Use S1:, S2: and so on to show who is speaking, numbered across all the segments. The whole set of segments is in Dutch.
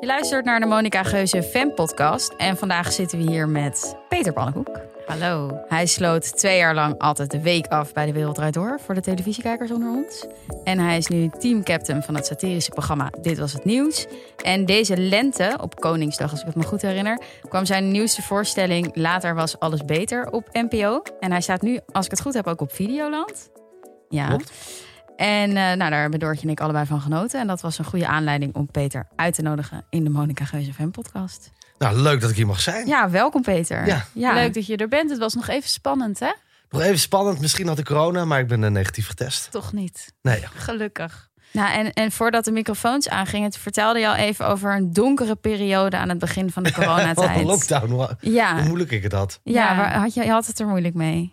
S1: luistert naar de Monica Geuze Fan Podcast. En vandaag zitten we hier met Peter Pannenkoek.
S2: Hallo.
S1: Hij sloot twee jaar lang altijd de week af bij de Wereld Draait Door voor de televisiekijkers onder ons. En hij is nu teamcaptain van het satirische programma Dit Was Het Nieuws. En deze lente, op Koningsdag als ik het me goed herinner, kwam zijn nieuwste voorstelling Later Was Alles Beter op NPO. En hij staat nu, als ik het goed heb, ook op Videoland. Ja.
S2: Klopt.
S1: En eh, nou, daar hebben Doortje en ik allebei van genoten. En dat was een goede aanleiding om Peter uit te nodigen in de Monica Geuze Fan podcast.
S3: Nou, leuk dat ik hier mag zijn.
S1: Ja, welkom Peter.
S3: Ja.
S2: Leuk dat je er bent. Het was nog even spannend, hè?
S3: Nog even spannend, misschien had ik corona, maar ik ben eh, negatief getest.
S2: Toch niet.
S3: Nee, ja.
S2: Gelukkig.
S1: Nou, en, en voordat de microfoons aangingen, het vertelde je al even over een donkere periode aan het begin van de
S3: wat een
S1: coronatijd.
S3: lockdown, hoe, hoe
S1: ja,
S3: moeilijk ik het had.
S1: ja
S2: Ja.
S1: waar, had je, je had het er moeilijk mee.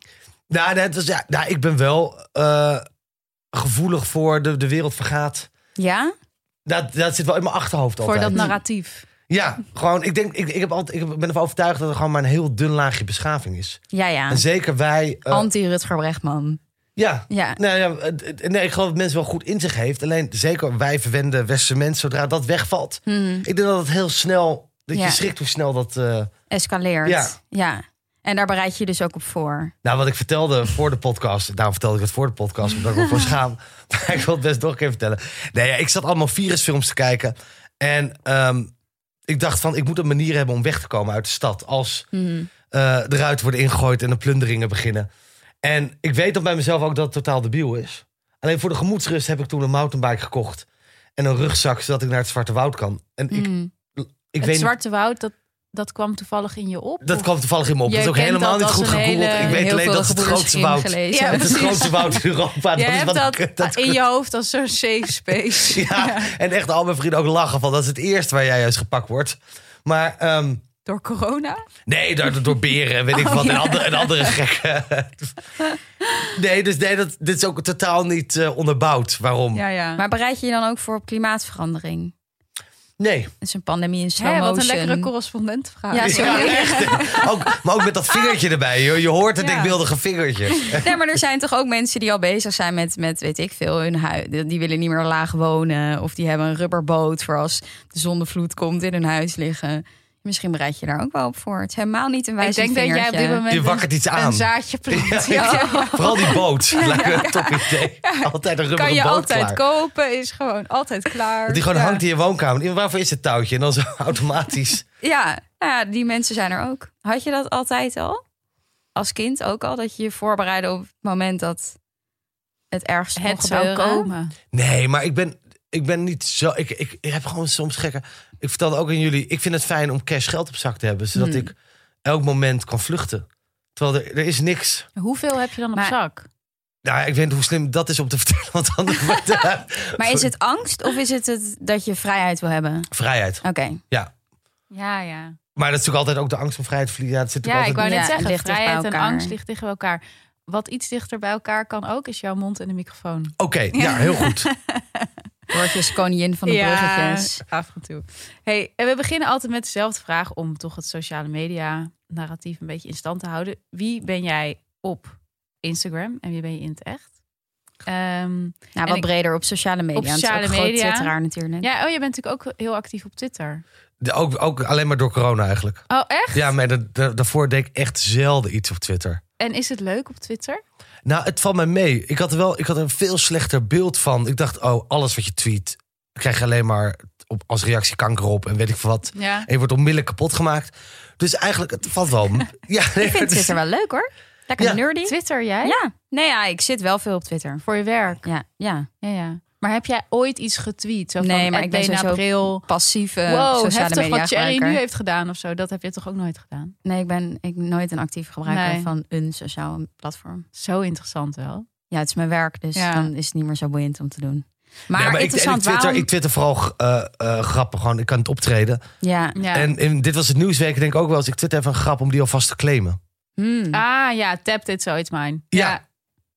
S3: Nou, nee, het was, ja, nou ik ben wel eh, gevoelig voor de, de wereld vergaat.
S1: Ja?
S3: Dat, dat zit wel in mijn achterhoofd altijd.
S2: Voor dat narratief.
S3: Ja, gewoon, ik, denk, ik, ik, heb altijd, ik ben ervan overtuigd dat er gewoon maar een heel dun laagje beschaving is.
S1: Ja, ja.
S3: En zeker wij... eh,
S1: Anti-Rutger Brechtman.
S3: ja,
S1: Ja.
S3: Nou ja, het- het- nee, ik geloof dat mensen wel goed in zich heeft. Alleen zeker wij verwende westerse mensen, zodra dat wegvalt.
S1: Hmm.
S3: Ik denk dat het heel snel, dat
S1: Ja.
S3: je schrikt hoe snel dat... eh,
S1: Escaleert.
S3: Ja.
S1: ja. En daar bereid je je dus ook op voor.
S3: Nou, wat ik vertelde voor de podcast. Daarom vertelde ik het voor de podcast, omdat ik me voor schaam. Maar ik wil het best nog een keer vertellen. Nee, ja, ik zat allemaal virusfilms te kijken. En ehm, ik dacht van, ik moet een manier hebben om weg te komen uit de stad. Als
S1: Hmm.
S3: eh de ruiten worden ingegooid en de plunderingen beginnen. En ik weet dan bij mezelf ook dat het totaal debiel is. Alleen voor de gemoedsrust heb ik toen een mountainbike gekocht. En een rugzak, zodat ik naar het Zwarte Woud kan. En ik,
S1: Hmm.
S3: ik
S2: Mm. het
S3: weet niet,
S2: Zwarte Woud, dat, dat kwam toevallig in je op.
S3: dat
S2: Of-
S3: kwam toevallig in me op. Dat
S2: Jij
S3: is ook
S2: kent
S3: helemaal
S2: dat
S3: niet
S2: als
S3: goed
S2: een
S3: gegoogeld.
S2: hele-
S3: Ik weet
S1: Heel
S3: alleen
S1: veel
S3: dat het het grootste
S1: geboorteschriem
S3: woud
S1: gelezen.
S2: Ja,
S3: Het is het
S2: precies.
S3: grootste woud in Europa.
S2: Jij
S3: dat is
S2: hebt
S3: wat
S2: dat, Ah,
S3: ik- dat-
S2: in je hoofd als zo'n safe space.
S3: ja. En echt al mijn vrienden ook lachen van dat is het eerste waar jij juist gepakt wordt. Maar ehm,
S2: Door corona.
S3: nee, door, door beren en weet
S2: Oh,
S3: ik wat. En andere, en andere gekken. nee, dus nee, dat, dit is ook totaal niet eh, onderbouwd waarom.
S2: Ja, ja.
S1: Maar bereid je je dan ook voor op klimaatverandering?
S3: Nee.
S1: Dat is een pandemie in slow
S2: Hè, wat een
S1: motion.
S2: lekkere correspondentvraag.
S1: Ja, sorry.
S3: Ja, echt. Ook, maar ook met dat vingertje erbij. Je, je hoort het
S2: Ja.
S3: denkbeeldige vingertje.
S1: Nee, maar er zijn toch ook mensen die al bezig zijn met, met weet ik veel, hun huis. Die willen niet meer laag wonen. Of die hebben een rubberboot voor als de zonnevloed komt in hun huis liggen. Misschien bereid je daar ook wel op voor. Het is helemaal niet een
S2: ik
S1: wijze
S2: denk dat jij op dit moment
S3: Je wakkert
S2: een-
S3: iets
S2: een
S3: aan.
S2: zaadje plant. Ja.
S3: Vooral die boot. Lijkt me een top idee. Altijd een rubberen
S2: Kan je
S3: boot
S2: altijd
S3: klaar.
S2: kopen, is gewoon altijd klaar.
S3: Dat die gewoon
S2: Ja.
S3: hangt in je woonkamer. Die- Waarvoor is het touwtje? En dan zo automatisch.
S1: Ja, nou ja, die mensen zijn er ook. Had je dat altijd al? Als kind ook al? Dat je je voorbereidde op het moment dat het ergste
S2: Het
S1: mocht
S2: zou
S1: gebeuren?
S2: komen.
S3: Nee, maar ik ben, ik ben niet zo. Ik, ik, ik heb gewoon soms gekke. Ik vertelde ook aan jullie. Ik vind het fijn om cash geld op zak te hebben. Zodat
S1: Hmm.
S3: ik elk moment kan vluchten. Terwijl er, er is niks.
S2: Hoeveel heb je dan
S1: Maar-
S2: op zak?
S3: Nou, ja, ik weet niet hoe slim dat is om te vertellen. Want anders wordt eh, het-
S1: Maar is het angst of is het, het dat je vrijheid wil hebben? Oké.
S3: vrijheid.
S2: Ja, ja.
S3: Maar dat is natuurlijk altijd ook de angst om vrijheid te verliezen. Ja, dat zit
S2: Ja,
S3: natuurlijk
S2: ik wou
S3: altijd...
S2: net
S1: Ja,
S2: zeggen,
S1: ligt dicht bij
S2: vrijheid en
S1: elkaar.
S2: angst ligt dicht bij elkaar. Wat iets dichter bij elkaar kan ook, is jouw mond en de microfoon.
S3: Oké, ja, heel goed.
S1: Doortje is koningin van de bruggetjes.
S2: af en toe. Hey, en we beginnen altijd met dezelfde vraag om toch het sociale media narratief een beetje in stand te houden. Wie ben jij op Instagram en wie ben je in het echt? Ehm,
S1: Nou,
S2: En
S1: wat
S2: ik-
S1: breder op sociale media.
S2: Op
S1: want het is
S2: sociale
S1: ook een groot
S2: media.
S1: Twitteraar natuurlijk.
S2: ja, oh, jij bent natuurlijk ook heel actief op Twitter.
S3: De- Ook, ook alleen maar door corona eigenlijk.
S2: Oh, echt?
S3: Ja, maar da- da- daarvoor deed ik echt zelden iets op Twitter.
S2: En is het leuk op Twitter?
S3: Nou, het valt mij mee. Ik had, er wel, ik had er een veel slechter beeld van. Ik dacht, oh, alles wat je tweet krijg je alleen maar op, als reactie kanker op en weet ik veel wat.
S2: Ja.
S3: En je wordt onmiddellijk kapot gemaakt. Dus eigenlijk, het valt wel. ja, nee,
S1: Ik vind
S3: dus-
S1: Twitter wel leuk hoor. Lekker
S3: Ja.
S1: nerdy.
S2: Twitter jij?
S1: Ja. Nee, ja, ik zit wel veel op Twitter.
S2: Voor je werk?
S1: Ja, ja.
S2: Ja, ja. Maar heb jij ooit iets getweet? Zo
S1: Nee,
S2: van,
S1: maar
S2: "At
S1: ik ben
S2: Dena
S1: sowieso-
S2: Bril.
S1: Passieve
S2: wow,
S1: sociale
S2: heftig
S1: media
S2: wat Thierry
S1: gebruiker.
S2: nu heeft gedaan of zo. Dat heb je toch ook nooit gedaan?
S1: Nee, ik ben ik ben nooit een actief gebruiker
S2: Nee.
S1: van een sociaal platform.
S2: Zo interessant wel.
S1: Ja, het is mijn werk, dus
S2: Ja.
S1: dan is het niet meer zo boeiend om te doen. Maar,
S3: Nee, maar ik, en ik
S1: interessant,
S3: twitter,
S1: waarom...
S3: ik twitter vooral eh, eh, grappen. Gewoon, ik kan het optreden.
S1: Ja.
S2: Ja.
S3: En in, dit was het nieuwsweek. Ik denk ook wel eens, ik twitter even een grap om die alvast te claimen.
S1: Hmm.
S2: Ah ja, tap dit zo, it's mine.
S3: Ja.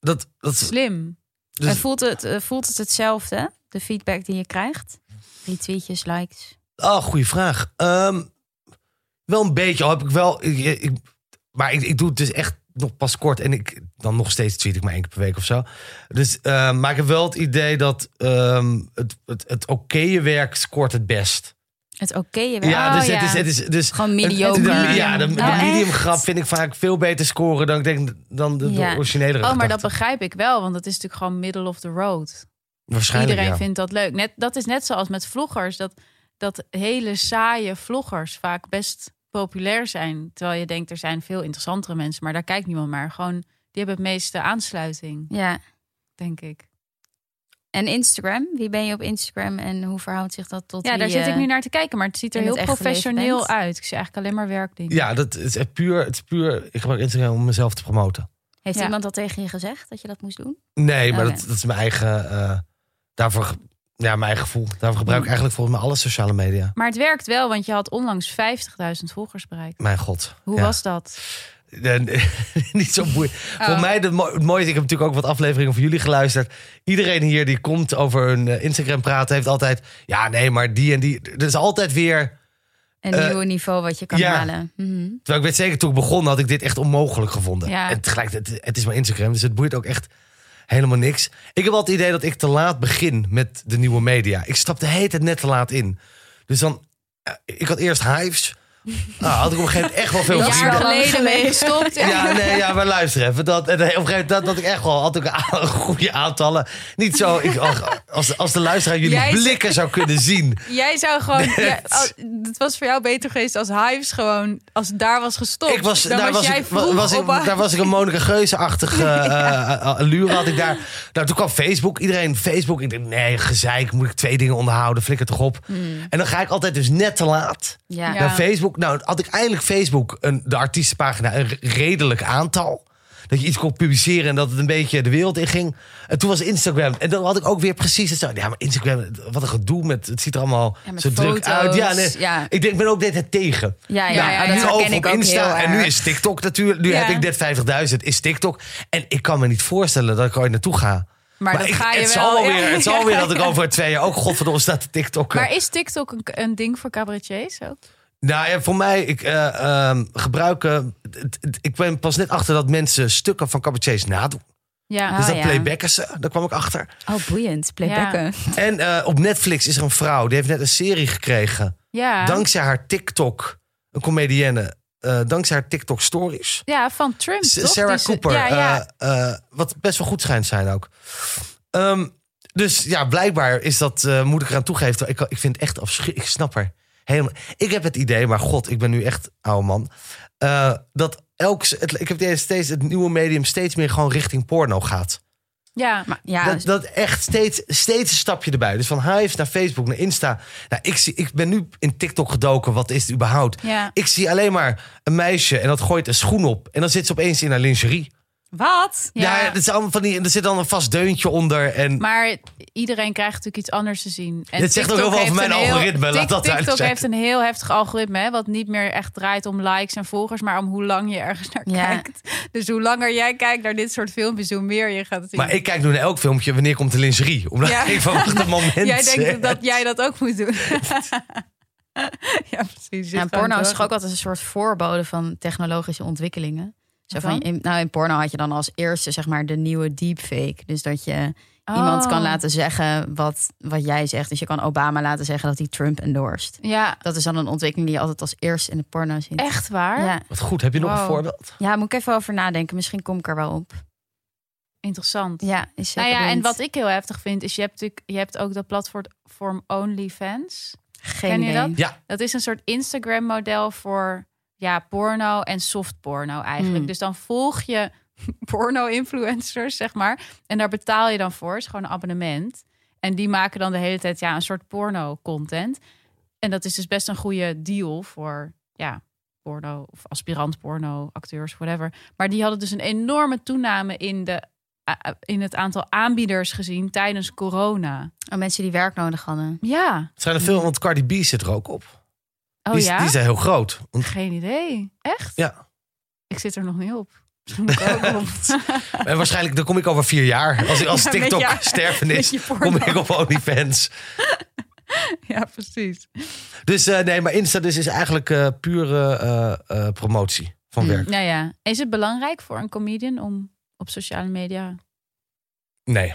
S3: Dat, dat is-
S2: Slim.
S3: dus-
S1: En voelt, het, eh, voelt het hetzelfde, de feedback die je krijgt? Retweetjes, likes.
S3: Oh, goede vraag. Ehm, wel een beetje. Al heb ik wel. Ik, ik- maar ik, ik doe het dus echt nog pas kort. En ik dan nog steeds tweet ik maar één keer per week of zo. Dus, ehm, maar ik heb wel het idee dat ehm, het, het, het oké werk scoort het best.
S1: Het oké weer.
S3: Ja,
S1: Oh,
S3: dus, Het is, het is, dus
S1: Gewoon
S3: een-
S1: mediocre.
S3: de- ja, de, de
S1: Oh, echt?
S3: medium grap vind ik vaak veel beter scoren dan ik denk dan de, de
S1: Ja.
S3: originele.
S2: Oh, maar
S3: gedachte.
S2: dat begrijp ik wel, want het is natuurlijk gewoon middle of the road.
S3: waarschijnlijk
S2: Iedereen
S3: ja.
S2: vindt dat leuk. Net, dat is net zoals met vloggers, dat, dat hele saaie vloggers vaak best populair zijn. Terwijl je denkt, er zijn veel interessantere mensen, maar daar kijkt niemand naar. Gewoon, die hebben het meeste aansluiting,
S1: Ja.
S2: denk ik.
S1: En Instagram? Wie ben je op Instagram en hoe verhoudt zich dat tot
S2: Ja, daar
S1: wie,
S2: zit
S1: eh,
S2: ik nu naar te kijken, maar het ziet er
S1: in het
S2: heel
S1: echte leven
S2: professioneel
S1: bent.
S2: uit. Ik zie eigenlijk alleen maar werkdingen.
S3: Ja, dat is echt puur, het is puur. Ik gebruik Instagram om mezelf te promoten.
S1: Heeft
S2: Ja.
S1: iemand dat tegen je gezegd, dat je dat moest doen?
S2: Oh,
S3: Nee, maar
S1: Oké.
S3: dat, dat is mijn eigen. eh, daarvoor, ge- ja, mijn eigen gevoel. Daarvoor
S2: Mm.
S3: gebruik ik eigenlijk volgens mij alle sociale media.
S2: Maar het werkt wel, want je had onlangs 50.000 volgers bereikt.
S3: Mijn god.
S2: Hoe
S3: ja.
S2: was Oh. dat?
S3: Eh, Niet zo boeiend. Voor mij de mo- het mooie is, ik heb natuurlijk ook wat afleveringen voor jullie geluisterd. Iedereen hier die komt over hun eh, Instagram praten, heeft altijd... Ja, nee, maar die en die. Er is altijd weer...
S1: Een
S3: Eh,
S1: nieuw niveau wat je kan
S3: ja.
S1: halen. Mhm.
S3: Terwijl ik weet zeker, toen ik begon had ik dit echt onmogelijk gevonden.
S2: Ja.
S3: En tegelijkertijd, het is mijn Instagram, dus het boeit ook echt helemaal niks. Ik heb altijd het idee dat ik te laat begin met de nieuwe media. Ik stap de hele tijd net te laat in. Dus dan, eh, ik had eerst Hives. Nou, had ik op een gegeven moment echt wel veel
S1: Een
S2: Een
S1: jaar
S2: jaar
S3: vrienden.
S1: geleden
S2: geleden mee gestopt.
S3: Ja, nee, ja, maar luister even. Dat, en op een gegeven moment dat, dat ik echt wel had ook een a- goede aantallen. Niet zo, ik, ach, als, als de luisteraar jullie
S2: Jij-
S3: blikken zou kunnen zien.
S2: Jij zou gewoon.
S3: Nee.
S2: ja, oh, het was voor jou beter geweest als Hives gewoon. Als het daar was gestopt.
S3: Ik was,
S2: dan
S3: daar, was
S2: jij
S3: ik,
S2: vroeg
S3: was ik,
S2: op haar-
S3: daar was ik een Monika Geuze-achtige eh, eh, allure had ik daar. Nou, toen kwam Facebook. Iedereen Facebook. Ik denk, nee, gezeik. Moet ik twee dingen onderhouden? Flikker toch op. En dan ga ik altijd dus net te laat
S1: Ja.
S2: Ja.
S3: naar Facebook. Nou, had ik eindelijk Facebook, een, de artiestenpagina, een redelijk aantal. Dat je iets kon publiceren en dat het een beetje de wereld in ging. En toen was Instagram. En dan had ik ook weer precies hetzelfde. Ja, maar Instagram, wat een gedoe met... Het ziet er allemaal
S1: Ja, met
S3: zo druk
S1: foto's,
S3: uit. Ja, nee,
S1: ja.
S3: Ik, denk, ik ben ook dit het tegen.
S1: Ja, ja,
S3: Nou,
S1: ja,
S3: nu
S1: dat
S3: over
S1: herken ik
S3: op
S1: ook
S3: Insta.
S1: heel
S3: En nu
S1: erg.
S3: is TikTok natuurlijk. Nu
S2: Ja.
S3: heb ik net 50.000, is TikTok. En ik kan me niet voorstellen dat ik ooit naartoe ga.
S2: Maar, dat
S3: ik-
S2: ga je
S3: het
S2: wel.
S3: Zal
S2: ja.
S3: weer, het zal weer dat ik over twee jaar ook godverdomme staat te TikTok.
S2: Maar is TikTok een, een ding voor cabaretiers ook?
S3: Nou ja, voor mij, ik eh, ehm, gebruiken... het- het- Ik ben pas net achter dat mensen stukken van cabaretiers nadoen.
S2: Oh, Ja.
S3: dus
S1: Ah,
S3: dat
S1: ja.
S3: playbacken ze, daar kwam ik achter.
S1: Oh, boeiend. Playbacken.
S3: En eh, op Netflix is er een vrouw, die heeft net een serie gekregen.
S2: ja.
S3: Dankzij haar TikTok, een comedienne, eh, dankzij haar TikTok stories.
S2: Ja, van Trump.
S3: S-
S2: toch?
S3: Sarah
S2: Die ze-
S3: Cooper,
S2: Ja, ja.
S3: eh, eh, wat best wel goed schijnt te zijn ook. Ehm, dus ja, blijkbaar is dat, eh, moet ik eraan toegeven. Ik, ik vind het echt afschuwelijk. Ik snap er helemaal. Ik heb het idee, maar god, ik ben nu echt oude man. eh, dat elk, het, ik heb het idee dat steeds het nieuwe medium steeds meer gewoon richting porno gaat.
S2: ja. dus-
S1: Maar ja,
S3: Dat, dat echt steeds, steeds een stapje erbij. Dus van Hives naar Facebook, naar Insta. Nou, ik, zie, ik ben nu in TikTok gedoken. Wat is het überhaupt?
S2: ja.
S3: Ik zie alleen maar een meisje en dat gooit een schoen op. En dan zit ze opeens in haar lingerie.
S2: Wat?
S3: Ja, dat is allemaal van die, en er zit dan een vast deuntje onder. En
S2: Maar iedereen krijgt natuurlijk iets anders te zien. En
S3: Dit zegt ook
S2: TikTok
S3: heel veel over
S2: heeft
S3: mijn
S2: een heel-
S3: algoritme, laat
S2: Tik-
S3: dat duidelijk
S2: TikTok
S3: zijn.
S2: heeft een heel heftig algoritme, hè, wat niet meer echt draait om likes en volgers, maar om hoe lang je ergens naar
S1: Ja.
S2: kijkt. Dus hoe langer jij kijkt naar dit soort filmpjes, hoe meer je gaat zien.
S3: Maar ik kijk nu naar elk filmpje, wanneer komt de lingerie? Omdat
S2: Ja.
S3: ik van wacht een moment.
S2: jij
S3: hè.
S2: denkt dat, dat jij dat ook moet doen. ja, precies.
S1: Ja, en porno is toch ook altijd een soort voorbode van technologische ontwikkelingen. Zo
S2: Wat
S1: van,
S2: dan?
S1: in, nou, in porno had je dan als eerste zeg maar de nieuwe deepfake. Dus dat je iemand
S2: Oh.
S1: kan laten zeggen wat, wat jij zegt. Dus je kan Obama laten zeggen dat hij Trump endorst.
S2: Ja,
S1: Dat is dan een ontwikkeling die je altijd als eerst in de porno ziet.
S2: echt waar?
S1: Ja.
S3: Wat goed, heb je nog een
S2: Wow.
S3: voorbeeld?
S1: ja, moet ik even over nadenken. Misschien kom ik er wel op.
S2: Interessant.
S1: Ja, is zeker
S2: nou ja, en
S1: boeiend.
S2: wat ik heel heftig vind, is je hebt natuurlijk je hebt ook dat platform OnlyFans.
S1: Geen
S2: ken
S1: idee.
S2: je dat?
S3: Ja,
S2: Dat is een soort Instagram-model voor ja, porno en soft porno eigenlijk.
S3: Hmm.
S1: Mm.
S2: Dus dan volg je porno-influencers, zeg maar. En daar betaal je dan voor. Het is gewoon een abonnement. En die maken dan de hele tijd ja, een soort porno-content. En dat is dus best een goede deal voor ja, porno of aspirant porno, acteurs, whatever. Maar die hadden dus een enorme toename in, de, a- in het aantal aanbieders gezien tijdens corona.
S1: Oh, mensen die werk nodig hadden.
S2: Ja.
S3: het zijn er veel, want Cardi B zit er ook op.
S2: Oh
S3: die, is,
S2: ja?
S3: die is heel groot. Want,
S2: Geen idee. Echt?
S3: ja.
S2: Ik zit er nog niet op. Misschien moet ik ook op.
S3: En waarschijnlijk, dan kom ik over vier jaar. Als, als
S2: Ja, met
S3: TikTok
S2: jou-
S3: sterven
S2: Met
S3: is,
S2: je porno.
S3: kom ik op OnlyFans.
S2: Ja, precies.
S3: Dus eh, nee, maar Insta dus is eigenlijk eh, pure eh, eh, promotie van
S1: Hmm.
S3: werk.
S2: Nou ja, is het belangrijk voor een comedian om op sociale media...
S3: Nee.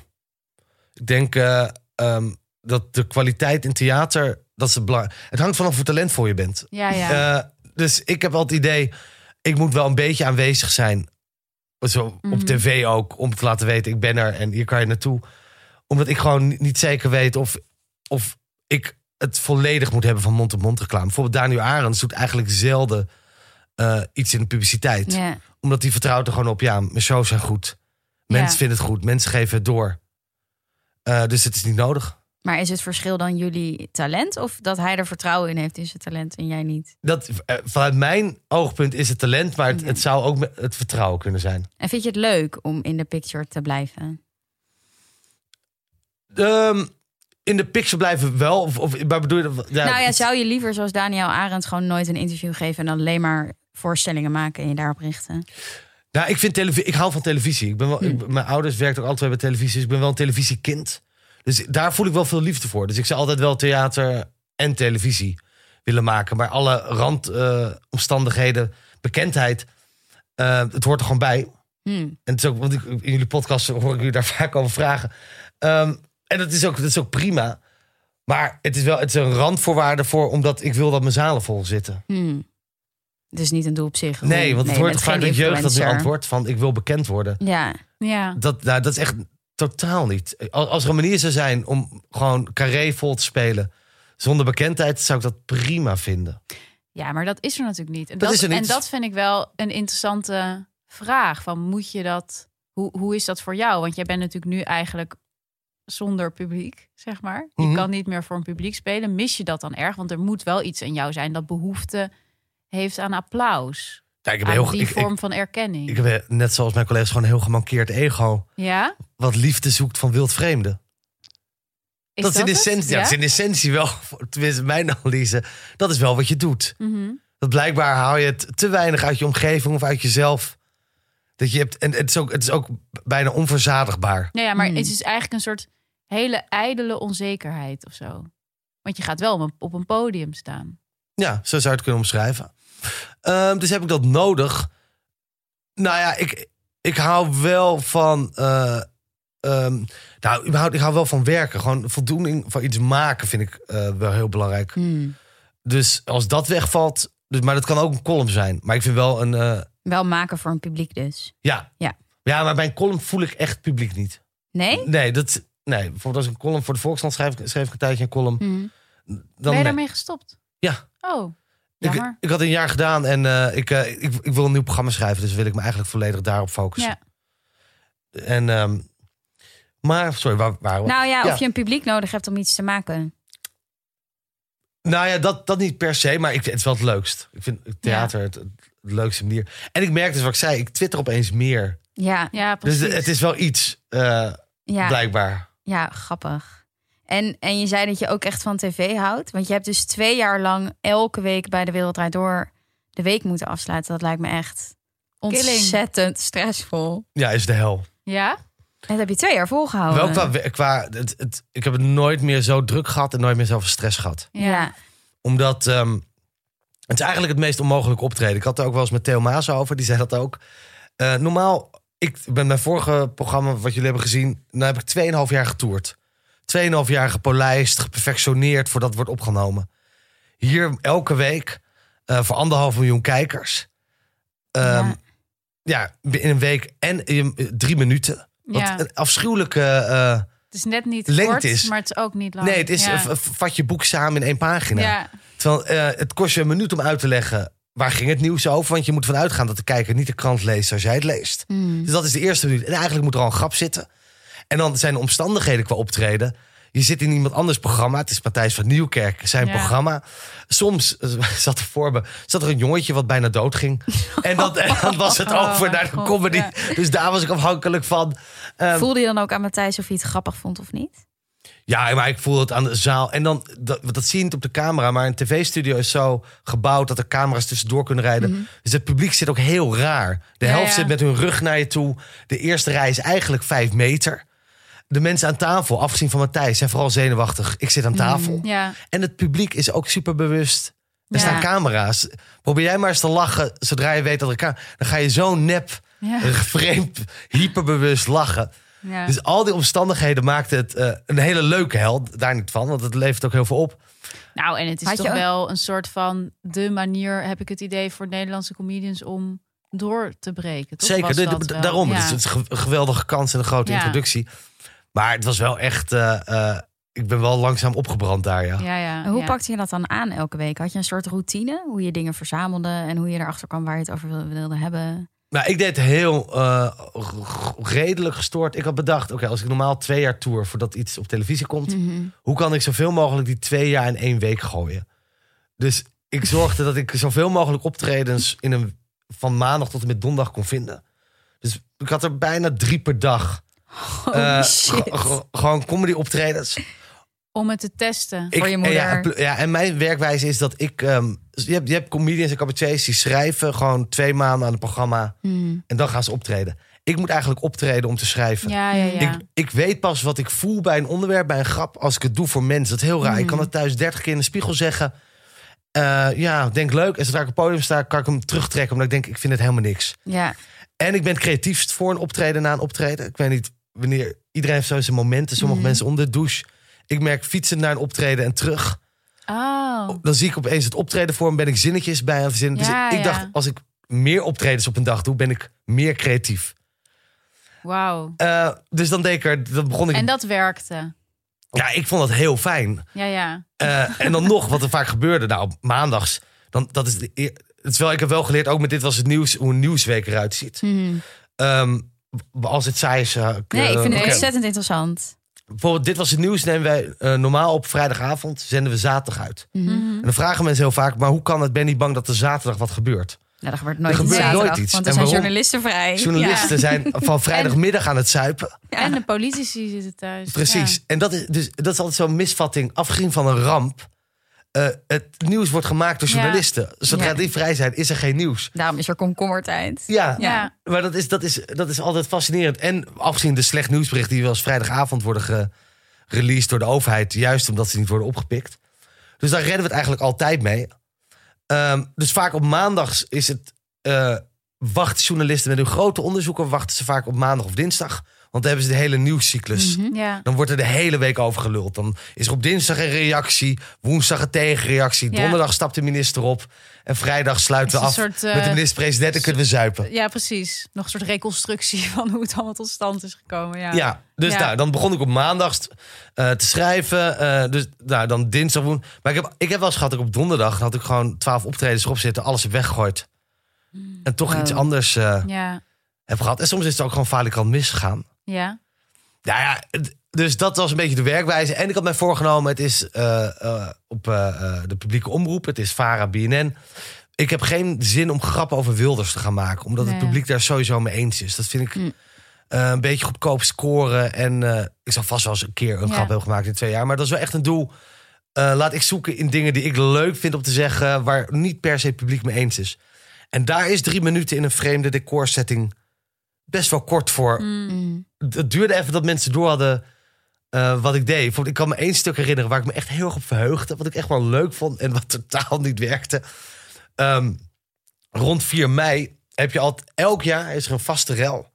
S3: Ik denk eh, ehm, dat de kwaliteit in theater Dat is het belang. Het hangt vanaf hoe talentvol je bent.
S2: Ja, Ah, ja.
S3: Eh, dus ik heb wel het idee, ik moet wel een beetje aanwezig zijn. Zo op
S2: Mhm.
S3: tv ook, om te laten weten, ik ben er en hier kan je naartoe. Omdat ik gewoon ni- niet zeker weet of, of ik het volledig moet hebben van mond-op-mond reclame. Bijvoorbeeld Daniel Arends doet eigenlijk zelden eh, iets in de publiciteit.
S1: Ja.
S3: Omdat die vertrouwt er gewoon op, ja, mijn shows zijn goed. Mensen
S2: Ja.
S3: vinden het goed, mensen geven het door. Eh, dus het is niet nodig.
S1: Maar is het verschil dan jullie talent of dat hij er vertrouwen in heeft in zijn talent en jij niet?
S3: Dat, eh, vanuit mijn oogpunt is het talent, maar het,
S1: Ja.
S3: het zou ook me- het vertrouwen kunnen zijn.
S1: En vind je het leuk om in de picture te blijven?
S3: Ehm, in de picture blijven wel? Of, of, maar bedoel je dat- ja,
S1: nou ja,
S3: het-
S1: zou je liever zoals Daniel Arendt gewoon nooit een interview geven en alleen maar voorstellingen maken en je daarop richten?
S3: Nou, ik, vind televi- ik hou van televisie. Ik ben wel,
S1: Hmm.
S3: ik- mijn ouders werkten ook altijd bij televisie, dus ik ben wel een televisiekind. Dus daar voel ik wel veel liefde voor. Dus ik zou altijd wel theater en televisie willen maken. Maar alle randomstandigheden, bekendheid, eh, het hoort er gewoon bij.
S1: Hm.
S3: En het is ook, want ik, in jullie podcast hoor ik jullie daar vaak over vragen. Ehm, en dat is, ook, dat is ook prima. Maar het is wel het is een randvoorwaarde voor, omdat ik wil dat mijn zalen vol zitten.
S1: hm. Dus niet een doel op zich.
S3: Nee, want het
S1: je
S3: wordt
S1: bent
S3: vaak
S1: geen
S3: dat jeugd dat nu
S1: influencer.
S3: antwoordt van ik wil bekend worden.
S1: Ja,
S2: ja.
S3: Dat, nou, dat is echt totaal niet. Als, als er een manier zou zijn om gewoon carré vol te spelen zonder bekendheid, zou ik dat prima vinden.
S2: Ja, maar dat is er natuurlijk niet. En
S3: Dat
S2: dat,
S3: is er niet.
S2: En dat vind ik wel een interessante vraag. Van moet je dat, hoe, hoe is dat voor jou? Want jij bent natuurlijk nu eigenlijk zonder publiek, zeg maar. Je
S3: Mhm.
S2: kan niet meer voor een publiek spelen. Mis je dat dan erg? Want er moet wel iets aan jou zijn dat behoefte heeft aan applaus.
S3: Kijk, ik
S2: aan
S3: heb, heel,
S2: die
S3: ik,
S2: vorm
S3: ik,
S2: van erkenning.
S3: ik heb eh, net zoals mijn collega's gewoon een heel gemankeerd ego.
S2: ja?
S3: Wat liefde zoekt van wildvreemden.
S2: Is
S3: dat, is in
S2: het?
S3: essentie, ja,
S2: Ja?
S3: dat is in essentie wel, tenminste mijn analyse, dat is wel wat je doet.
S2: Mhm.
S3: Dat blijkbaar haal je het te weinig uit je omgeving of uit jezelf. Dat je hebt, en het is ook, het is ook bijna onverzadigbaar.
S2: Nou ja, maar
S1: Hmm.
S2: het is eigenlijk een soort hele ijdele onzekerheid of zo. Want je gaat wel op een, op een podium staan.
S3: Ja, zo zou je het kunnen omschrijven. Ehm, dus heb ik dat nodig? Nou ja, ik, ik hou wel van. eh, ehm, nou, überhaupt, ik hou wel van werken. Gewoon voldoening van iets maken vind ik eh, wel heel belangrijk.
S1: hm.
S3: Dus als dat wegvalt. Dus, maar dat kan ook een column zijn. Maar ik vind wel een. eh,
S1: wel maken voor een publiek dus.
S3: ja.
S1: Ja.
S3: ja, maar bij een column voel ik echt publiek niet.
S1: Nee?
S3: Nee, dat. Nee, bijvoorbeeld als ik een column voor de Volkskrant schrijf, ik- schreef ik een tijdje een column.
S1: Hm.
S2: ben
S3: Dan
S2: je
S3: nee.
S2: daarmee gestopt?
S3: Ja.
S2: Oh, jammer.
S3: ik, ik had een jaar gedaan en eh, ik, eh, ik, ik wil een nieuw programma schrijven. Dus wil ik me eigenlijk volledig daarop focussen. En, ehm, maar, sorry, waar waren we? Nou,
S1: Nou ja,
S3: Ja.
S1: of je een publiek nodig hebt om iets te maken.
S3: Nou ja, dat, dat niet per se, maar ik, het is wel het leukst. Ik vind het theater het, het leukste manier. En ik merk dus wat ik zei, ik twitter opeens meer.
S1: Ja,
S2: Ja, precies.
S3: Dus het is wel iets, eh,
S1: ja,
S3: blijkbaar.
S1: ja grappig. En, en je zei dat je ook echt van tv houdt. Want je hebt dus twee jaar lang elke week bij De Wereld Draait Door de week moeten afsluiten. Dat lijkt me echt
S2: Killing.
S1: ontzettend stressvol.
S3: Ja, is de hel.
S2: Ja?
S1: En dat heb je twee jaar volgehouden.
S3: wel qua, we- qua het, het, ik heb het nooit meer zo druk gehad en nooit meer zoveel stress gehad.
S1: Ja. ja.
S3: Omdat ehm, het is eigenlijk het meest onmogelijk optreden. Ik had er ook wel eens met Theo Maas over, die zei dat ook. Eh, normaal, ik ben mijn vorige programma, wat jullie hebben gezien, nou heb ik 2,5 jaar getoerd. 2,5 jaar gepolijst, geperfectioneerd voordat het wordt opgenomen. Hier elke week eh, voor anderhalf miljoen kijkers. Ehm, ja. in een week en in drie minuten. Wat
S2: ja.
S3: een afschuwelijke eh,
S2: Het is net niet
S3: lengte
S2: kort,
S3: is-
S2: maar het is ook niet lang.
S3: Nee, het is
S2: Nou, Ja.
S3: eh, v- vat je boek samen in één pagina.
S2: Ja.
S3: Terwijl eh, het kost je een minuut om uit te leggen waar ging het nieuws over. Want je moet ervan uitgaan dat de kijker niet de krant leest als jij het leest.
S2: Mm.
S1: Hm.
S3: Dus dat is de eerste minuut. En eigenlijk moet er al een grap zitten. En dan zijn de omstandigheden qua optreden. Je zit in iemand anders programma. Het is Matthijs van Nieuwkerk, zijn
S2: Ja.
S3: programma. Soms eh, zat er voor me zat er een jongetje wat bijna dood ging. En, dat, en dan was het
S2: Oh
S3: over
S2: mijn
S3: naar de
S2: God,
S3: comedy.
S2: ja.
S3: Dus daar was ik afhankelijk van. Ehm,
S1: Voelde je dan ook aan Matthijs of hij het grappig vond of niet?
S3: Ja, maar ik voel het aan de zaal. En dan, dat, want dat zie je niet op de camera. Maar een tv-studio is zo gebouwd dat er camera's tussendoor kunnen rijden. Dus het publiek zit ook heel raar. De
S2: Mhm. Ja,
S3: helft
S2: ja.
S3: zit met hun rug naar je toe. De eerste rij is eigenlijk vijf meter. De mensen aan tafel, afgezien van Matthijs, zijn vooral zenuwachtig. Ik
S2: Mhm.
S3: zit aan tafel.
S2: Ja.
S3: En het publiek is ook superbewust. Er
S2: Ja.
S3: staan camera's. Probeer jij maar eens te lachen zodra je weet dat er camera... Dan ga je zo nep,
S2: Ja.
S3: vreemd, hyperbewust lachen.
S2: Ja.
S3: Dus al die omstandigheden maakten het eh, een hele leuke held. Daar niet van, want het levert ook heel veel op.
S2: nou, en het is
S1: Had je
S2: toch
S1: ook-
S2: wel een soort van de manier, heb ik het idee, voor Nederlandse comedians om door te breken. Toch
S3: Zeker,
S2: was
S3: dit-
S2: dat
S3: d-
S2: wel,
S3: daarom. dus
S2: ja.
S3: Het is het is ge- een geweldige kans en een grote
S2: Ja.
S3: introductie. Maar het was wel echt... eh, eh, ik ben wel langzaam opgebrand daar, ja.
S2: ja, ja,
S1: En hoe
S2: ja.
S1: pakte je dat dan aan elke week? Had je een soort routine? Hoe je dingen verzamelde en hoe je erachter kwam waar je het over wil- wilde hebben?
S3: Nou, ik deed heel eh, g- g- redelijk gestoord. Ik had bedacht, oké, als ik normaal twee jaar tour... voordat iets op televisie komt...
S1: Mhm.
S3: hoe kan ik zoveel mogelijk die twee jaar in één week gooien? Dus ik zorgde dat ik zoveel mogelijk optredens in een, van maandag tot en met donderdag kon vinden. Dus ik had er bijna drie per dag.
S1: Holy
S3: Eh,
S1: Oh, shit.
S3: g- g- gewoon comedy optredens.
S2: Om het te testen.
S1: Voor
S3: Ik-
S1: je
S3: en Ja,
S1: moeder.
S3: pl- ja, en mijn werkwijze is dat ik... ehm, je, hebt, je hebt comedians en cabaretiers die schrijven gewoon twee maanden aan het programma.
S1: Mhm.
S3: En dan gaan ze optreden. Ik moet eigenlijk optreden om te schrijven.
S2: Ja, ja, ja.
S3: Ik, ik weet pas wat ik voel bij een onderwerp, bij een grap, als ik het doe voor mensen. Dat is heel raar. Ik kan
S2: Mm.
S3: het thuis dertig keer in de spiegel zeggen. Eh, ja, denk leuk. En zodra ik op het podium sta, kan ik hem terugtrekken. Omdat ik denk, ik vind het helemaal niks.
S1: Ja,
S3: En ik ben het creatiefst voor een optreden na een optreden. Ik weet niet wanneer... Iedereen heeft zo zijn momenten. Sommige
S2: Mm.
S1: Mhm.
S3: mensen onder de douche. Ik merk fietsen naar een optreden en terug.
S2: Oh,
S3: Dan zie ik opeens het optreden voor me. Ben ik zinnetjes bij aan het verzinnen. Dus
S2: Ja,
S3: ik, ik
S2: ja.
S3: dacht, als ik meer optredens op een dag doe, ben ik meer creatief.
S2: wauw.
S3: Eh, dus dan deed ik er... Dan begon ik...
S2: En dat werkte.
S3: Ja, ik vond dat heel fijn.
S2: Ja, ja.
S3: Eh, en dan nog, wat er vaak gebeurde. Nou, op maandags. Dan, dat is de eer- het is wel, ik heb wel geleerd, ook met dit was het nieuws, hoe een nieuwsweek eruit ziet.
S1: Mhm.
S3: Ehm, b- als het saai is. eh, k-
S1: Nee, ik vind
S3: eh,
S1: het
S3: oké.
S1: ontzettend interessant.
S3: Bijvoorbeeld, dit was het nieuws. Nemen wij eh, normaal op vrijdagavond, zenden we zaterdag uit.
S1: Mhm.
S2: Mhm.
S3: En dan vragen mensen heel vaak, maar hoe kan het? Ben je niet bang dat er zaterdag wat gebeurt?
S1: Nou, er gebeurt nooit,
S3: Er
S1: iets
S3: gebeurt
S1: zaterdag,
S3: nooit iets.
S1: Want er
S3: En
S1: zijn
S3: waarom?
S1: journalisten vrij.
S3: Journalisten zijn van vrijdagmiddag aan het zuipen.
S2: En de politici zitten thuis.
S3: Precies.
S2: Ja.
S3: En dat is, dus, dat is altijd zo'n misvatting. Afgezien van een ramp. eh, het nieuws wordt gemaakt door
S2: Ja.
S3: journalisten. Zodra
S1: Ja.
S3: die vrij zijn, is er geen nieuws.
S1: Daarom is er komkommertijd.
S3: Ja,
S2: Ja.
S1: Ja.
S3: Maar dat is, dat, is, dat is altijd fascinerend. En afgezien de slecht nieuwsberichten die wel eens vrijdagavond worden ge- released door de overheid. Juist omdat ze niet worden opgepikt. Dus daar redden we het eigenlijk altijd mee. Ehm, dus vaak op maandags is het... eh wachten journalisten met hun grote onderzoeken... wachten ze vaak op maandag of dinsdag. Want dan hebben ze de hele nieuwscyclus.
S1: Mhm.
S2: Ja.
S3: Dan wordt er de hele week over geluld. Dan is er op dinsdag een reactie, woensdag een tegenreactie...
S2: Ja.
S3: donderdag stapt de minister op... en vrijdag sluiten we
S2: Het
S3: af
S2: is een soort, eh,
S3: met de minister-president... en kunnen we zuipen.
S2: ja, precies. Nog een soort reconstructie van hoe het allemaal tot stand is gekomen. Ja.
S3: Ja, dus
S2: Ja.
S3: Nou, dan begon ik op maandag eh, te schrijven. eh, dus nou, dan dinsdag, woensdag. Maar ik heb, ik heb wel eens gehad, dat ik op donderdag had ik gewoon twaalf optredens erop zitten, alles heb weggegooid.
S2: Hmm.
S3: En toch
S1: Wow.
S3: iets anders eh,
S2: Ja.
S3: heb gehad. En soms is het ook gewoon falikant misgegaan.
S2: Ja.
S3: Nou ja, het- dus dat was een beetje de werkwijze. En ik had mij voorgenomen, het is eh, eh, op eh, eh, de publieke omroep, het is VARA, BNN. Ik heb geen zin om grappen over Wilders te gaan maken, omdat het
S2: Nee.
S3: publiek daar sowieso mee eens is. Dat vind ik
S1: Mm.
S3: eh, een beetje goedkoop scoren. En eh, ik zal vast wel eens een keer een
S2: Ja.
S3: grap hebben gemaakt in twee jaar. Maar dat is wel echt een doel. Eh, laat ik zoeken in dingen die ik leuk vind om te zeggen, waar niet per se het publiek mee eens is. En daar is drie minuten in een vreemde decorsetting best wel kort voor
S1: Mm.
S3: het duurde even dat mensen door hadden eh, wat ik deed. Bijvoorbeeld, ik kan me één stuk herinneren waar ik me echt heel erg op verheugde. Wat ik echt wel leuk vond en wat totaal niet werkte. Ehm, rond 4 mei heb je altijd, elk jaar is er een vaste rel.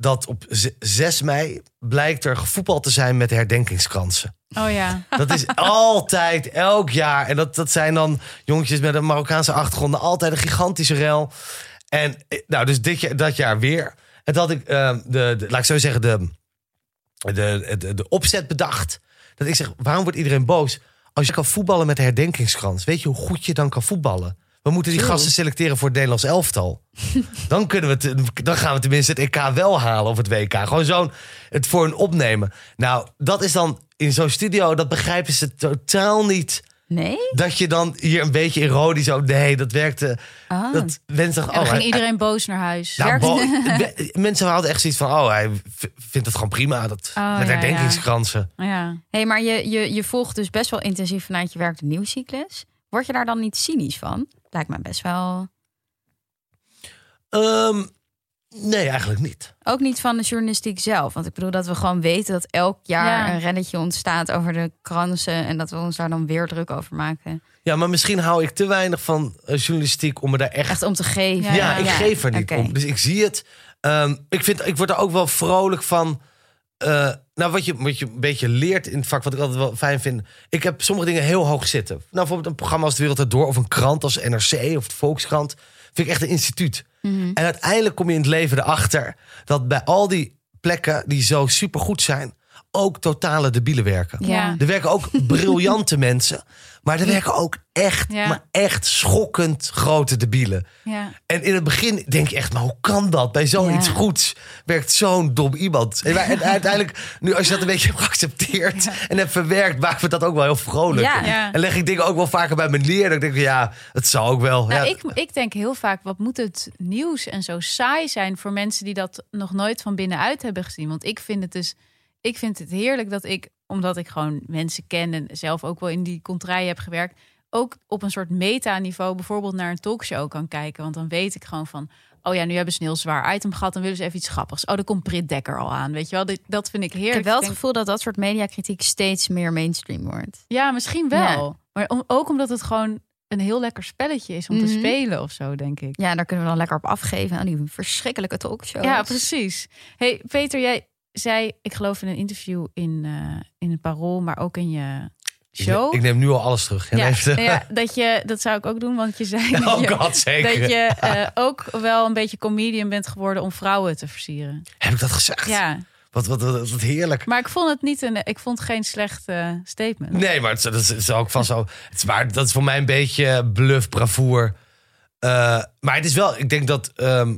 S3: Dat op z- 6 mei blijkt er gevoetbald te zijn met herdenkingskransen.
S2: Oh ja.
S3: Dat is altijd, elk jaar. En dat, dat zijn dan jongetjes met een Marokkaanse achtergrond. Altijd een gigantische rel. En eh, nou, dus dit jaar, dat jaar weer. En dat ik, eh, de, de- laat ik zo zeggen, de, de, de, de opzet bedacht. Dat ik zeg, waarom wordt iedereen boos? Als je kan voetballen met de herdenkingskrans. Weet je hoe goed je dan kan voetballen? We moeten die
S1: True.
S3: gasten selecteren voor het Nederlands elftal. Dan, kunnen we het, dan gaan we tenminste het EK wel halen of het WK. Gewoon zo'n, het voor een opnemen. Nou, dat is dan in zo'n studio, dat begrijpen ze totaal niet.
S1: Nee?
S3: Dat je dan hier een beetje ironisch over, nee, dat werkte.
S1: Ah.
S3: Dat mensen
S2: En
S3: dachten,
S2: dan
S3: oh,
S2: ging
S3: hij-
S2: iedereen boos naar huis.
S3: nou,
S1: werkt-
S3: bo- be- mensen hadden echt zoiets van, oh, hij v- vindt het gewoon prima. Dat,
S2: Oh,
S3: met
S2: ja,
S3: herdenkingskransen.
S2: Ja.
S1: Hey, maar je, je, je volgt dus best wel intensief vanuit je werk de nieuwscyclus. Word je daar dan niet cynisch van? Lijkt mij best wel.
S3: Ehm, nee, eigenlijk niet.
S1: Ook niet van de journalistiek zelf. Want ik bedoel dat we gewoon weten dat elk jaar
S2: Ja.
S1: een rennetje ontstaat over de kransen. En dat we ons daar dan weer druk over maken.
S3: Ja, maar misschien hou ik te weinig van eh, journalistiek om me daar echt...
S1: Echt om te geven.
S3: Ja,
S2: Ja,
S3: ik
S1: Ja.
S3: geef er niet
S1: Oké.
S3: om. Dus ik zie het. Ehm, ik, vind, ik word er ook wel vrolijk van. eh, nou, wat je, wat je een beetje leert in het vak, wat ik altijd wel fijn vind. Ik heb sommige dingen heel hoog zitten. Nou, bijvoorbeeld een programma als De Wereld Erdoor of een krant als NRC of de Volkskrant. Vind ik echt een instituut. En uiteindelijk kom je in het leven erachter dat bij al die plekken die zo supergoed zijn, ook totale debielen werken.
S1: Ja.
S3: Er werken ook briljante mensen, maar er werken ook echt,
S2: Ja.
S3: maar echt schokkend grote debielen.
S2: Ja.
S3: En in het begin denk je echt, maar hoe kan dat? Bij zoiets
S1: Ja.
S3: goeds werkt zo'n dom iemand. En, wij- en uiteindelijk, nu als je dat een beetje hebt geaccepteerd en hebt verwerkt, maakt me dat ook wel heel vrolijk.
S1: Ja.
S2: Ja.
S3: En leg ik dingen ook wel vaker bij me neer. Dat ik denk, ja, het zou ook wel.
S2: Nou,
S3: ja,
S2: ik, ik denk heel vaak, wat moet het nieuws en zo saai zijn voor mensen die dat nog nooit van binnenuit hebben gezien? Want ik vind het dus, ik vind het heerlijk dat ik, omdat ik gewoon mensen ken en zelf ook wel in die contraien heb gewerkt, ook op een soort meta-niveau bijvoorbeeld naar een talkshow kan kijken. Want dan weet ik gewoon van, oh ja, nu hebben ze een heel zwaar item gehad, dan willen ze even iets grappigs. Oh, daar komt Brit Dekker al aan, weet je wel? Dit- Dat vind ik heerlijk.
S1: Ik heb wel
S2: Ik
S1: het
S2: denk-
S1: gevoel dat dat soort mediakritiek steeds meer mainstream wordt.
S2: Ja, misschien wel. Maar om- ook omdat het gewoon een heel lekker spelletje is om te
S1: Mhm.
S2: spelen of zo, denk ik.
S1: Ja, daar kunnen we dan lekker op afgeven aan die verschrikkelijke talkshows.
S2: Ja, precies. Hey Peter, jij zei, ik geloof in een interview in, eh in het Parool, maar ook in je
S3: ik, neem,
S2: show.
S3: ik neem nu al alles terug.
S2: ja,
S3: Ja, even-
S2: ja, dat je dat zou ik ook doen, want je zei dat
S3: oh
S2: je,
S3: god, zeker.
S2: dat je eh, ook wel een beetje comedian bent geworden om vrouwen te versieren.
S3: Heb ik dat gezegd?
S2: Ja,
S3: Wat, wat, wat, wat heerlijk.
S2: maar ik vond het niet een, ik vond geen slecht eh, statement.
S3: Nee, maar het, is- dat, is, het is ook van zo. Het is, maar dat is voor mij een beetje bluff, bravoer. Eh, maar het is wel, ik denk dat ehm,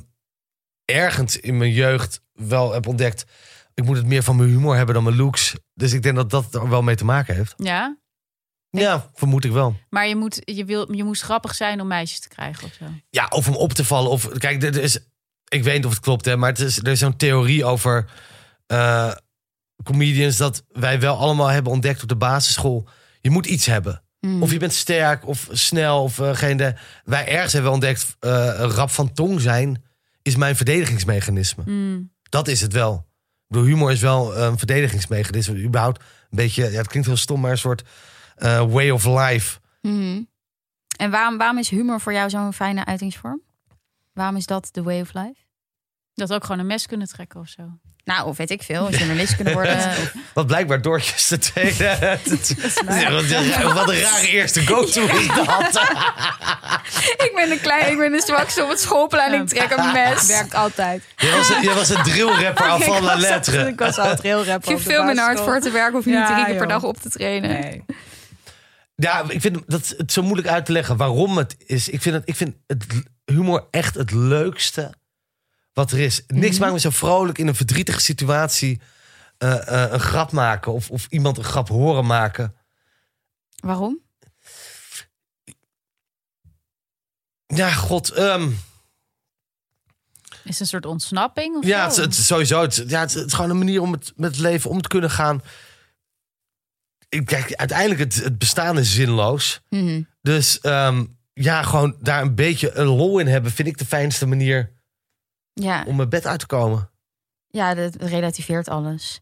S3: ergens in mijn jeugd wel heb ontdekt. Ik moet het meer van mijn humor hebben dan mijn looks. Dus ik denk dat dat er wel mee te maken heeft.
S2: Ja,
S3: Ja, vermoed ik wel.
S2: maar je moet, je, wil, je moest grappig zijn om meisjes te krijgen of zo.
S3: Ja, of om op te vallen. Of kijk, er is, ik weet niet of het klopt, hè, maar het is, er is zo'n theorie over eh, comedians dat wij wel allemaal hebben ontdekt op de basisschool. Je moet iets hebben.
S1: Mm.
S3: Of je bent sterk of snel of eh, geen. De, wij ergens hebben ontdekt, eh, rap van tong zijn is mijn verdedigingsmechanisme.
S2: Mm,
S3: Dat is het wel. Ik bedoel, humor is wel een verdedigingsmechanisme. Überhaupt een beetje, ja, het klinkt heel stom, maar een soort eh, way of life.
S1: Mhm. En waarom, waarom is humor voor jou zo'n fijne uitingsvorm? Waarom is dat the way of life?
S2: dat ook gewoon een mes kunnen trekken of zo.
S1: Nou, of weet ik veel, journalist kunnen worden. of-
S3: Wat blijkbaar Doortjes de tweede. Ja, wat een- Wat een rare eerste go-to is dat.
S1: ik ben de klein, ik ben de zwakste op het schoolplein. Ik trek een mes.
S4: Werkt altijd.
S3: Jij was, een- jij was een drillrapper aan van la lettre.
S4: Ik was al trail
S1: Ik heb veel minder hard voor te werken. Hoef je niet
S4: Ja,
S1: drie keer per
S4: joh.
S1: dag op te trainen.
S4: Nee.
S3: Ja, ik vind dat het zo moeilijk uit te leggen waarom het is. Ik vind, het, ik vind het humor echt het leukste wat er is. Niks maakt me zo vrolijk in een verdrietige situatie eh, eh, een grap maken of, of iemand een grap horen maken.
S1: Waarom?
S3: Ja, god. ehm,
S2: Is het een soort ontsnapping of
S3: ja, het,
S2: zo?
S3: het, sowieso. Het, ja, het, het is gewoon een manier om het, met het leven om te kunnen gaan. Ik, kijk, uiteindelijk, het, het bestaan is zinloos.
S1: Mhm.
S3: Dus ehm, ja, gewoon daar een beetje een lol in hebben, vind ik de fijnste manier
S1: Ja,
S3: om mijn bed uit te komen.
S1: ja, dat relativeert alles.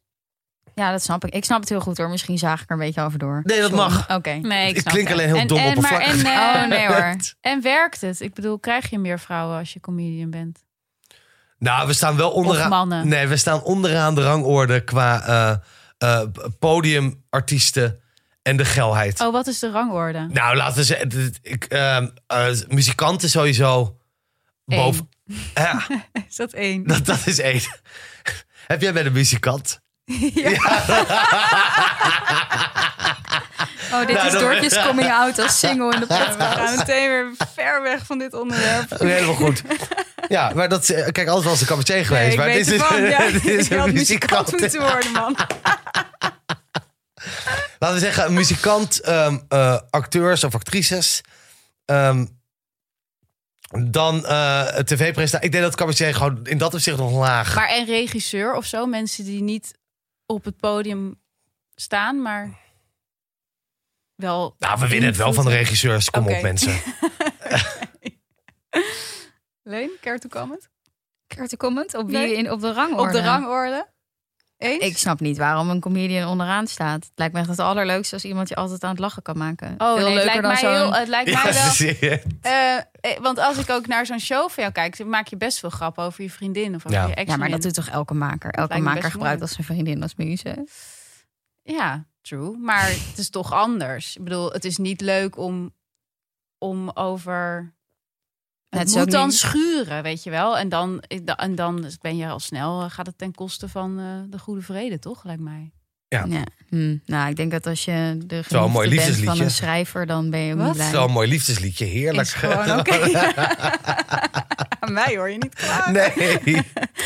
S1: Ja, dat snap ik. Ik snap het heel goed hoor. Misschien zaag ik er een beetje over door.
S3: Nee, dat
S1: Sorry.
S3: mag.
S1: Oké.
S2: Nee, ik,
S3: Ik
S2: snap
S3: klink
S2: het.
S3: alleen heel
S2: En-
S3: dom
S2: en, maar, en,
S3: oppervlakkig.
S2: eh,
S1: Oh nee hoor.
S2: En werkt het? Ik bedoel, krijg je meer vrouwen als je comedian bent?
S3: Nou, we staan wel
S2: Of
S3: onderaan.
S2: mannen?
S3: Nee, we staan onderaan de rangorde qua eh, eh, podiumartiesten en de gelheid.
S2: Oh, wat is de rangorde?
S3: Nou, laten we zeggen, dit- dit- ik, ehm, eh, muzikanten sowieso
S2: Eén.
S3: boven. Ja,
S2: Is dat één?
S3: dat, dat is één. Heb jij bij de muzikant?
S1: Oh, dit
S3: Nou,
S1: is
S3: dat-
S1: Doortjes coming out als single in de podcast.
S4: We gaan meteen weer ver weg van dit onderwerp.
S3: Helemaal goed. Ja, maar dat is, eh, kijk, alles was een cabaretier geweest.
S4: Nee, ik
S3: maar
S4: weet
S3: dit is,
S4: ervan. Ja,
S3: dit is
S4: je had
S3: een
S4: muzikant
S3: muzikant.
S4: moeten worden, man.
S3: Laten we zeggen, een muzikant, ehm, eh, acteurs of actrices. ehm, dan eh tv-presentatie. Ik denk dat cabaretier gewoon in dat opzicht nog laag.
S2: Maar en regisseur of zo? Mensen die niet op het podium staan, maar wel...
S3: nou, we winnen het wel van de regisseurs. Kom op,
S2: Oké.
S3: mensen.
S4: Leen, keer toekomend?
S1: Keer te comment op wie
S4: Nee.
S1: in, op de rangorde.
S4: Op de rangorde? Eens?
S1: Ik snap niet waarom een comedian onderaan staat. Het lijkt me echt het allerleukste als iemand je altijd aan het lachen kan maken.
S2: Oh,
S1: Veel
S2: nee, het
S1: leuker
S2: lijkt
S1: dan
S2: mij
S1: zo'n... dus-
S2: heel, het lijkt
S3: Ja,
S2: mij wel.
S3: zie je.
S2: eh, eh, want als ik ook naar zo'n show van jou kijk, dan maak je best veel grappen over je vriendin of over
S3: Ja.
S2: je ex.
S1: Ja, maar dat doet toch elke maker? Elke
S2: lijkt me
S1: maker
S2: best
S1: gebruikt
S2: moeilijk.
S1: als zijn vriendin als muze.
S2: Ja, true. Maar het is toch anders. Ik bedoel, het is niet leuk om, om over.
S1: Het
S2: Het,
S1: is ook
S2: moet dan
S1: niet-
S2: schuren, weet je wel. En dan, en dan ben je al snel, eh, gaat het ten koste van eh, de goede vrede, toch? Lijkt mij.
S3: Ja.
S1: Ja. Hm. Nou, ik denk dat als je de
S3: mooi
S1: geliefde bent van
S3: liefdesliedje.
S1: een schrijver, dan ben je ook
S4: Wat?
S1: niet blij.
S3: Zo'n mooi liefdesliedje, heerlijk.
S4: Is gewoon oké. Aan mij hoor je niet klaar.
S2: Ah,
S3: Nee.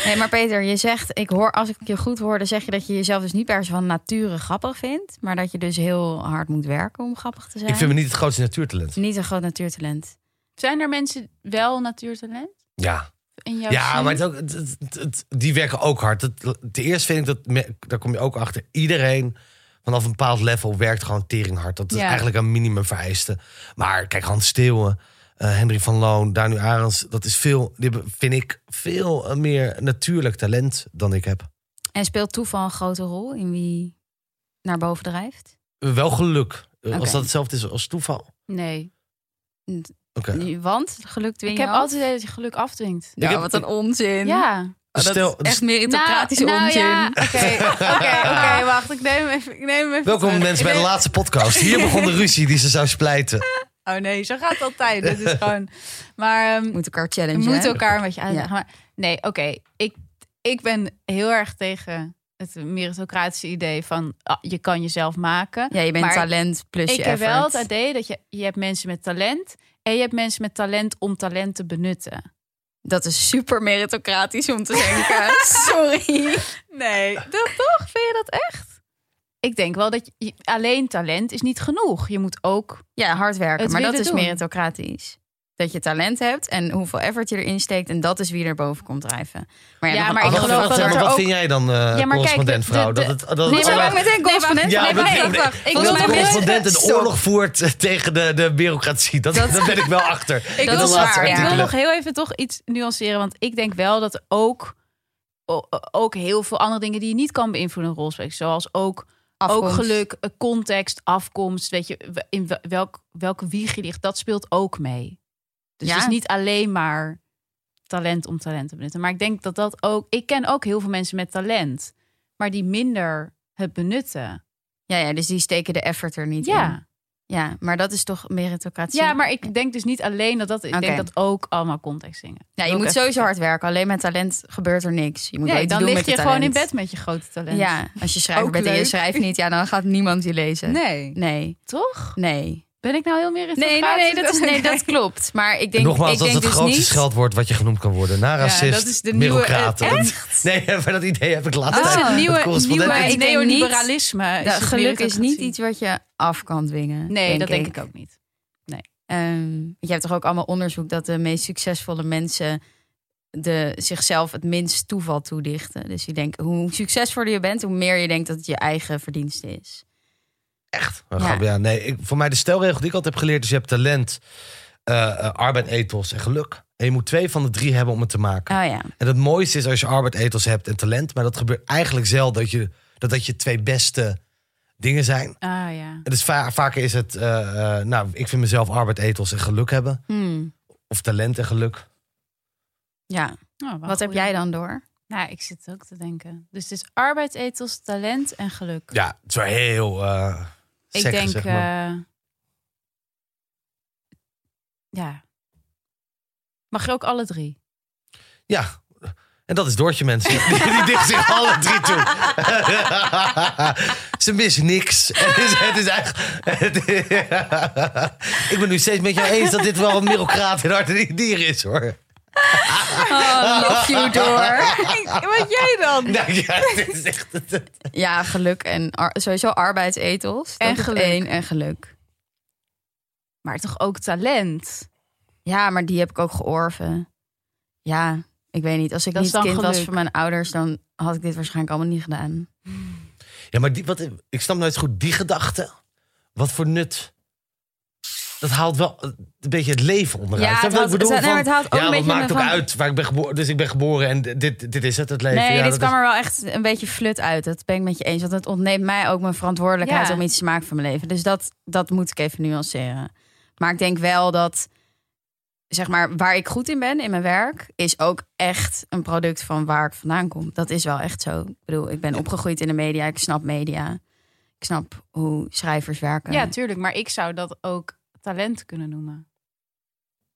S1: Nee, maar Peter, je zegt, ik hoor, als ik je goed hoor, dan zeg je dat je jezelf dus niet per se van nature grappig vindt, maar dat je dus heel hard moet werken om grappig te zijn.
S3: Ik vind me niet het grootste natuurtalent.
S1: Niet een groot natuurtalent.
S2: Zijn er mensen wel natuurtalent
S3: Ja,
S2: in jouw
S3: ja
S2: zin?
S3: maar het, is ook- het- het- het- het- die werken ook hard. Het, ten eerste vind ik dat, me- daar kom je ook achter, iedereen vanaf een bepaald level werkt gewoon tering hard. Dat is
S2: Ja.
S3: eigenlijk een minimum vereiste. Maar kijk, Hans Steeuwen, eh, Henry van Loon, Danu Arends, dat is veel, die hebben, vind ik, veel eh, meer natuurlijk talent dan ik heb.
S1: En speelt toeval een grote rol in wie naar boven drijft?
S3: Wel geluk, eh,
S1: Oké.
S3: als dat hetzelfde is als toeval.
S2: Nee.
S3: Oké.
S1: Want gelukt win
S2: Ik
S1: je
S2: heb
S1: af?
S2: altijd het idee dat je geluk afdwingt.
S1: Ja,
S3: Ik heb-
S1: wat een onzin.
S2: Ja.
S1: Oh, dat
S3: Stel-
S1: is echt meritocratische
S2: nou,
S1: onzin.
S2: ja, Oké, oké, oké, wacht. Ik neem hem even, ik neem hem even
S3: Welkom
S2: terug.
S3: mensen
S2: eh, Ik
S3: bij de
S2: neem-
S3: laatste podcast. Hier begon de ruzie die ze zou splijten.
S2: Oh nee, zo gaat het altijd. Dit is gewoon... Maar ehm,
S1: We moeten elkaar
S2: we
S1: challengen.
S2: moeten
S1: hè?
S2: elkaar een beetje uitdagen. Maar, nee, oké. Ik, ik ben heel erg tegen het meritocratische idee van... ah, je kan jezelf maken.
S1: Ja, je bent
S2: Maar
S1: talent plus
S2: ik
S1: je
S2: heb wel
S1: effort.
S2: het idee dat je, je hebt mensen met talent... en je hebt mensen met talent om talent te benutten.
S1: Dat is super meritocratisch om te denken. Sorry.
S2: Nee, dat toch? Vind je dat echt? Ik denk wel dat je, alleen talent is niet genoeg. Je moet ook.
S1: Ja, hard werken.
S2: Het
S1: maar dat
S2: willen
S1: is
S2: doen.
S1: meritocratisch. Dat je talent hebt en hoeveel effort je erin steekt. En dat is wie er boven komt drijven. Maar ja,
S2: Ja,
S1: nog
S2: maar
S1: een
S2: ik
S3: wat
S1: andere
S2: geloof
S1: factor.
S2: dat
S3: maar
S2: er
S3: wat
S2: ook-
S3: vind jij dan, eh
S2: Ja, maar kijk,
S3: correspondent
S2: de-
S3: vrouw?
S2: de-
S3: Dat het, dat het
S2: Nee,
S1: Zo
S2: maar-
S1: lang meteen correspondent.
S3: Ja,
S1: Nee,
S3: dat-
S1: maar-
S3: nee, nee.
S1: wacht, wacht. Ik
S2: Dat
S3: Dat
S1: wil
S3: de
S2: is
S1: mijn-
S2: correspondent.
S3: correspondent een
S1: Stop.
S3: oorlog voert eh, tegen de, de bureaucratie. Dat,
S1: Dat-
S3: dat, ben ik wel achter.
S2: Ik
S1: Dat
S2: wil,
S1: is waar,
S2: ik
S1: ja.
S2: wil nog heel even toch iets nuanceren. Want ik denk wel dat ook, o- ook heel veel andere dingen die je niet kan beïnvloeden een rol spelen. Zoals ook, ook
S1: Afkomst.
S2: geluk, eh, context, afkomst. Weet je, w- in wel- welk, welke wieg je ligt, dat speelt ook mee. Dus
S1: Ja.
S2: het is niet alleen maar talent om talent te benutten. Maar ik denk dat dat ook. Ik ken ook heel veel mensen met talent, maar die minder het benutten.
S1: Ja, ja, dus die steken de effort er niet
S2: Ja.
S1: in. Ja, maar dat is toch meritocratie?
S2: Ja, maar ik denk dus niet alleen dat dat. Ik
S1: Oké.
S2: denk dat ook allemaal context dingen.
S1: Ja, je
S2: Ook
S1: moet
S2: even-
S1: sowieso hard werken. Alleen met talent gebeurt er niks. Je moet wel
S2: Nee,
S1: iets
S2: dan
S1: doen
S2: lig
S1: met
S2: je
S1: je
S2: gewoon in
S1: talent.
S2: bed met je grote talent.
S1: Ja, als je schrijver
S4: Ook
S1: bent en je
S4: leuk.
S1: schrijft niet, ja, dan gaat niemand je lezen.
S4: Nee.
S1: Nee,
S2: Toch?
S1: nee.
S2: Ben ik nou heel meer
S1: Nee, nee, nee, dat, is, nee, dat klopt. Maar ik denk,
S3: Nogmaals,
S1: ik
S3: dat
S1: denk
S3: is het
S1: dus
S3: grootste
S1: niet...
S3: scheldwoord wat je genoemd kan worden. Na racist,
S2: dat is de nieuwe,
S3: bureaucraat.
S2: eh,
S3: Dat- Nee, maar dat idee heb ik laatst.
S1: Dat is het
S3: tijd.
S2: ah, nieuwe-
S3: Dat correspondent-
S1: nieuwe-
S2: Het
S1: ik denk
S2: neoliberalisme. is
S1: Dat
S2: het
S1: geluk is niet
S2: meritocratie.
S1: iets wat je af kan dwingen.
S2: Nee, dat denk ik ook niet.
S1: Ehm, je hebt toch ook allemaal onderzoek dat de meest succesvolle mensen de, zichzelf het minst toeval toedichten. Dus ik denk, hoe succesvoller je bent, hoe meer je denkt dat het je eigen verdienste is.
S3: Echt?
S1: Ja.
S3: Ja. ja, nee, ik, voor mij de stelregel die ik altijd heb geleerd is... je hebt talent, eh, eh, arbeid, ethos en geluk. En je moet twee van de drie hebben om het te maken.
S1: Oh ja,
S3: En het mooiste is als je arbeid, ethos hebt en talent. Maar dat gebeurt eigenlijk zelden dat je, dat, dat je twee beste dingen zijn.
S2: Ah ja.
S3: Het is va- vaker is het, eh, eh, nou, ik vind mezelf arbeid, ethos en geluk hebben.
S1: Hmm.
S3: Of talent en geluk.
S1: ja.
S2: Nou, wel
S1: wat heb
S2: goeie.
S1: jij dan door?
S2: Nou, ik zit ook te denken. Dus het is arbeidsethos, talent en geluk.
S3: Ja, het is wel heel eh
S2: ik
S3: sec
S2: denk...
S3: gezegd, maar-
S2: eh, ja. Mag je ook alle drie?
S3: Ja, en dat is Doortje, mensen. Die, die dicht zich alle drie toe. Ze missen niks. Het is, het is echt... het is- ik ben nu steeds met jou eens dat dit wel een merocraat in hart en dier is, hoor.
S1: Oh, love you door.
S4: Wat jij dan?
S3: Nou, ja, dit is echt...
S1: Ja, geluk en ar- sowieso arbeidsethos.
S2: En
S1: Dat is
S2: geluk.
S1: één, en geluk.
S2: Maar toch ook talent?
S1: Ja, maar die heb ik ook georven. Ja, ik weet niet. Als ik
S2: Dat is
S1: niet kind
S2: dan
S1: was
S2: geluk.
S1: van mijn ouders, dan had ik dit waarschijnlijk allemaal niet gedaan.
S3: Ja, maar die, wat, ik snap nooit goed die gedachte. Wat voor nut dat haalt wel eh, een beetje het leven onderuit.
S1: Ja,
S3: Snap
S1: het
S3: je wat ik
S1: haalt-
S3: bedoel?
S1: het- nee, maar
S3: Van,
S1: het haalt ook
S3: ja,
S1: een
S3: dat
S1: beetje
S3: maakt ook
S1: van-
S3: uit waar ik ben geboren. Dus ik ben geboren en dit, dit is het, het leven.
S1: Nee,
S3: ja,
S1: dit
S3: dat
S1: kwam
S3: is-
S1: er wel echt een beetje flut uit. Dat ben ik met je eens. Want het ontneemt mij ook mijn verantwoordelijkheid
S2: Ja.
S1: om iets te maken van mijn leven. Dus dat, dat moet ik even nuanceren. Maar ik denk wel dat, zeg maar, waar ik goed in ben in mijn werk, is ook echt een product van waar ik vandaan kom. Dat is wel echt zo. Ik bedoel, ik ben opgegroeid in de media. Ik snap media. Ik snap hoe schrijvers werken.
S2: Ja, tuurlijk. Maar ik zou dat ook talent kunnen noemen.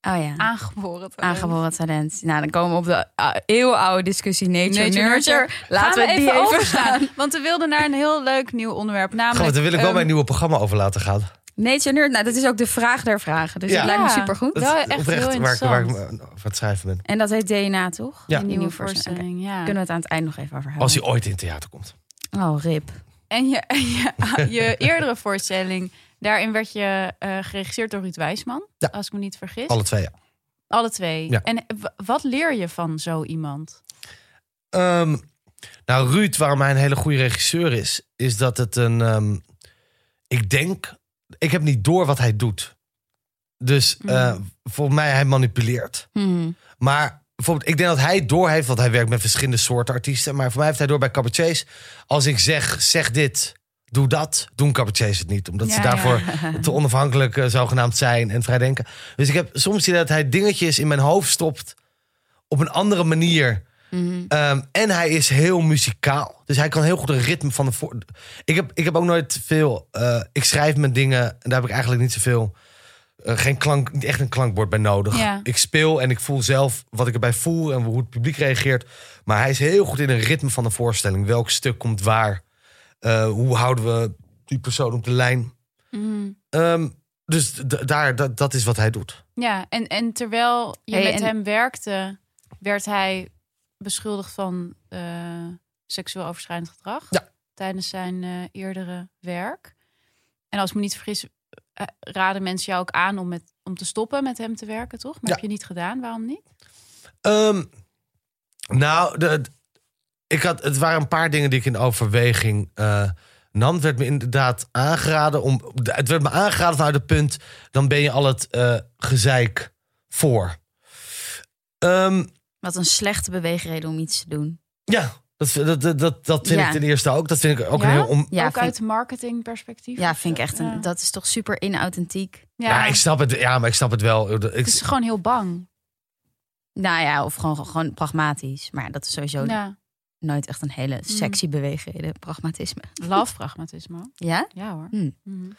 S1: oh ja.
S2: Aangeboren talent.
S1: Aangeboren talent. Nou, dan komen we op de ah, eeuwenoude discussie nature,
S2: Nature,
S1: nurture. Laten
S2: Gaan
S1: we, die even gaan.
S2: Want we wilden naar een heel leuk nieuw onderwerp.
S3: Goh,
S2: Namelijk,
S3: daar wil ik wel
S2: ehm,
S3: mijn nieuwe programma over laten gaan.
S1: Nature Nerd, nou, dat is ook de vraag der vragen. Dus
S3: Ja.
S1: dat lijkt me
S2: Ja.
S1: supergoed.
S2: Dat- wel echt heel
S3: waar, ik, waar ik
S2: interessant.
S3: me over aan het schrijven ben.
S1: En dat heet DNA, toch?
S3: Ja.
S1: Die
S2: een
S1: nieuwe voorstelling. Oké,
S2: ja.
S1: Kunnen we het aan het eind nog even over hebben.
S3: Als hij ooit in het theater komt.
S1: Oh, rip.
S2: En je, en je, je eerdere voorstelling, daarin werd je eh, geregisseerd door Ruud Wijsman.
S3: Ja.
S2: Als ik me niet vergis.
S3: Alle twee, ja.
S2: Alle twee.
S3: Ja.
S2: En w- wat leer je van zo iemand?
S3: Ehm, nou, Ruud, waarom hij een hele goede regisseur is, is dat het een. ehm, ik denk, ik heb niet door wat hij doet. Dus
S2: Hmm.
S3: eh, voor mij, hij manipuleert. Maar bijvoorbeeld, ik denk dat hij door heeft, want hij werkt met verschillende soorten artiesten. Maar voor mij heeft hij door bij cabaretiers. Als ik zeg, zeg dit, doe dat, doen cabaretiers het niet. Omdat ze
S2: Ja,
S3: daarvoor te onafhankelijk eh, zogenaamd zijn en vrij denken. Dus ik heb soms het idee dat hij dingetjes in mijn hoofd stopt op een andere manier. Ehm, en hij is heel muzikaal. Dus hij kan heel goed het ritme van de... Voor... Ik, heb, ik heb ook nooit veel... eh, ik schrijf mijn dingen en daar heb ik eigenlijk niet zoveel... eh, geen klank, niet echt een klankbord bij nodig.
S2: Ja.
S3: Ik speel en ik voel zelf wat ik erbij voel en hoe het publiek reageert. Maar hij is heel goed in het ritme van de voorstelling. Welk stuk komt waar? Eh, hoe houden we die persoon op de lijn? Ehm, dus d- daar, dat- dat is wat hij doet.
S2: Ja, en, en terwijl je
S1: Hey,
S2: met
S1: en-
S2: hem werkte, werd hij beschuldigd van eh, seksueel overschrijdend gedrag.
S3: Ja.
S2: Tijdens zijn eh, eerdere werk. En als ik me niet vergis, eh, raden mensen jou ook aan om, met, om te stoppen met hem te werken, toch? Maar
S3: Ja.
S2: heb je niet gedaan, waarom niet?
S3: Ehm, nou, de, ik had, het waren een paar dingen die ik in overweging eh, nam. Het werd me inderdaad aangeraden om. Het werd me aangeraden vanuit het punt. Dan ben je al het eh, gezeik voor. Ehm,
S1: Wat een slechte beweegreden om iets te doen.
S3: ja, dat, dat, dat- dat, dat vind
S1: Ja.
S3: ik ten eerste ook. Dat vind ik ook
S2: Ja?
S3: een heel. On...
S1: Ja,
S2: ook
S1: vind-
S2: uit marketingperspectief.
S1: Ja,
S2: of
S1: vind ik
S2: zo.
S1: echt een...
S2: Ja.
S1: Dat is toch super inauthentiek?
S2: Ja.
S3: Ja. ik snap het. Ja, maar ik snap het wel. Ik,
S2: het is gewoon heel bang.
S1: Nou ja, of gewoon, gewoon pragmatisch. Maar dat is sowieso
S2: Ja.
S1: nooit echt een hele sexy beweegreden. Pragmatisme.
S2: Love pragmatisme.
S1: Ja?
S2: Ja hoor.
S1: Hm.
S2: Mhm.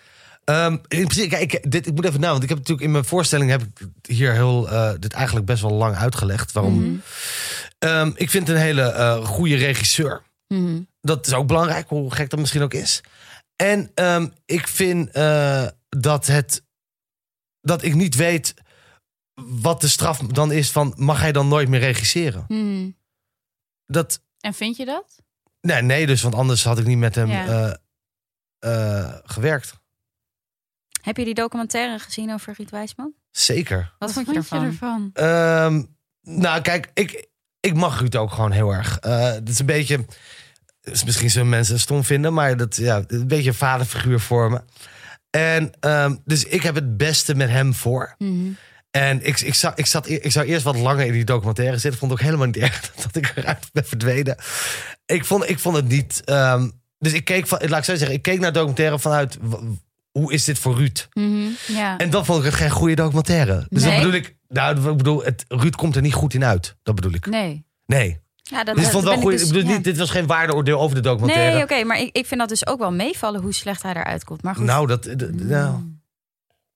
S3: Ehm, in principe, kijk, ik, dit, ik moet even na, want ik heb natuurlijk in mijn voorstelling heb ik hier heel, eh, dit eigenlijk best wel lang uitgelegd. Waarom?
S2: Mhm.
S1: Mhm.
S3: Ehm, ik vind een hele eh goede regisseur.
S1: Mhm.
S3: Dat is ook belangrijk, hoe gek dat misschien ook is. En ehm, ik vind eh, dat het, dat ik niet weet wat de straf dan is van, mag hij dan nooit meer regisseren?
S1: Mhm.
S3: Dat,
S2: En vind je dat?
S3: nee, nee dus, want anders had ik niet met hem
S2: Ja.
S3: eh, eh, gewerkt.
S1: Heb je die documentaire gezien over Ruud Wijsman?
S3: Zeker.
S1: Wat, vond je ervan?
S3: Ehm, nou, kijk, ik, ik mag Ruud ook gewoon heel erg. Eh, Het is een beetje. is misschien zullen mensen het stom vinden, maar dat, ja, een beetje een vaderfiguur voor me. En ehm, dus ik heb het beste met hem voor.
S1: Mhm.
S3: En ik, ik, zou, ik, zat, e- ik zou eerst wat langer in die documentaire zitten. Vond ik ook helemaal niet erg dat ik eruit ben verdwenen. Ik vond, ik vond het niet. ehm, dus ik keek van, laat ik zo zeggen, ik keek naar de documentaire vanuit. w- Hoe is dit voor Ruud?
S1: Mhm.
S2: Ja.
S3: En dan vond ik het geen goede documentaire. Dus
S1: Nee?
S3: dat bedoel ik. Nou, ik bedoel, het, Ruud komt er niet goed in uit. Dat bedoel ik.
S2: Nee.
S3: Nee.
S1: Ja, dat,
S3: Dit
S1: dat
S3: vond wel
S1: ben
S3: goed.
S1: dus-
S3: ik bedoel,
S1: ja.
S3: niet, eh, dit was geen waardeoordeel over de documentaire.
S1: Nee, oké, maar ik, ik vind dat dus ook wel meevallen hoe slecht hij eruit komt. Maar goed, Mm.
S3: Nou, dat. d- d- nou.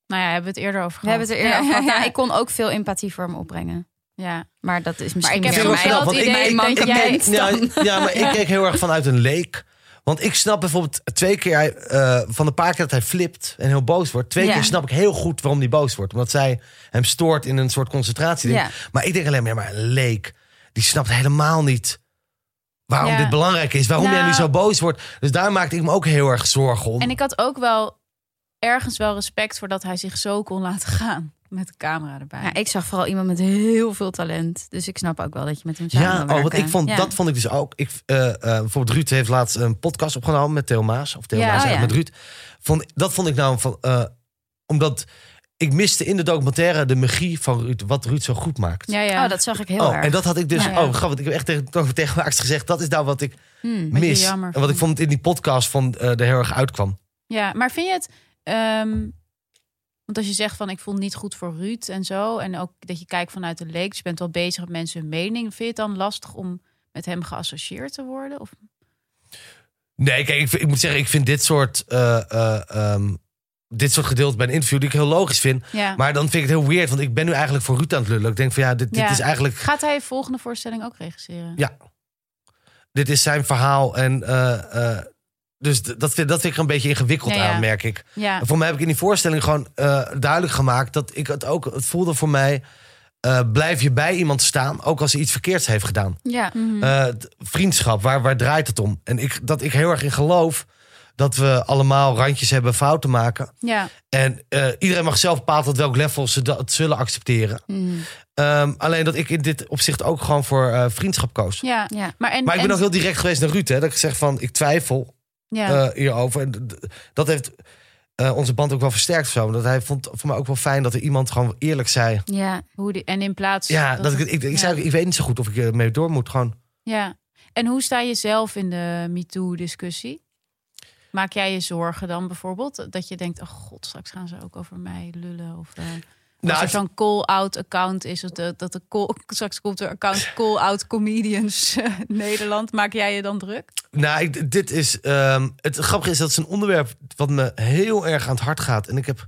S2: Nou ja, hebben we het eerder over
S1: we
S2: gehad.
S1: hebben het er eerder
S2: Ja,
S1: over gehad.
S2: ja,
S1: Nou,
S2: ja.
S1: ik kon ook veel empathie voor hem opbrengen.
S2: Ja.
S1: Maar dat is
S2: Maar
S1: misschien
S2: ik heb
S3: vind
S1: meer
S3: het wel
S1: mijn,
S3: knap, want ik-
S1: mijn
S3: ik-
S2: ik- jij-
S1: mankement
S3: Ja,
S1: dan-
S3: ja, maar ik keek heel erg vanuit een leek. Want ik snap bijvoorbeeld twee keer, hij, eh, van de paar keer dat hij flipt en heel boos wordt, twee
S1: Ja.
S3: keer snap ik heel goed waarom hij boos wordt. Omdat zij hem stoort in een soort concentratie.
S1: Ja.
S3: Maar ik denk alleen maar, ja, maar een leek, die snapt helemaal niet waarom
S2: Ja.
S3: dit belangrijk is. Waarom jij
S2: Nou.
S3: nu zo boos wordt. Dus daar maakte ik me ook heel erg zorgen om.
S2: En ik had ook wel ergens wel respect voor dat hij zich zo kon laten gaan. Met de camera erbij.
S1: Ja, ik zag vooral iemand met heel veel talent. Dus ik snap ook wel dat je met hem samen
S3: Ja,
S1: wil
S3: oh, want
S1: werken.
S3: ik vond,
S1: Ja.
S3: dat vond ik dus ook. Ik, eh, eh, bijvoorbeeld Ruud heeft laatst een podcast opgenomen met Theo Maas. Of Theo
S2: Ja,
S3: Maas
S1: oh
S3: echt
S1: ja.
S3: met Ruud. Vond, dat vond ik nou... Van, eh, omdat ik miste in de documentaire de magie van Ruud, wat Ruud zo goed maakt.
S2: Ja, ja.
S1: Oh, dat zag ik heel
S3: oh,
S1: erg.
S3: en dat had ik dus.
S1: Ja, ja.
S3: Oh, grappig. Ik heb echt tegen, tegen Max gezegd: dat is nou wat ik
S2: Hmm, wat je
S3: mis.
S2: jammer
S3: En wat ik
S2: vond.
S3: vond in die podcast van eh er heel erg uitkwam.
S2: Ja, maar vind je het... ehm, want als je zegt van ik voel niet goed voor Ruud en zo... en ook dat je kijkt vanuit de leek... dus je bent wel bezig met mensen hun mening... vind je het dan lastig om met hem geassocieerd te worden? Of,
S3: Nee, kijk, ik, vind- ik moet zeggen, ik vind dit soort. eh, eh, ehm, dit soort gedeelte bij een interview die ik heel logisch vind.
S2: ja.
S3: Maar dan vind ik het heel weird, want ik ben nu eigenlijk voor Ruud aan het lullen. Ik denk van ja, dit, dit
S2: Ja.
S3: is eigenlijk.
S2: Gaat hij de volgende voorstelling ook regisseren?
S3: Ja. Dit is zijn verhaal. En eh, eh, dus d- dat vind, dat vind ik er een beetje ingewikkeld
S2: Ja, ja.
S3: aan, merk ik.
S2: Ja.
S3: En Voor mij heb ik in die voorstelling gewoon eh, duidelijk gemaakt dat ik het ook. Het voelde voor mij. eh, blijf je bij iemand staan, ook als hij iets verkeerds heeft gedaan.
S1: Ja.
S2: Mhm.
S3: Eh, d- vriendschap, waar, waar draait het om? En ik, dat ik heel erg in geloof dat we allemaal randjes hebben fouten maken.
S2: ja.
S3: En eh, iedereen mag zelf bepalen tot welk level ze dat zullen accepteren.
S1: Mm.
S3: Ehm, alleen dat ik in dit opzicht ook gewoon voor eh, vriendschap koos.
S2: ja.
S1: Ja.
S2: Maar, en,
S3: Maar ik ben
S2: Mm, en-
S3: ook heel direct geweest naar Ruud. Hè, dat ik zeg van, ik twijfel
S2: Ja.
S3: eh, hierover. En d- d- dat heeft eh, onze band ook wel versterkt. of Zo. Omdat hij vond voor mij ook wel fijn dat er iemand gewoon eerlijk zei.
S1: Ja.
S2: Hoe die, en in plaats
S3: Ja, dat ik, ik, ik,
S2: ja.
S3: zei ook, ik weet niet zo goed of ik ermee door moet. Gewoon.
S2: Ja. En hoe sta je zelf in de MeToo-discussie? Maak jij je zorgen dan bijvoorbeeld? Dat je denkt, oh god, straks gaan ze ook over mij lullen. Of eh,
S3: Nou,
S2: als er
S3: het-
S2: zo'n call-out account is. Of de, dat de call, straks komt er account call-out comedians eh, Nederland. Maak jij je dan druk?
S3: Nou, ik, dit is. ehm, het grappige is dat het is een onderwerp wat me heel erg aan het hart gaat. En ik heb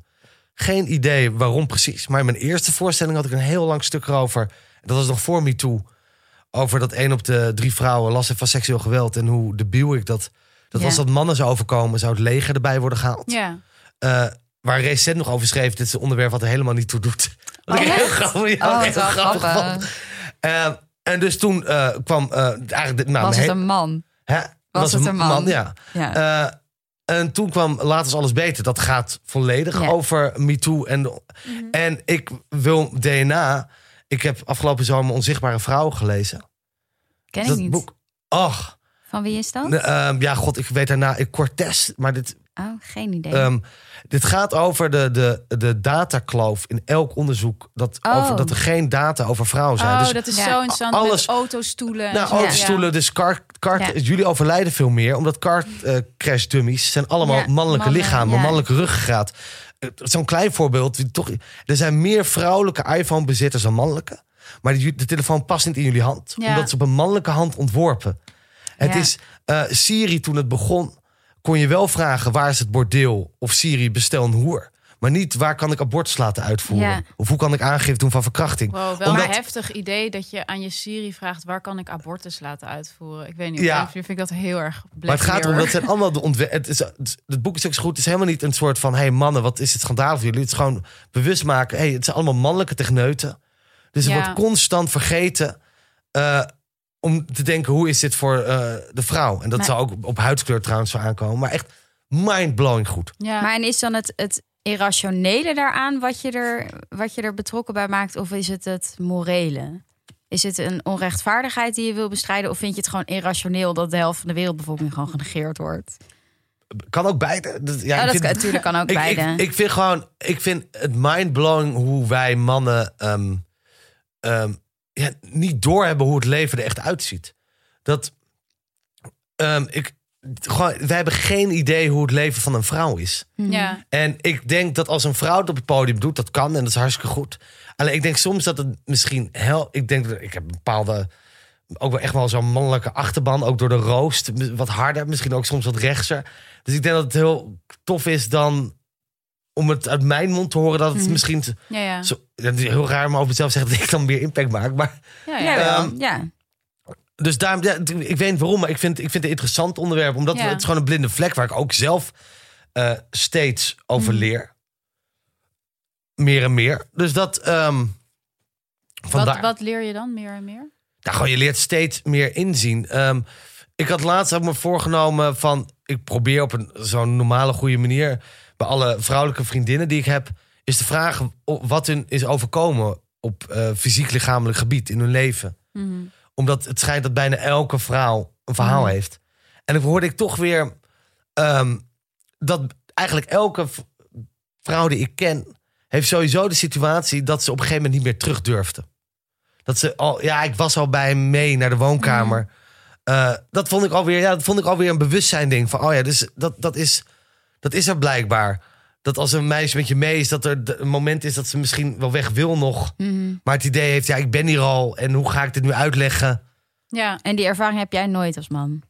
S3: geen idee waarom precies. Maar in mijn eerste voorstelling had ik een heel lang stuk erover. Dat was nog voor me toe. Over dat één op de drie vrouwen last heeft van seksueel geweld. En hoe debiel ik dat. Dat
S1: Ja.
S3: was dat mannen zou overkomen, zou het leger erbij worden gehaald.
S2: Ja.
S3: Eh, waar recent nog over schreef, dit is een onderwerp wat er helemaal niet toe doet. Wat ik
S1: Oh,
S3: heel
S1: echt?
S3: grappig, ja,
S1: Oh,
S3: heel
S1: wat wel
S3: grappig
S1: grappig.
S3: vond. Eh, en dus toen eh, kwam eh, eigenlijk... de- Nou,
S1: Was
S3: mijn
S1: het
S3: he-
S1: een man?
S3: hè,
S1: het een man?
S3: Ja.
S1: Ja.
S3: Eh, en toen kwam Later is alles beter. Dat gaat volledig
S1: Ja. Mhm.
S3: over MeToo. En, de- en ik wil DNA. Ik heb afgelopen zomer Onzichtbare Vrouw gelezen.
S1: Ken ik
S3: dat
S1: niet. Oh.
S3: boek. Och,
S1: Van wie is dat?
S3: ne- ehm, ja, god, ik weet daarna. Ik Cortez, maar dit,
S1: Oh, geen idee.
S3: ehm, dit gaat over de, de, de datakloof in elk onderzoek. Dat,
S1: Oh.
S3: over, dat er geen data over vrouwen zijn.
S2: oh,
S3: dus,
S2: dat is
S1: Ja.
S2: zo interessant.
S3: Alles-
S2: Met autostoelen. en
S3: nou,
S2: zo.
S3: autostoelen, dus car, car,
S1: eh, Ja.
S3: jullie overlijden veel meer. Omdat car eh, crash dummies zijn allemaal
S1: Ja,
S3: mannelijke
S1: mannen,
S3: lichamen,
S1: ja.
S3: mannelijke ruggengraat. Eh, Zo'n klein voorbeeld. die Toch, er zijn meer vrouwelijke iPhone-bezitters dan mannelijke. Maar die- de telefoon past niet in jullie hand.
S2: Ja.
S3: Omdat ze op een mannelijke hand ontworpen. Het
S1: Ja.
S3: is eh, Siri toen het begon. Kon je wel vragen waar is het bordeel? Of Siri bestel een hoer. Maar niet waar kan ik abortus laten uitvoeren?
S1: Ja.
S3: Of hoe kan ik aangifte doen van verkrachting?
S2: Wow, wel
S3: Omdat-
S2: een heftig idee dat je aan je Siri vraagt... waar kan ik abortus laten uitvoeren? Ik weet niet,
S3: Ja.
S2: ja. vind ik dat heel erg Black
S3: Maar het gaat om
S2: Mirror.
S3: dat zijn allemaal de ontwe- het, is, het, het boek is ook zo goed. Het is helemaal niet een soort van: hey mannen, wat is het schandaal voor jullie? Het is gewoon bewust maken. Hey, het zijn allemaal mannelijke techneuten. Dus
S2: Ja.
S3: het wordt constant vergeten eh, om te denken: hoe is dit voor eh, de vrouw? En dat
S1: Maar-
S3: zou ook op huidskleur trouwens zo aankomen. Maar echt mind-blowing goed.
S2: Ja.
S1: Maar en is dan het, het irrationele daaraan wat je, er, wat je er betrokken bij maakt? Of is het het morele? Is het een onrechtvaardigheid die je wil bestrijden? Of vind je het gewoon irrationeel dat de helft van de wereldbevolking gewoon genegeerd wordt?
S3: Kan ook beide. Dat, ja,
S1: Ja,
S3: ik
S1: dat
S3: vind-
S1: kan, natuurlijk kan ook
S3: ik,
S1: beide.
S3: Ik, ik vind gewoon, ik vind het mindblowing hoe wij mannen ehm, ehm, ja, niet doorhebben hoe het leven er echt uitziet. Dat ehm, ik gewoon, wij hebben geen idee hoe het leven van een vrouw is.
S1: Mm.
S2: ja.
S3: En ik denk dat als een vrouw het op het podium doet, dat kan en dat is hartstikke goed. Alleen ik denk soms dat het misschien hel. Ik denk dat ik heb een bepaalde. Ook wel echt wel zo'n mannelijke achterban. Ook door de roost. Wat harder, misschien ook soms wat rechtser. Dus ik denk dat het heel tof is dan. Om het uit mijn mond te horen dat het misschien. te-
S2: Ja, ja.
S3: Zo, dat is heel raar om over mezelf te zeggen dat ik dan meer impact maak. Maar,
S2: ja, ja.
S1: ja, wel.
S3: Ehm,
S1: ja.
S3: dus daarom, ja, ik weet niet waarom, maar ik vind, ik vind het een interessant onderwerp. Omdat
S2: Ja.
S3: het is gewoon een blinde vlek waar ik ook zelf eh, steeds over
S2: Mm.
S3: leer. Meer en meer. Dus dat ehm vandaar.
S2: Wat, wat leer je dan meer en meer?
S3: Nou, gewoon, je leert steeds meer inzien. Ehm, ik had laatst ook me voorgenomen van... ik probeer op een zo'n normale goede manier... bij alle vrouwelijke vriendinnen die ik heb... is te vragen o- wat hun is overkomen... op eh, fysiek lichamelijk gebied in hun leven. Omdat het schijnt dat bijna elke vrouw een verhaal heeft. En dan hoorde ik toch weer... ehm, dat eigenlijk elke v- vrouw die ik ken... heeft sowieso de situatie dat ze op een gegeven moment niet meer terug durfde. Dat ze al, ja, ik was al bij hem mee naar de woonkamer.
S1: Mm.
S3: Eh, dat, vond ik alweer, ja, dat vond ik alweer een bewustzijn ding. Van, oh ja, dus dat, dat, is, dat is er blijkbaar. Dat als een meisje met je mee is, dat er de- een moment is dat ze misschien wel weg wil nog.
S1: Mhm.
S3: Maar het idee heeft, ja, ik ben hier al. En hoe ga ik dit nu uitleggen?
S2: Ja.
S1: En die ervaring heb jij nooit als man.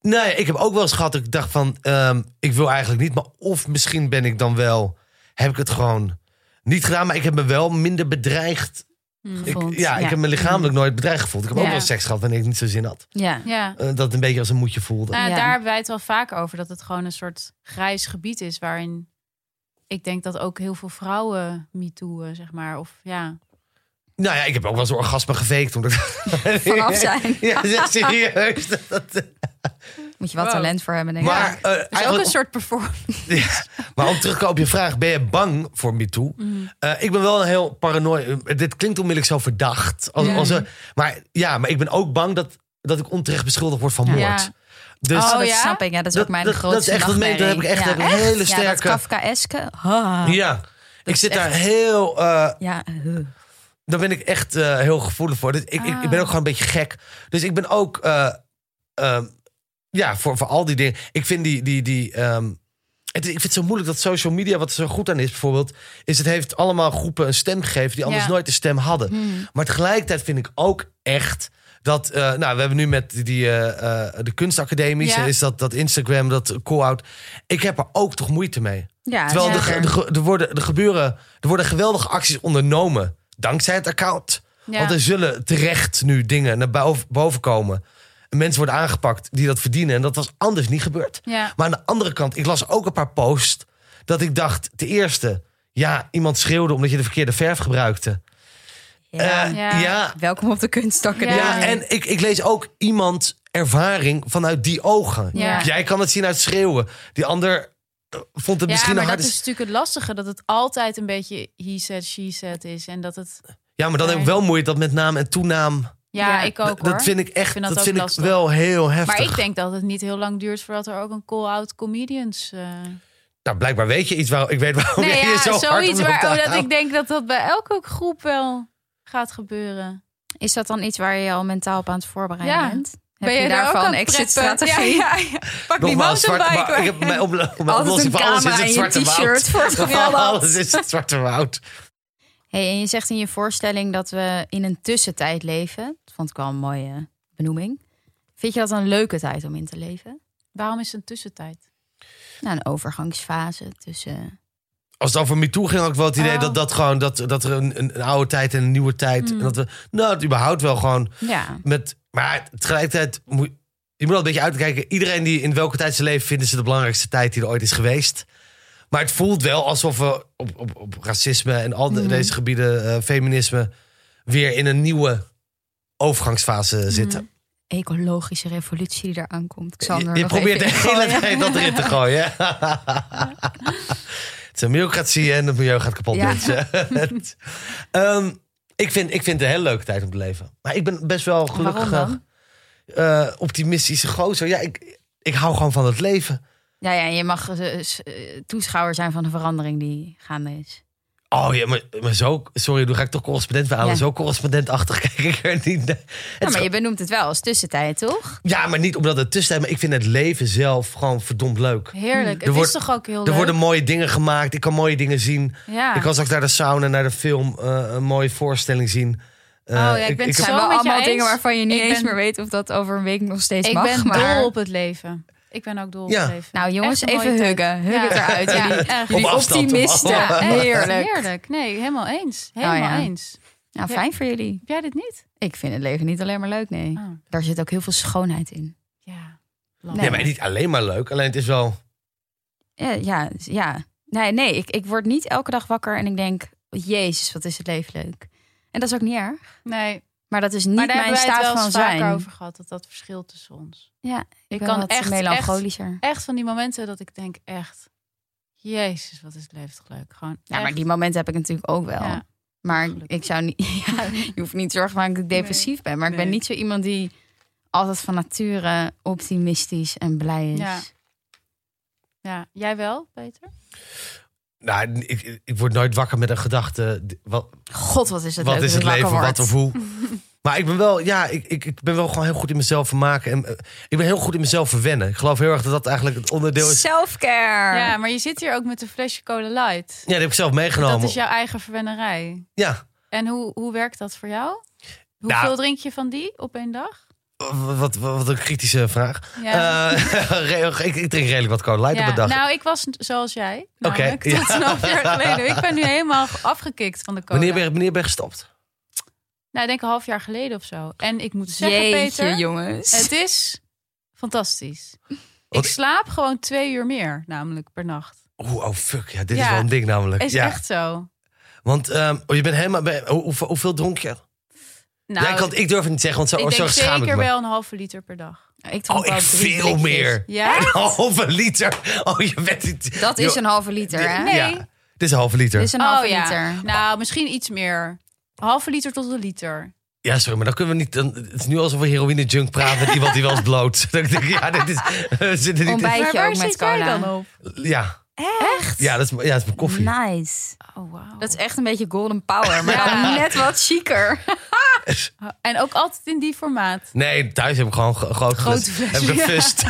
S3: Nou ja, ik heb ook wel eens gehad dat ik dacht van... ehm, ik wil eigenlijk niet, maar of misschien ben ik dan wel... heb ik het gewoon niet gedaan, maar ik heb me wel minder bedreigd. Ik,
S1: Gevoeld,
S3: ja,
S1: ja. Mm.
S3: ik heb me lichamelijk nooit bedreigd gevoeld. Ik heb ook
S1: Ja.
S3: wel seks gehad wanneer ik niet zo zin had.
S1: Ja.
S2: Ja.
S3: Eh, dat het een beetje als een moedje voelde.
S2: Nou,
S1: Ja.
S2: Daar hebben wij het wel vaak over. Dat het gewoon een soort grijs gebied is. Waarin ik denk dat ook heel veel vrouwen MeToo'en, zeg maar. Of ja.
S3: Nou ja, ik heb ook wel eens een orgasme gefaked. Omdat...
S1: Vanaf zijn.
S3: ja, zeg, serieus. Dat, dat-
S1: Moet je wel
S2: Wow.
S1: talent voor hebben, denk ik.
S3: Maar, eh,
S2: Dus ook
S3: eigenlijk-
S2: een soort performance.
S3: Ja, maar om terug te komen op je vraag, ben je bang voor MeToo?
S1: Mhm.
S3: Eh, ik ben wel een heel paranoï. eh, Dit klinkt onmiddellijk zo verdacht. Als, als een- maar ja, maar ik ben ook bang dat, dat ik onterecht beschuldigd word van moord.
S2: Ja.
S3: Dus
S1: Oh,
S2: Oh,
S1: dat
S2: ja?
S1: snap ik. Ja, dat is ook mijn
S3: dat,
S1: grootste
S3: dat is echt wat mee. Daar heb ik echt,
S1: nachtmerrie.
S3: heb ik een hele
S1: Ja, dat
S3: sterke.
S1: Kafkaeske. Ha.
S3: Ja, ik
S1: is
S3: zit daar
S1: echt-
S3: heel. eh,
S1: Ja, huh.
S3: daar ben ik echt eh, heel gevoelig voor. Dus ik, ik,
S2: Ah.
S3: ik ben ook gewoon een beetje gek. Dus ik ben ook. eh, ehm, ja, voor, voor al die dingen. Ik vind die. die, die ehm, het, ik vind het zo moeilijk dat social media, wat er zo goed aan is bijvoorbeeld, is het heeft allemaal groepen een stem gegeven die anders
S2: Ja. Hmm.
S3: nooit een stem hadden. Maar tegelijkertijd vind ik ook echt dat, eh, nou, we hebben nu met die, eh, eh, de kunstacademies,
S2: Ja.
S3: is dat, dat Instagram, dat call-out. Ik heb er ook toch moeite mee.
S1: ja
S3: Terwijl
S1: zeker.
S3: er, ge- er ge- er worden, er, gebeuren, er worden geweldige acties ondernomen dankzij het account.
S2: Ja.
S3: Want er zullen terecht nu dingen naar boven, boven komen. En mensen worden aangepakt die dat verdienen. En dat was anders niet gebeurd.
S2: Ja.
S3: Maar aan de andere kant, ik las ook een paar posts dat ik dacht, ten eerste, ja, iemand schreeuwde omdat je de verkeerde verf gebruikte.
S1: Ja.
S3: Eh,
S2: Ja.
S3: ja,
S1: Welkom op de kunstacademie.
S3: ja, en ik, ik lees ook iemand ervaring vanuit die ogen.
S2: Ja.
S3: Jij kan het zien uit schreeuwen. Die ander eh, vond het
S2: Ja,
S3: misschien
S2: maar
S3: een
S2: dat
S3: harde...
S2: is natuurlijk het lastige. Dat het altijd een beetje he said, she said is. En dat het...
S3: Ja, maar dan heb ik wel moeite dat met naam en toenaam.
S2: Ja,
S1: Ja,
S2: ik
S3: Dat-
S2: ook hoor.
S3: dat vind ik echt
S2: vind dat
S3: dat
S2: ook
S3: vind ik
S2: lastig.
S3: wel heel heftig.
S2: maar ik denk dat het niet heel lang duurt voordat er ook een call-out comedians... eh,
S3: Nou, blijkbaar weet je iets waar ik weet waarom
S2: Nee,
S3: je
S2: ja,
S3: zo hard
S2: zoiets
S3: om elkaar
S2: waar, oh, dat
S3: houdt.
S2: ik denk dat dat bij elke groep wel gaat gebeuren.
S1: Is dat dan iets waar je je al mentaal op aan het voorbereiden
S2: Ja.
S1: bent?
S2: ben je, daar
S1: daarvoor
S2: ook
S1: een
S2: aan het preppen?
S1: exit-strategie?
S2: Ja, ja, ja. Pak die
S3: Nogmaals, zwart,
S2: mountainbike.
S3: maar, ik
S2: weg.
S3: heb mijn op,
S1: Altijd
S3: mijn
S1: een
S3: oplossing voor alles is
S1: camera
S3: het
S1: en je
S3: zwarte
S1: t-shirt
S3: woud.
S1: voor het geval dat.
S3: Alles is het zwarte woud.
S1: Hey, en je zegt in je voorstelling dat we in een tussentijd leven. Dat vond ik wel een mooie benoeming. Vind je dat een leuke tijd om in te leven?
S2: Waarom is het een tussentijd?
S1: Nou, een overgangsfase tussen...
S3: Als het over MeToo ging, had ik wel het idee
S2: Oh. Mm.
S3: dat, dat, gewoon, dat, dat er een, een, een oude tijd en een nieuwe tijd... En dat we, nou, het überhaupt wel gewoon
S1: Ja,
S3: met... Maar tegelijkertijd, moet, je moet wel een beetje uitkijken. Iedereen die in welke tijd ze leven, vinden ze de belangrijkste tijd die er ooit is geweest. Maar het voelt wel alsof we op, op, op racisme en al de- deze gebieden, eh, feminisme, weer in een nieuwe overgangsfase zitten.
S1: ecologische revolutie die eraan komt. Xander,
S3: Je, je
S1: nog
S3: probeert de
S1: even
S3: hele
S1: ingooien.
S3: tijd dat erin te gooien. hè? het is een bureaucratie en het milieu gaat kapot,
S1: Ja.
S3: mensen. Het- Ehm, ik, vind, ik vind het een hele leuke tijd om te leven. Maar ik ben best wel gelukkig
S1: Waarom
S3: eh, eh, optimistische gozer. Ja, ik, ik hou gewoon van het leven.
S1: Ja, ja, en je mag eh, s- eh, toeschouwer zijn van de verandering die gaande is.
S3: Oh ja, maar, maar zo... Sorry, nu ga ik toch correspondent verhalen.
S1: Ja.
S3: Zo correspondentachtig kijk ik er niet naar.
S1: Ja,
S3: Het
S1: maar
S3: is
S1: je benoemt het wel als tussentijd, toch?
S3: Ja, maar niet omdat het tussentijd... Maar ik vind het leven zelf gewoon verdomd leuk.
S2: Heerlijk. Het
S3: wordt-
S2: is toch ook heel
S3: Hmm. Er
S2: leuk?
S3: worden mooie dingen gemaakt. Ik kan mooie dingen zien.
S2: ja.
S3: Ik kan straks naar de sauna, naar de film, eh, een mooie voorstelling zien. Eh,
S2: Oh, ja, ik ben
S1: Het
S2: Zo
S1: zijn wel
S2: met je
S1: allemaal
S2: eens.
S1: dingen waarvan je niet
S2: Ik
S1: eens
S2: ben-
S1: meer weet of dat over een week nog steeds
S2: Ik
S1: mag.
S2: ben
S1: maar...
S2: dol op het leven. Ik ben ook dol op
S3: Ja.
S2: het leven.
S1: Nou jongens,
S2: Echt een
S1: even
S2: mooie
S1: huggen. Huggen
S2: Ja.
S1: eruit.
S2: Ja,
S1: Jullie,
S2: echt.
S1: jullie
S3: Op afstand, op
S1: optimisten.
S3: afstand.
S2: Ja, echt.
S1: Heerlijk.
S2: Heerlijk. Nee, helemaal eens. Helemaal
S1: Oh, ja.
S2: eens.
S1: Nou, fijn voor jullie.
S2: Heb jij dit niet?
S1: Ik vind het leven niet alleen maar leuk, nee.
S2: Oh,
S1: Daar zit ook heel veel schoonheid in.
S2: ja.
S3: Nee, maar niet alleen maar leuk. Alleen het is wel...
S1: Ja, ja. dus, ja. Nee, nee ik, ik word niet elke dag wakker en ik denk... Jezus, wat is het leven leuk. En dat is ook niet erg.
S2: Nee,
S1: Maar dat is niet
S2: maar daar
S1: mijn
S2: hebben wij het wel
S1: staat van
S2: eens vaker
S1: zijn.
S2: over gehad. Dat dat verschil tussen ons.
S1: Ja,
S2: Ik
S1: ben
S2: kan
S1: wat
S2: echt, echt
S1: melancholischer.
S2: echt van die momenten dat ik denk echt... Jezus, wat is het leven toch leuk. Gewoon
S1: Ja, maar
S2: echt.
S1: die momenten heb ik natuurlijk ook wel.
S2: Ja.
S1: Maar
S2: Gelukkig.
S1: ik zou niet. Ja, je hoeft niet zorgen maken dat ik depressief ben. Maar ik ben
S2: Nee.
S1: niet zo iemand die altijd van nature optimistisch en blij is.
S2: Ja. ja. Jij wel, Peter?
S3: Nou, ik, ik word nooit wakker met een gedachte. d- Wat,
S1: God, wat is het
S3: wat
S1: leuk
S3: is
S1: dat
S3: het
S1: ik wakker
S3: leven, wat
S1: word.
S3: of hoe. Maar ik ben wel, ja, ik, ik, ik ben wel gewoon heel goed in mezelf vermaken. En, eh, ik ben heel goed in mezelf verwennen. Ik geloof heel erg dat dat eigenlijk het onderdeel is.
S1: Selfcare.
S2: Ja, maar je zit hier ook met een flesje cola light.
S3: Ja, die heb ik zelf meegenomen.
S2: Dat is jouw eigen verwennerij.
S3: Ja,
S2: En hoe, hoe werkt dat voor jou? Hoeveel
S3: Nou-
S2: drink je van die op één dag?
S3: wat, wat, wat een kritische vraag.
S2: Ja.
S3: Eh, re- ik, ik drink redelijk wat cola light
S2: Ja,
S3: op een dag.
S2: Nou, ik was n- zoals jij.
S3: Oké,
S2: namelijk,
S3: ja.
S2: Tot een half jaar geleden. Ik ben nu helemaal afgekikt van de cola.
S3: wanneer, ben, je- wanneer ben je gestopt?
S2: Nou, ik denk een half jaar geleden of zo. En ik moet zeggen,
S1: Jeetje,
S2: Peter,
S1: jongens.
S2: het is fantastisch.
S3: Wat-
S2: Ik slaap gewoon twee uur meer, namelijk per nacht.
S3: Oeh, oh fuck, ja, dit is
S2: Ja.
S3: wel een ding namelijk.
S2: Is
S3: ja.
S2: echt zo.
S3: Want ehm, oh, je bent helemaal, bij, hoe, hoe- hoeveel dronk je?
S2: Nou,
S3: ja, ik, kan- ik durf het niet te zeggen, want
S2: ik
S3: zo, oh, zo
S2: denk
S3: schaam ik
S2: zeker
S3: me.
S2: wel een halve liter per dag.
S1: Ik dronk
S3: Oh, ik
S1: wel drie
S3: veel
S1: blikjes.
S3: meer.
S2: Ja?
S3: Een halve liter. Oh, je bent niet...
S1: Dat is
S3: Joh,
S1: een halve liter, hè?
S3: dit-
S2: Nee.
S3: Ja, dit is een halve liter.
S1: Dit is een halve
S2: ja.
S1: liter.
S2: Nou, misschien iets meer. Halve liter tot een liter.
S3: Ja, sorry, maar dan kunnen we niet. Dan, het is nu alsof we heroïne-junk praten met iemand die wel eens bloot. Dan denk ik, ja, dit is. we zitten niet
S1: Ontbijt.
S3: in-
S1: Eet je ook met cola?
S2: dan op?
S3: ja. Echt? Ja, dat is, ja, dat is mijn koffie.
S1: Nou. Nice.
S2: Oh, wauw.
S1: Dat is echt een beetje golden power, maar
S2: Ja.
S1: dan net wat chiquer.
S2: En ook altijd in die formaat.
S3: Nee, thuis heb ik gewoon een groot
S2: Grote
S3: fles.
S2: flesje.
S3: Heb ik een fust.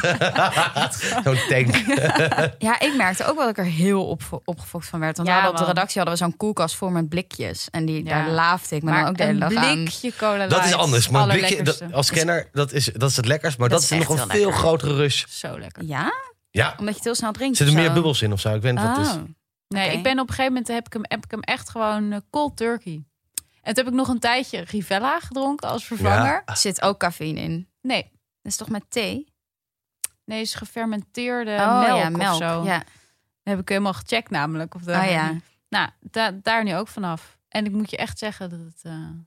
S3: Zo'n tank.
S1: Ja, ik merkte ook wel dat ik er heel op, opgefokt van werd. Want
S2: Ja,
S1: we hadden op de
S2: man.
S1: redactie hadden we zo'n koelkast vol met blikjes. En die,
S2: Ja.
S1: daar laafde ik me
S2: Maar
S1: dan ook de hele
S2: een
S1: dag aan.
S2: blikje cola light.
S3: Dat is anders. Maar een blikje, dat-
S2: Allerlekkerste.
S3: als kenner, dat is, dat is het lekkerst. Maar dat,
S1: Dat is
S3: is nog
S1: echt
S3: een
S1: wel
S3: veel
S1: lekker.
S3: grotere rush.
S2: Zo lekker.
S1: Ja?
S3: Ja.
S1: Omdat je het heel snel drinkt.
S3: Zitten
S1: of
S3: meer
S1: zo.
S3: bubbels in of zo? Ik weet niet wat het is.
S1: Oh.
S2: Nee,
S1: Oké.
S2: ik ben op een gegeven moment heb ik hem, heb ik hem echt gewoon eh, cold turkey. En toen heb ik nog een tijdje Rivella gedronken als vervanger.
S1: Er zit ook cafeïne in.
S2: Nee,
S1: Dat is toch met thee?
S2: nee, is gefermenteerde
S1: Eh,
S2: melk,
S1: Oh, ja,
S2: of zo.
S1: Ja.
S2: Dat heb ik helemaal gecheckt namelijk. Of dat-
S1: Oh ja.
S2: Nou, da- daar nu ook vanaf. En ik moet je echt zeggen dat het... eh,
S1: Want
S2: vindt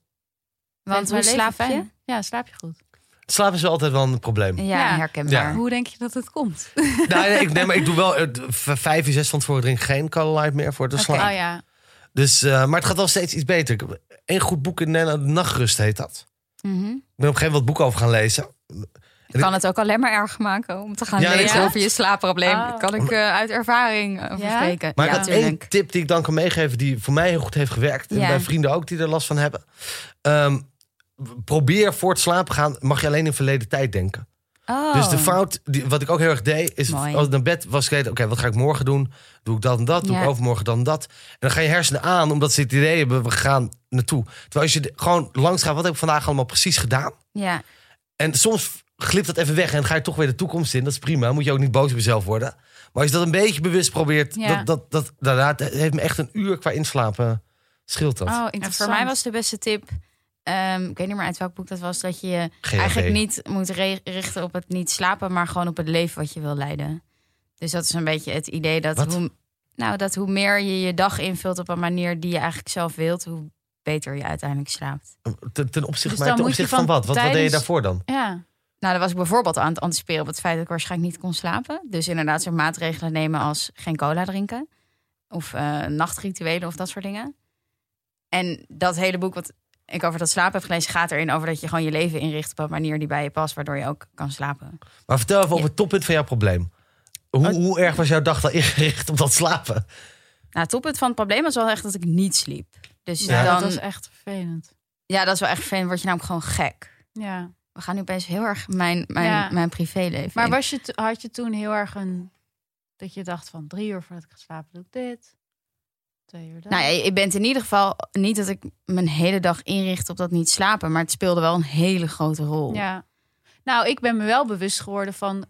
S1: hoe
S2: mijn leven
S1: slaap je?
S2: fijn. Ja, slaap je goed.
S3: Slaap is wel altijd wel een probleem.
S1: Ja,
S2: Ja.
S1: herkenbaar.
S2: Hoe denk je dat het komt?
S3: Nou, nee, ik, nee, maar ik doe wel eh, v- vijf, zes van tevoren drink ik geen Cola Light meer voor de slaap.
S2: Oh ja.
S3: Dus, eh, maar het gaat wel steeds iets beter. Ik heb één goed boek in Nederland, Nachtrust heet dat.
S1: Mhm.
S3: Ik ben op een gegeven moment wat boeken over gaan lezen.
S1: Ik kan het ook alleen maar erg maken om te gaan
S3: Ja, dat
S1: lezen
S2: klopt.
S1: over je slaapprobleem.
S2: Ah.
S1: Kan ik eh, uit ervaring over
S2: Ja?
S1: spreken.
S3: Maar
S1: ja,
S3: ik had één tip die ik dan kan meegeven die voor mij heel goed heeft gewerkt.
S1: Ja.
S3: En bij vrienden ook die er last van hebben. Ehm, probeer voor het slapen gaan, mag je alleen in verleden tijd denken.
S1: Oh.
S3: Dus de fout, die, wat ik ook heel erg deed, is
S1: Mooi.
S3: als ik naar bed was gekeken, oké, wat ga ik morgen doen? Doe ik dat en dat? Doe
S1: Ja.
S3: ik overmorgen dan dat? En dan gaan je hersenen aan, omdat ze het idee hebben, we gaan naartoe. Terwijl als je de- gewoon langs gaat, wat heb ik vandaag allemaal precies gedaan?
S1: Ja,
S3: En soms glipt dat even weg en dan ga je toch weer de toekomst in. Dat is prima. Dan Moet je ook niet boos op jezelf worden. Maar als je dat een beetje bewust probeert,
S2: Ja.
S3: dat, dat, dat, daarna, het heeft me echt een uur qua inslapen scheelt dat.
S2: Oh,
S1: en
S2: interessant.
S1: voor mij was de beste tip... ehm, ik weet niet meer uit welk boek dat was... dat je je
S3: GHB.
S1: eigenlijk niet moet re- richten op het niet slapen... maar gewoon op het leven wat je wil leiden. Dus dat is een beetje het idee dat...
S3: Wat?
S1: Hoe, nou, dat hoe meer je je dag invult op een manier die je eigenlijk zelf wilt... hoe beter je uiteindelijk slaapt.
S3: Ten, ten opzichte,
S2: Dus
S3: maar
S2: dan
S3: ten
S2: moet je
S3: opzichte van,
S2: van
S3: wat? wat? Wat deed je
S2: tijdens-
S3: daarvoor dan?
S2: Ja.
S1: Nou, dan was ik bijvoorbeeld aan het anticiperen op het feit dat ik waarschijnlijk niet kon slapen. Dus inderdaad zo'n maatregelen nemen als geen cola drinken. Of eh, nachtrituelen of dat soort dingen. En dat hele boek wat ik over dat slapen heb gelezen... gaat erin over dat je gewoon je leven inricht op een manier die bij je past... waardoor je ook kan slapen.
S3: Maar vertel even
S1: Ja.
S3: over het toppunt van jouw probleem. Hoe,
S1: Oh.
S3: hoe erg was jouw dag dan ingericht op dat slapen?
S1: Nou, het toppunt van het probleem was wel echt dat ik niet sliep. Dus
S2: Ja,
S1: dan...
S2: dat was echt vervelend.
S1: Ja, dat is wel echt fijn. Word je namelijk gewoon gek.
S2: Ja.
S1: We gaan nu opeens heel erg mijn, mijn,
S2: Ja.
S1: mijn privéleven
S2: Maar
S1: in.
S2: was je to- had je toen heel erg een... Dat je dacht van drie uur voordat ik ga slapen doe ik dit. Twee uur dat.
S1: Nou ja, je bent in ieder geval niet dat ik mijn hele dag inricht op dat niet slapen, maar het speelde wel een hele grote rol.
S2: Ja. Nou, ik ben me wel bewust geworden van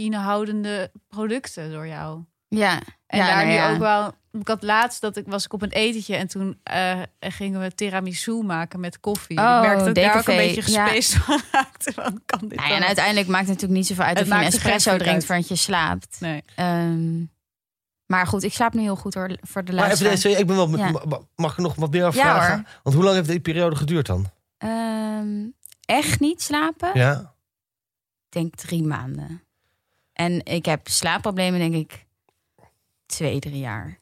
S2: cafeïnehoudende producten door jou.
S1: ja.
S2: En
S1: Ja,
S2: daar
S1: nou
S2: nu
S1: ja.
S2: ook wel... Ik had laatst, dat ik was ik op een etentje en toen eh, gingen we tiramisu maken met koffie.
S1: Oh,
S2: ik merkte dat ik daar ook een
S1: decafé,
S2: beetje
S1: ja.
S2: gespeest van raakte. Van, kan dit
S1: Nou ja, en
S2: wel?
S1: uiteindelijk maakt het natuurlijk niet zoveel uit
S2: Het
S1: of je een
S2: maakt er geen
S1: espresso
S2: fuck
S1: drinkt
S2: uit.
S1: voordat je slaapt.
S2: Nee.
S1: Ehm, maar goed, ik slaap nu heel goed hoor, voor de
S3: Maar even,
S1: laatste.
S3: sorry, ik ben wel,
S1: Ja.
S3: ma- ma- mag ik nog wat meer
S1: Ja,
S3: vragen?
S1: hoor.
S3: Want hoe lang heeft die periode geduurd dan?
S1: Ehm, echt niet slapen? Ik
S3: Ja?
S1: denk drie maanden. En ik heb slaapproblemen denk ik twee, drie jaar.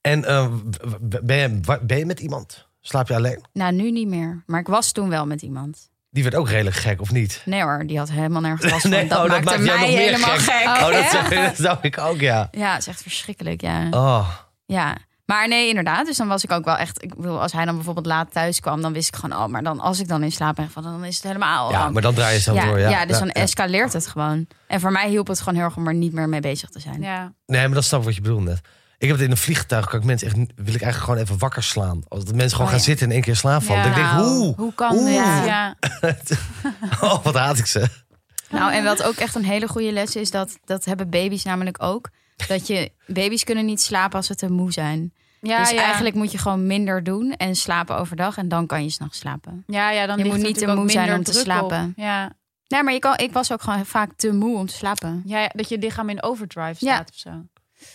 S3: En eh, w- w- ben, je, wa- ben je met iemand? Slaap je alleen?
S1: Nou, nu niet meer. Maar ik was toen wel met iemand.
S3: Die werd ook redelijk gek, of niet?
S1: Nee hoor, die had helemaal nergens last van.
S3: Nee,
S1: dat
S3: oh, dat
S1: maakte
S3: maakt jou
S1: mij
S3: nog meer
S1: helemaal
S3: gek.
S1: gek.
S3: Oh, dat
S1: ja?
S3: zou, dat zou ik ook, ja.
S1: ja, het is echt verschrikkelijk, ja.
S3: Oh,
S1: Ja. Maar nee, inderdaad. Dus dan was ik ook wel echt... Ik bedoel, als hij dan bijvoorbeeld laat thuis kwam... dan wist ik gewoon... oh, maar dan als ik dan in slaap ben gevallen... dan is het helemaal...
S3: ja,
S1: ramp.
S3: maar dan draai je zelf
S1: Oh, ja,
S3: door, ja.
S1: ja, dus dan
S3: ja.
S1: escaleert het gewoon. En voor mij hielp het gewoon heel erg om er niet meer mee bezig te zijn.
S2: Ja.
S3: Nee, maar dat snap ik wat je bedoelt net. Ik heb het in een vliegtuig, kan ik mensen echt, wil ik eigenlijk gewoon even wakker slaan. Als de mensen gewoon
S1: Oh,
S3: gaan
S1: ja.
S3: zitten en één keer slaap vallen.
S2: Ja.
S3: Dan denk ik,
S1: Nou,
S3: oeh,
S2: Hoe kan
S3: Oeh.
S2: dit?
S1: Ja.
S2: Ja.
S3: oh, wat haat ik ze.
S1: Nou, en wat ook echt een hele goede les is... dat, dat hebben baby's namelijk ook. Dat je... Baby's kunnen niet slapen als ze te moe zijn.
S2: Ja,
S1: dus
S2: ja.
S1: eigenlijk moet je gewoon minder doen... en slapen overdag. En dan kan je s'nachts slapen.
S2: Ja, ja, dan
S1: Je
S2: ligt
S1: moet
S2: er
S1: niet te
S2: natuurlijk ook
S1: moe zijn
S2: minder
S1: om te
S2: druk
S1: slapen.
S2: op. Ja.
S1: Nee, maar je kan, ik was ook gewoon vaak te moe om te slapen.
S2: Ja, ja, dat je lichaam in overdrive
S1: Ja.
S2: staat of zo.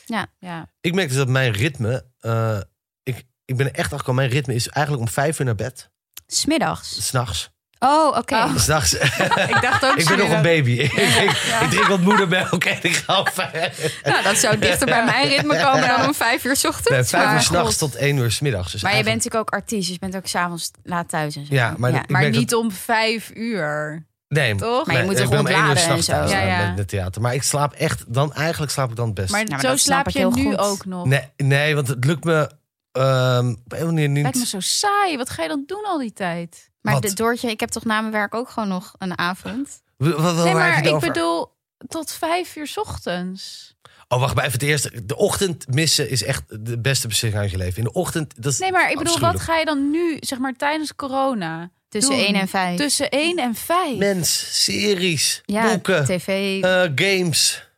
S1: Ja.
S2: ja.
S3: Ik merk dus dat mijn ritme, eh, ik, ik ben er echt achter, mijn ritme is eigenlijk om vijf uur naar bed.
S1: Smiddags.
S3: S'nachts.
S1: Oh, oké.
S2: Oh.
S3: S'nachts.
S2: Ik dacht ook
S3: ik ben nog een baby. ik, ik, ik drink wat moedermelk en ik ga om vijf,
S1: Nou, dat zou dichter bij mijn ritme komen dan om vijf uur 's ochtends.
S3: nee, vijf
S1: maar,
S3: uur s'nachts tot één uur s'middags. Dus
S1: maar je bent
S3: eigenlijk-
S1: natuurlijk ook artiest, dus je bent ook s'avonds laat thuis en zo.
S3: Ja, maar ik
S2: Maar
S3: merk
S2: niet om vijf uur,
S3: Nee,
S2: toch?
S1: Maar je moet
S3: ik
S1: toch
S3: ben om één uur
S1: ontladen en
S3: s'nachts
S1: zo.
S3: thuis,
S2: Ja,
S3: eh,
S2: ja.
S3: Met het theater. Maar ik slaap echt, dan eigenlijk slaap ik dan het best.
S2: Maar
S1: Ja, maar
S2: zo
S1: dat snap
S2: slaap
S1: ik
S2: je
S1: heel
S2: nu
S1: goed.
S2: ook nog.
S3: Nee, nee, want het lukt me ehm, op een of andere manier
S2: Lijkt me
S3: niet.
S2: zo saai. Wat ga je dan doen al die tijd?
S1: Maar
S3: Wat?
S1: de, Doortje, ik heb toch na mijn werk ook gewoon nog een avond.
S3: Wat, wat, wat waar
S2: nee,
S3: heb je
S2: maar
S3: het
S2: ik
S3: over?
S2: bedoel tot vijf uur 's ochtends.
S3: Oh, wacht maar even. Het eerste, de ochtend missen is echt de beste beslissing uit je leven. In de ochtend, dat is
S2: Nee, maar ik bedoel, wat
S3: Oh, afschuwelijk.
S2: ga je dan nu, zeg maar tijdens corona,
S1: Tussen
S2: doen?
S1: één en vijf.
S2: Tussen 1 en 5?
S3: Mens, series,
S1: ja,
S3: boeken,
S1: tv.
S3: eh, games.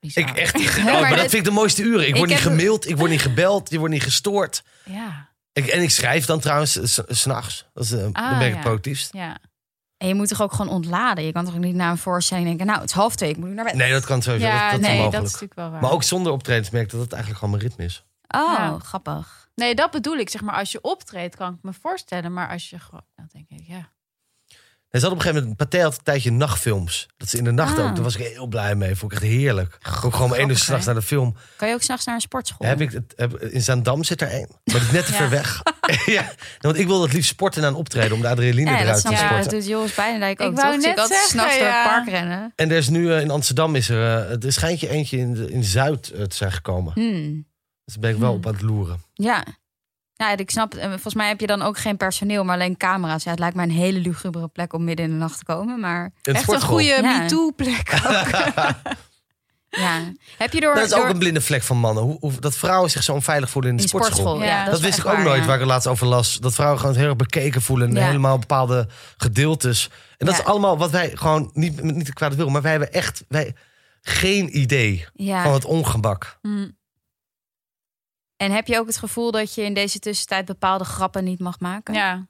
S3: Ik echt, oh, maar
S1: maar
S3: dat
S1: dat-
S3: vind ik de mooiste uren. Ik word
S1: Ik
S3: niet
S1: heb-
S3: gemaild, ik word niet gebeld, je wordt niet gestoord.
S2: Ja,
S3: Ik, en ik schrijf dan trouwens eh, s- s'nachts. Dat is, eh, dan ben ik het
S2: Ah, ja.
S3: productiefst.
S2: ja.
S1: En je moet toch ook gewoon ontladen? Je kan toch niet na een voorstelling denken, nou, het is half twee, ik moet nu naar bed.
S3: Nee, dat kan sowieso.
S2: ja,
S3: dat, dat is
S2: nee, dat is
S3: onmogelijk.
S2: natuurlijk wel waar.
S3: Maar ook zonder optredens merk ik dat het eigenlijk gewoon mijn ritme is.
S1: Oh,
S2: Ja.
S1: grappig.
S2: Nee, dat bedoel ik. Zeg maar, als je optreedt, kan ik me voorstellen. Maar als je gewoon, dan denk ik, ja.
S3: En ze had op een gegeven moment, Pathé had een tijdje nachtfilms. Dat ze in de nacht
S1: Ah.
S3: ook, daar was ik heel blij mee. Vond ik echt heerlijk. Ook gewoon om één uur
S2: grappig,
S3: s'nachts
S2: hè?
S3: naar de film.
S1: Kan je ook s'nachts naar een sportschool? Eh,
S3: Heb ik het, heb, in Zaandam zit er één, maar die is net te
S2: Ja.
S3: ver weg. ja, nou, want ik wil het liefst sporten en aan optreden om de adrenaline
S1: ja, dat
S3: eruit
S1: snap
S3: te
S1: ik.
S3: sporten.
S1: Dat doet Joris Bijendijk ook,
S2: Ik wou
S1: toch? Zie
S2: net
S1: altijd
S2: zeggen,
S1: s'nachts door het
S2: ja.
S1: park rennen.
S3: En er is nu eh, in Amsterdam is er, eh, er schijnt je eentje in, de- in Zuid eh, te zijn gekomen.
S1: Hmm.
S3: Dus daar ben ik wel op aan het loeren.
S1: Ja. Ja, ik snap het. En Volgens mij heb je dan ook geen personeel, maar alleen camera's. Ja, het lijkt mij een hele lugubere plek om midden in de nacht te komen. Maar
S3: Een
S2: Echt een
S3: sportschool.
S2: goede
S1: Ja.
S2: MeToo-plek.
S1: ja, heb je door...
S3: Dat is
S1: door-
S3: ook een blinde vlek van mannen. Hoe, hoe- dat vrouwen zich zo onveilig voelen in de
S1: in
S3: sportschool.
S2: Ja.
S1: Ja,
S3: Dat,
S1: is
S3: wist ik
S1: echt
S3: ook
S1: waar,
S3: nooit,
S1: ja.
S3: waar ik het laatst over las. Dat vrouwen gewoon heel erg bekeken voelen. En
S1: Ja.
S3: helemaal bepaalde gedeeltes. En dat
S1: Ja.
S3: is allemaal wat wij gewoon, niet, niet kwaad wil, maar wij hebben echt wij, geen idee
S1: Ja.
S3: van het ongemak.
S2: Hm.
S1: En heb je ook het gevoel dat je in deze tussentijd bepaalde grappen niet mag maken?
S2: Ja.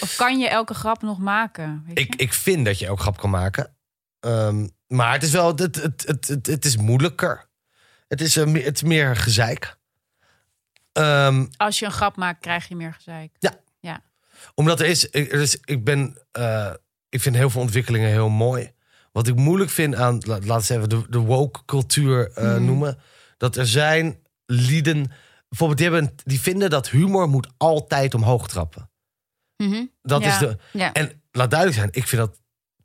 S2: Of kan je elke grap nog maken? Weet je?
S3: Ik, ik vind dat je ook grap kan maken. Ehm, maar het is wel, het, het, het, het, het is moeilijker. Het is, eh, me- het is meer gezeik. Ehm,
S2: Als je een grap maakt, krijg je meer gezeik.
S3: Omdat er is, ik, er is- ik ben, eh, ik vind heel veel ontwikkelingen heel mooi. Wat ik moeilijk vind aan, la- laten we eens even de, de woke cultuur eh, noemen, dat er zijn lieden, bijvoorbeeld die, hebben, een- die vinden dat humor moet altijd omhoog trappen.
S1: Mhm.
S3: Dat
S2: Ja.
S3: is de,
S1: Ja.
S3: en laat duidelijk zijn, ik vind dat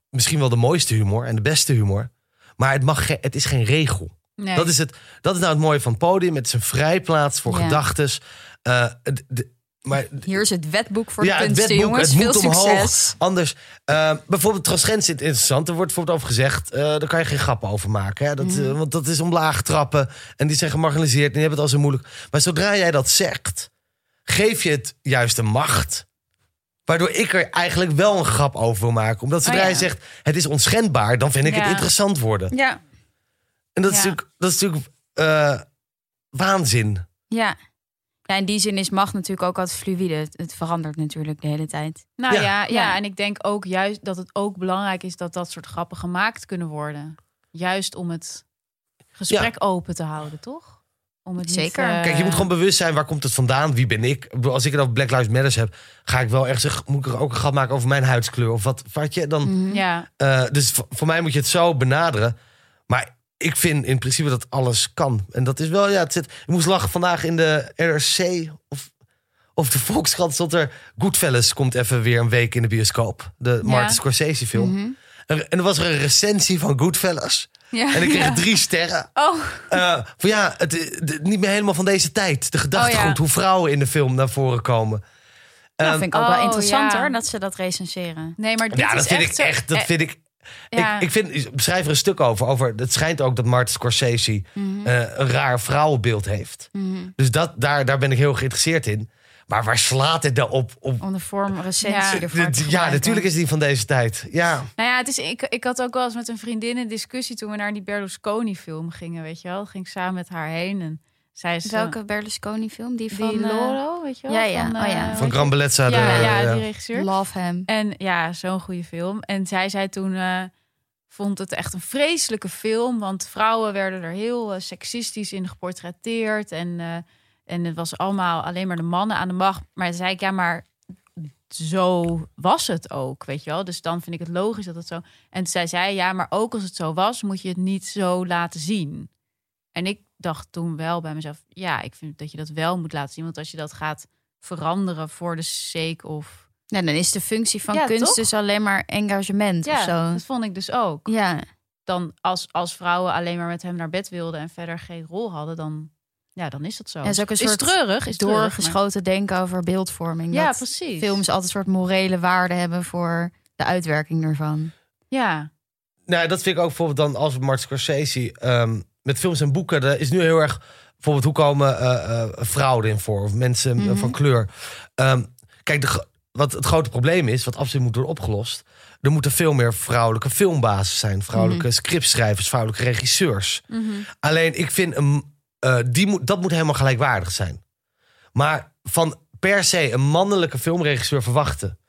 S3: misschien wel de mooiste humor en de beste humor, maar het, mag ge- het is geen regel.
S2: Nee.
S3: Dat, is het, dat is nou het mooie van het podium. Het is een vrijplaats voor
S1: Ja.
S3: gedachtes. Eh, d- d- maar
S1: Hier is het wetboek voor de
S3: het
S1: kunsten,
S3: wetboek,
S1: jongens.
S3: het
S1: Veel
S3: moet omhoog.
S1: succes.
S3: Anders, eh, bijvoorbeeld transgender zit interessant. Er wordt bijvoorbeeld over gezegd, eh, daar kan je geen grappen over maken. Hè? Dat,
S2: Mm.
S3: eh, want dat is omlaag trappen. En die zijn gemarginaliseerd en die hebben het al zo moeilijk. Maar zodra jij dat zegt, geef je het juist de macht. Waardoor ik er eigenlijk wel een grap over wil maken. Omdat zodra
S2: Oh ja.
S3: je zegt, het is onschendbaar, dan vind ik het
S2: Ja.
S3: interessant worden.
S1: Ja.
S3: En dat is
S2: Ja.
S3: natuurlijk, dat is natuurlijk eh, waanzin.
S1: ja. Ja, in die zin is macht natuurlijk ook altijd fluïde. Het- Het verandert natuurlijk de hele tijd.
S2: Nou
S3: Ja.
S2: ja. Ja,
S1: Ja.
S2: en ik denk ook juist dat het ook belangrijk is dat dat soort grappen gemaakt kunnen worden. Juist om het gesprek open te houden, toch? Om het
S1: Zeker.
S2: Niet, eh,
S3: Kijk, je moet gewoon bewust zijn, waar komt het vandaan? Wie ben ik? Ik bedoel, Als ik het over Black Lives Matters heb, ga ik wel echt zeggen... moet ik er ook een grap maken over mijn huidskleur? Of wat, wat je dan...
S2: Ja,
S3: eh, dus v- voor mij moet je het zo benaderen. Maar ik vind in principe dat alles kan. En dat is wel, ja, het zit... Ik moest lachen vandaag in de RRC of, Of de Volkskrant stond er... Goodfellas komt even weer een week in de bioscoop. De Martin Scorsese film.
S1: Mhm.
S3: En er was er een recensie van Goodfellas.
S1: Ja.
S3: En ik kreeg
S1: ja.
S3: drie sterren.
S1: Oh,
S3: Eh, van ja, het, het- niet meer helemaal van deze tijd. De gedachtegoed,
S1: Oh ja.
S3: hoe vrouwen in de film naar voren komen.
S1: dat
S3: Ehm,
S1: vind ik ook wel
S2: oh,
S1: interessant
S2: ja.
S1: hoor, dat ze dat recenseren.
S2: Nee, maar dit
S3: ja,
S2: is
S3: dat vind
S2: echt
S3: ik
S2: zo-
S3: echt. Dat
S2: eh,
S3: vind ik.
S2: ja.
S3: Ik, ik vind, schrijf er een stuk over. over het schijnt ook dat Martin Scorsese
S2: Mhm.
S3: eh, een raar vrouwenbeeld heeft. Dus dat, daar, daar ben ik heel geïnteresseerd in. Maar waar slaat het dan op?
S2: Oh,
S3: op
S1: Om de vorm recensie
S2: Ja.
S1: ervoor te
S3: Dit- ja,
S1: gebruiken.
S3: natuurlijk is die van deze tijd. Ja,
S2: Nou ja, het is, ik, ik had ook wel eens met een vriendin een discussie toen we naar die Berlusconi-film gingen, weet je wel. Ging ik samen met haar heen en zij ze
S1: Welke Berlusconi film? Die
S2: van
S1: van... eh,
S2: Loro, weet je wel?
S1: ja, ja.
S2: Van,
S1: Oh, ja.
S2: eh,
S3: van Gran Bellezza. de-
S2: ja, ja,
S3: ja.
S2: die regisseur.
S1: Love Him.
S2: En ja, zo'n goede film. En zij zei toen, eh, vond het echt een vreselijke film. Want vrouwen werden er heel eh, seksistisch in geportretteerd. En, eh, en het was allemaal alleen maar de mannen aan de macht. Maar zei ik, ja, maar zo was het ook, weet je wel. Dus dan vind ik het logisch dat het zo... En zij zei, ja, maar ook als het zo was, moet je het niet zo laten zien. En ik dacht toen wel bij mezelf, ja, ik vind dat je dat wel moet laten zien. Want als je dat gaat veranderen voor de sake of...
S1: Nou, dan is de functie van
S2: Ja,
S1: kunst
S2: toch?
S1: dus alleen maar engagement of zo.
S2: dat vond ik dus ook.
S1: Ja,
S2: Dan als, als vrouwen alleen maar met hem naar bed wilden en verder geen rol hadden, dan, ja, dan is dat zo.
S1: Ja, is ook een soort
S2: treurig, is treurig, maar-
S1: doorgeschoten denken over beeldvorming.
S2: Ja,
S1: dat
S2: precies.
S1: films altijd een soort morele waarde hebben voor de uitwerking ervan.
S2: Ja,
S3: Nou, dat vind ik ook bijvoorbeeld dan als Martin Scorsese ehm, met films en boeken. Er is nu heel erg bijvoorbeeld hoe komen eh, eh, fraude in voor of mensen eh,
S1: Mhm.
S3: van kleur. Ehm, kijk, de, gro- wat het grote probleem is, wat absoluut moet worden opgelost. Er moeten veel meer vrouwelijke filmbazen zijn, vrouwelijke scriptschrijvers, vrouwelijke regisseurs. Alleen ik vind een, eh, die moet, dat moet helemaal gelijkwaardig zijn. Maar van per se een mannelijke filmregisseur verwachten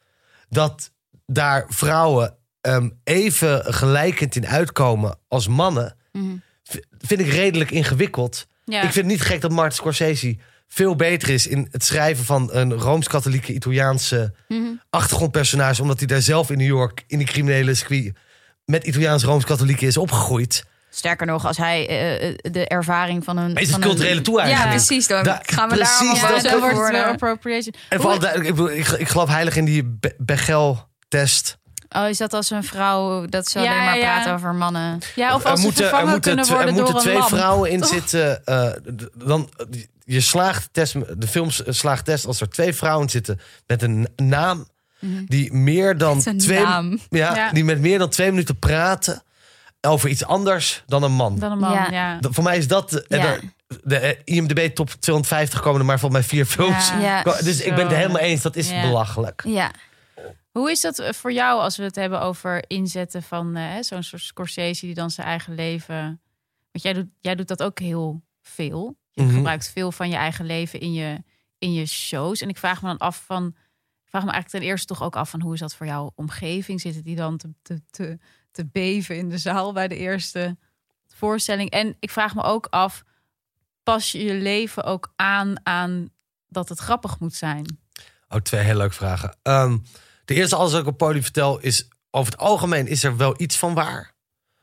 S3: dat daar vrouwen ehm, even gelijkend in uitkomen als mannen,
S1: Mhm.
S3: v- vind ik redelijk ingewikkeld.
S2: ja.
S3: Ik vind het niet gek dat Martin Scorsese veel beter is in het schrijven van een rooms-katholieke Italiaanse
S1: Mhm.
S3: achtergrondpersonage, omdat hij daar zelf in New York in de criminele circuit met Italiaans rooms-katholieken is opgegroeid.
S1: Sterker nog, als hij eh, eh, de ervaring van een...
S3: Maar is het
S1: van een-
S3: culturele toe-eigening?
S1: Ja, precies. Dan
S3: Da-
S1: gaan we
S3: precies,
S1: daar allemaal
S3: dat-
S2: zo
S1: boos
S2: Dus wordt
S1: over
S2: het wel
S1: worden.
S2: appropriation.
S3: En
S2: Hoe-
S3: vooral, duidelijk, ik, bedoel, ik, ik geloof heilig in die Be- Begel-test.
S1: Oh, is dat als een vrouw dat ze
S2: Ja,
S1: alleen maar
S2: ja.
S1: praat over mannen?
S2: ja, of
S3: Er
S2: als ze
S3: moeten- er
S2: vervangen
S3: moeten
S2: kunnen
S3: tw- er
S2: worden door
S3: moeten
S2: een Oh.
S3: twee
S2: lamp.
S3: vrouwen in zitten. eh, d- dan, je slaagt de test, de film slaagt test als er twee vrouwen in zitten met een naam
S2: Mhm.
S3: die meer dan
S1: Met een
S3: twee
S1: naam.
S3: Ja,
S2: Ja.
S3: die met meer dan twee minuten praten over iets anders dan een man.
S2: Dan een man, ja.
S1: Ja.
S3: Dat- voor mij is dat de,
S1: Ja.
S3: de, de, eh, IMDb top 250 komen er maar volgens mij vier films.
S2: Ja.
S1: Ja.
S3: Ko- Dus ik ben het
S2: Zo.
S3: helemaal eens. Dat is
S2: Ja.
S3: belachelijk.
S1: Ja.
S2: Hoe is dat eh, voor jou als we het hebben over inzetten van eh, hè, zo'n soort Scorsese die dan zijn eigen leven... Want jij doet, jij doet dat ook heel veel. Je
S3: Mhm.
S2: gebruikt veel van je eigen leven in je, in je shows. En ik vraag me dan af van... Ik vraag me eigenlijk ten eerste toch ook af van hoe is dat voor jouw omgeving? Zitten die dan te, te, te, te beven in de zaal bij de eerste voorstelling? En ik vraag me ook af, pas je je leven ook aan aan dat het grappig moet zijn?
S3: Oh, twee hele leuke vragen. Ehm, de eerste, alles wat ik op podium vertel, is over het algemeen is er wel iets van waar.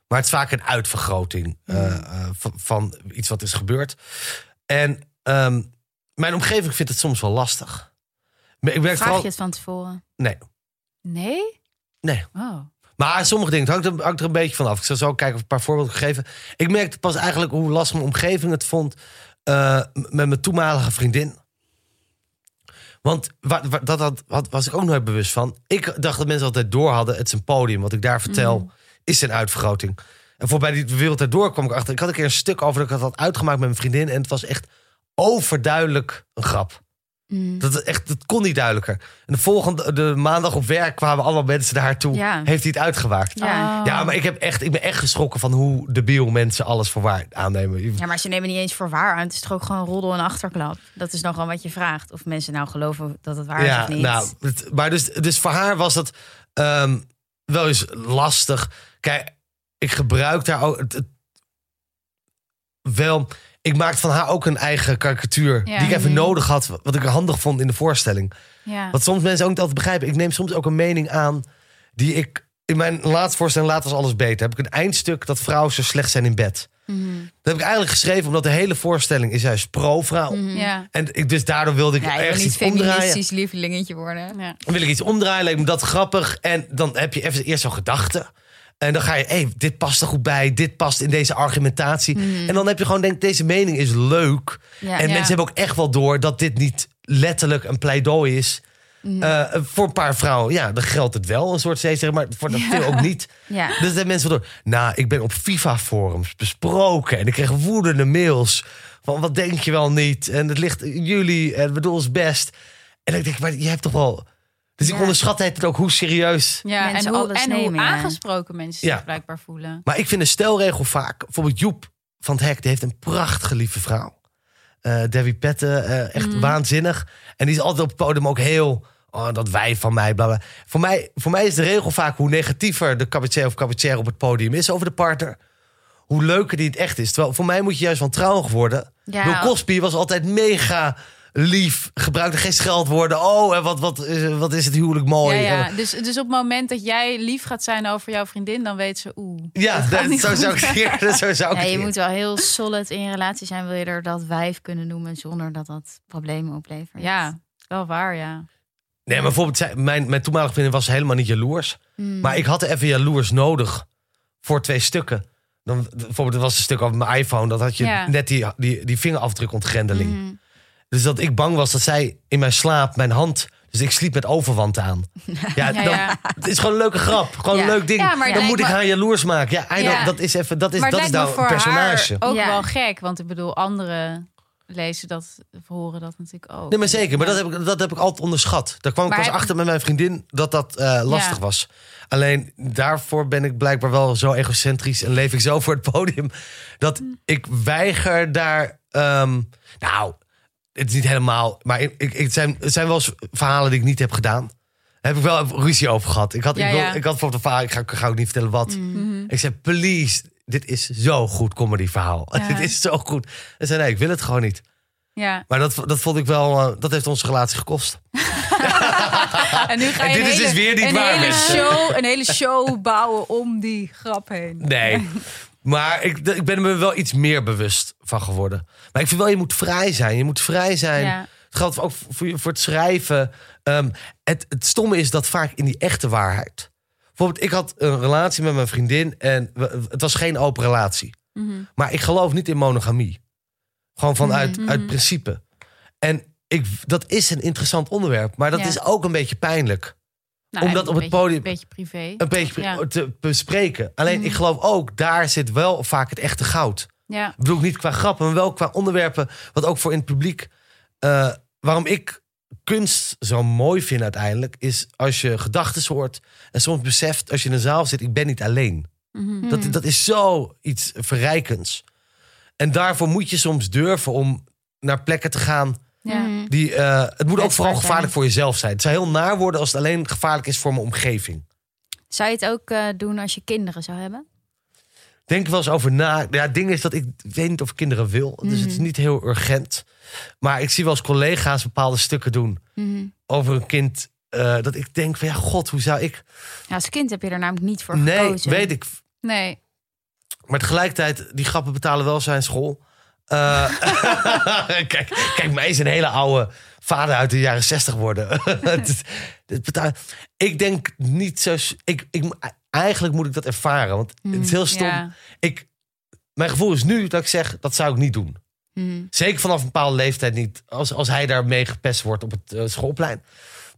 S3: Maar het is vaak een uitvergroting eh, eh, van, van iets wat is gebeurd. En ehm, mijn omgeving vindt het soms wel lastig. Maar Ik merk
S1: Vraag
S3: vooral,
S1: je het van tevoren?
S3: Nee.
S2: Nee?
S3: Nee.
S2: Oh.
S3: Maar sommige dingen, het hangt er, hangt er een beetje van af. Ik zal zo kijken of ik een paar voorbeelden kan geven. Ik merkte pas eigenlijk hoe lastig mijn omgeving het vond eh, met mijn toenmalige vriendin. Want wa- wa- dat had, had- was ik ook nooit bewust van. Ik dacht dat mensen altijd door hadden. Het is een podium. Wat ik daar vertel
S1: Mm.
S3: is een uitvergroting. En voorbij die wereld daardoor kwam ik achter. Ik had een keer een stuk over dat ik dat had uitgemaakt met mijn vriendin. En het was echt overduidelijk een grap.
S1: Mm.
S3: Dat, het echt, dat kon niet duidelijker. En de volgende de maandag op werk kwamen allemaal mensen naar haar toe.
S1: Ja.
S3: Heeft hij het uitgewaakt?
S1: Ja.
S2: Oh.
S3: Ja, maar ik, heb echt, ik ben echt geschrokken van hoe debiel mensen alles voor waar aannemen.
S1: Ja, maar ze nemen niet eens voor waar aan. Het is toch ook gewoon roddel en achterklap. Dat is dan gewoon wat je vraagt. Of mensen nou geloven dat het waar is of niet.
S3: nou, het- maar dus, dus voor haar was dat ehm, wel eens lastig. Kijk, ik gebruik daar ook het- het- wel. Ik maak van haar ook een eigen karikatuur
S2: Ja.
S3: die ik even
S1: Mhm.
S3: nodig had, wat ik handig vond in de voorstelling.
S2: Ja.
S3: Wat soms mensen ook niet altijd begrijpen. Ik neem soms ook een mening aan die ik in mijn laatste voorstelling Laat was alles beter... heb ik een eindstuk dat vrouwen zo slecht zijn in bed.
S1: Mhm.
S3: Dat heb ik eigenlijk geschreven omdat de hele voorstelling is juist pro-vrouw.
S2: Ja.
S3: En ik, dus daardoor wilde ik
S1: Mhm. Ja, je wil
S3: ergens
S1: niet
S3: iets omdraaien.
S1: feministisch lievelingetje worden.
S2: ja.
S3: Dan wil ik iets omdraaien, lijkt me dat grappig. En dan heb je even eerst zo'n gedachte. En dan ga je, hé, dit past er goed bij. Dit past in deze argumentatie. En dan heb je gewoon, denk deze mening is leuk.
S1: Mhm. Ja.
S3: en
S2: Ja.
S3: mensen hebben ook echt wel door dat dit niet letterlijk een pleidooi is.
S1: Mhm.
S3: Eh, voor een paar vrouwen, ja, dan geldt het wel. Een soort steeds, zeg maar voor dat veel ook niet.
S1: Ja.
S3: Dus dat mensen wel door. Nou, ik ben op FIFA-forums besproken. En ik kreeg woedende mails. Van wat denk je wel niet? En het ligt jullie. En we doen ons best. En ik denk, maar je hebt toch wel... Dus ik
S1: Ja.
S3: onderschat het ook hoe serieus...
S2: Ja,
S1: Mensen
S2: en hoe,
S1: alles
S2: en hoe
S1: nemen, ja.
S2: aangesproken mensen
S3: Ja.
S2: zich blijkbaar voelen.
S3: Maar ik vind een stelregel vaak... Bijvoorbeeld Joep van het Hek, die heeft een prachtige lieve vrouw. Eh Debbie Petten, eh, echt waanzinnig. En die is altijd op het podium ook heel... Oh, dat wij van mij, bla bla. Voor mij, voor mij is de regel vaak hoe negatiever de cabaretier of cabaretier op het podium is over de partner... hoe leuker die het echt is. Terwijl voor mij moet je juist wantrouwig worden.
S1: Ja.
S3: Bill Cosby was altijd mega lief, gebruikte geen scheldwoorden. Oh, en wat, wat, eh, wat is het huwelijk mooi.
S2: ja, ja.
S3: En-
S2: Dus, dus op het moment dat jij lief gaat zijn over jouw vriendin, dan weet ze oeh.
S3: Ja, dat
S2: niet
S3: zo,
S2: goed.
S3: zou ik het eerder- zo zou ik
S1: Ja,
S3: het
S1: je
S3: eerder-
S1: moet wel heel solid in je relatie zijn, wil je er dat wijf kunnen noemen zonder dat dat problemen oplevert.
S2: Ja, wel waar, ja.
S3: Dus Nee, maar bijvoorbeeld, zij- mijn, mijn toenmalige vriendin was helemaal niet jaloers.
S2: Hmm.
S3: Maar ik had even jaloers nodig voor twee stukken. Dan, bijvoorbeeld, er was een stuk over mijn iPhone. Dat had je
S2: Ja. Hmm.
S3: net die, die, die vingerafdrukontgrendeling. Dus dat ik bang was dat zij in mijn slaap mijn hand... Dus ik sliep met overwand aan. Ja,
S2: Ja,
S3: dan-
S2: ja.
S3: het is gewoon een leuke grap. Gewoon een
S1: Ja.
S3: leuk ding.
S2: Ja, maar het
S3: dan
S2: lijkt
S3: moet ik
S2: me-
S3: haar jaloers maken. Ja, I
S2: Ja.
S3: don't- dat is even dat is,
S2: maar
S3: dat is
S2: het lijkt
S3: nou
S2: me
S3: een
S2: voor
S3: personage.
S2: haar ook
S1: Ja.
S2: wel gek. Want ik bedoel, anderen lezen dat, of horen dat natuurlijk ook.
S3: Nee, maar zeker. Maar
S2: Ja.
S3: dat heb ik, dat heb ik altijd onderschat. Daar kwam ik
S2: Maar
S3: pas
S2: heb-
S3: achter met mijn vriendin dat dat eh, lastig
S2: Ja.
S3: was. Alleen daarvoor ben ik blijkbaar wel zo egocentrisch en leef ik zo voor het podium. Dat ik weiger daar. ehm, nou, het is niet helemaal. Maar ik, ik, het, zijn, het zijn wel eens verhalen die ik niet heb gedaan. Daar heb ik wel ruzie over gehad. Ik had,
S2: Ja,
S3: ik wil,
S2: ja. Mm. Mhm.
S3: Ik had bijvoorbeeld een verhaal, ik ga, ik ga ook niet vertellen wat. Ik zei, please, dit is zo goed comedy verhaal.
S2: Ja.
S3: Dit is zo goed. En zei, nee, ik wil het gewoon niet.
S2: Ja,
S3: Maar dat, dat vond ik wel, eh, dat heeft onze relatie gekost.
S2: en nu ga
S3: En
S2: je
S3: dit
S2: een
S3: is
S2: hele,
S3: dus weer niet
S2: een
S3: waar,
S2: hele
S3: mensen.
S2: show, Een hele show bouwen om die grap heen.
S3: Nee. Maar ik, d- ik ben er me wel iets meer bewust van geworden. Maar ik vind wel, je moet vrij zijn. Je moet vrij zijn.
S2: Ja.
S3: Het geldt ook voor, je- voor het schrijven. Ehm, het, het stomme is dat vaak in die echte waarheid. Bijvoorbeeld, ik had een relatie met mijn vriendin en we- het was geen open relatie.
S2: Mhm.
S3: Maar ik geloof niet in monogamie. Gewoon vanuit
S2: Mhm.
S3: uit principe. En ik, dat is een interessant onderwerp, maar dat
S2: Ja.
S3: is ook een beetje pijnlijk.
S2: Nou,
S3: Omdat
S2: en
S3: op
S2: een
S3: het
S2: beetje-
S3: podium-
S2: Een beetje privé.
S3: Een beetje
S2: Ja. Mhm.
S3: te bespreken. Alleen ik geloof ook, daar zit wel vaak het echte goud.
S2: Ja,
S3: Ik bedoel niet qua grappen, maar wel qua onderwerpen. Wat ook voor in het publiek. eh, waarom ik kunst zo mooi vind uiteindelijk. Is als je gedachten hoort. En soms beseft als je in een zaal zit: ik ben niet alleen.
S2: mhm.
S3: Dat, dat is zo iets verrijkends. En daarvoor moet je soms durven om naar plekken te gaan.
S2: ja.
S3: Die, eh, het moet ook vooral
S1: zijn.
S3: gevaarlijk voor jezelf zijn. Het zou heel naar worden als het alleen gevaarlijk is voor mijn omgeving.
S1: Zou je het ook eh, doen als je kinderen zou hebben?
S3: denk er wel eens over na. Ja, het ding is dat ik weet niet of ik kinderen wil. Dus het
S1: Mhm.
S3: is niet heel urgent. Maar ik zie wel eens collega's bepaalde stukken doen
S1: Mhm.
S3: over een kind. eh, dat ik denk van ja, god, hoe zou ik...
S1: Ja, als kind heb je er namelijk niet voor
S3: Nee,
S1: gekozen.
S3: weet ik.
S2: Nee,
S3: Maar tegelijkertijd, die grappen betalen wel zijn school. Eh, kijk, kijk, mij is een hele oude vader uit de jaren zestig worden. Het is- het betaal- ik denk niet zo... s- Ik, ik, eigenlijk moet ik dat ervaren, want het is heel stom.
S2: Mm, ja.
S3: Ik, mijn gevoel is nu dat ik zeg, dat zou ik niet doen.
S2: Mm.
S3: Zeker vanaf een bepaalde leeftijd niet. Als, als hij daarmee gepest wordt op het eh, schoolplein.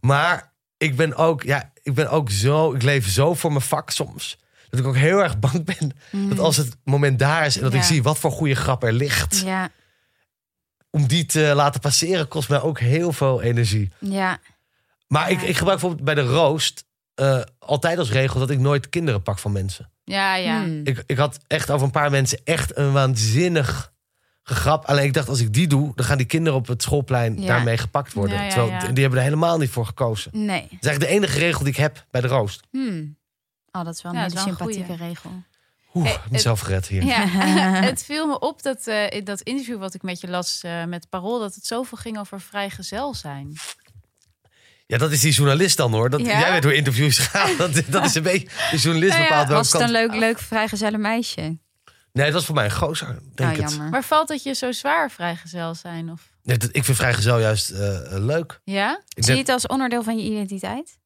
S3: Maar ik ben ook, ja, ik ben ook zo, ik leef zo voor mijn vak soms. Dat ik ook heel erg bang ben
S1: Mm.
S3: dat als het moment daar is en dat ik
S2: Mm. Ja.
S3: zie wat voor goede grap er ligt.
S1: Ja,
S3: Om die te laten passeren kost mij ook heel veel energie.
S1: ja.
S3: Maar ik,
S1: Ja.
S3: ik gebruik bijvoorbeeld bij de roost eh, altijd als regel dat ik nooit kinderen pak van mensen.
S2: ja, ja.
S1: Hmm.
S3: Ik, ik had echt over een paar mensen echt een waanzinnig grap. Alleen ik dacht, als ik die doe, dan gaan die kinderen op het schoolplein
S1: Ja.
S3: daarmee gepakt worden.
S2: Ja, ja,
S3: Terwijl
S2: ja.
S3: d- die hebben er helemaal niet voor gekozen.
S1: Nee.
S3: Dat is eigenlijk de enige regel die ik heb bij de roost.
S1: Hmm. Oh, dat is wel een
S2: Ja, dat
S1: hele
S2: is wel een goeie.
S1: sympathieke regel.
S3: Oeh,
S1: Eh,
S2: Hey,
S3: ik heb mezelf gered hier.
S2: Ja, het viel me op dat eh, in dat interview wat ik met je las eh, met Parool, dat het zoveel ging over vrijgezel zijn.
S3: Ja, dat is die journalist dan hoor. Dat,
S1: Ja?
S3: Jij weet hoe interviews gaan. Dat, dat is een beetje. De journalist
S1: Nou ja,
S3: bepaalt welke
S1: was het
S3: kant.
S1: een leuk, leuk vrijgezellen meisje?
S3: Nee, dat is voor mij een gozer. Denk
S1: nou,
S3: het.
S1: jammer.
S2: Maar valt dat je zo zwaar vrijgezel zijn? Of...
S3: Nee, dat- ik vind vrijgezel juist eh, eh, leuk.
S2: Ja?
S3: Ik
S1: Zie
S3: denk-
S1: je het als onderdeel van je identiteit?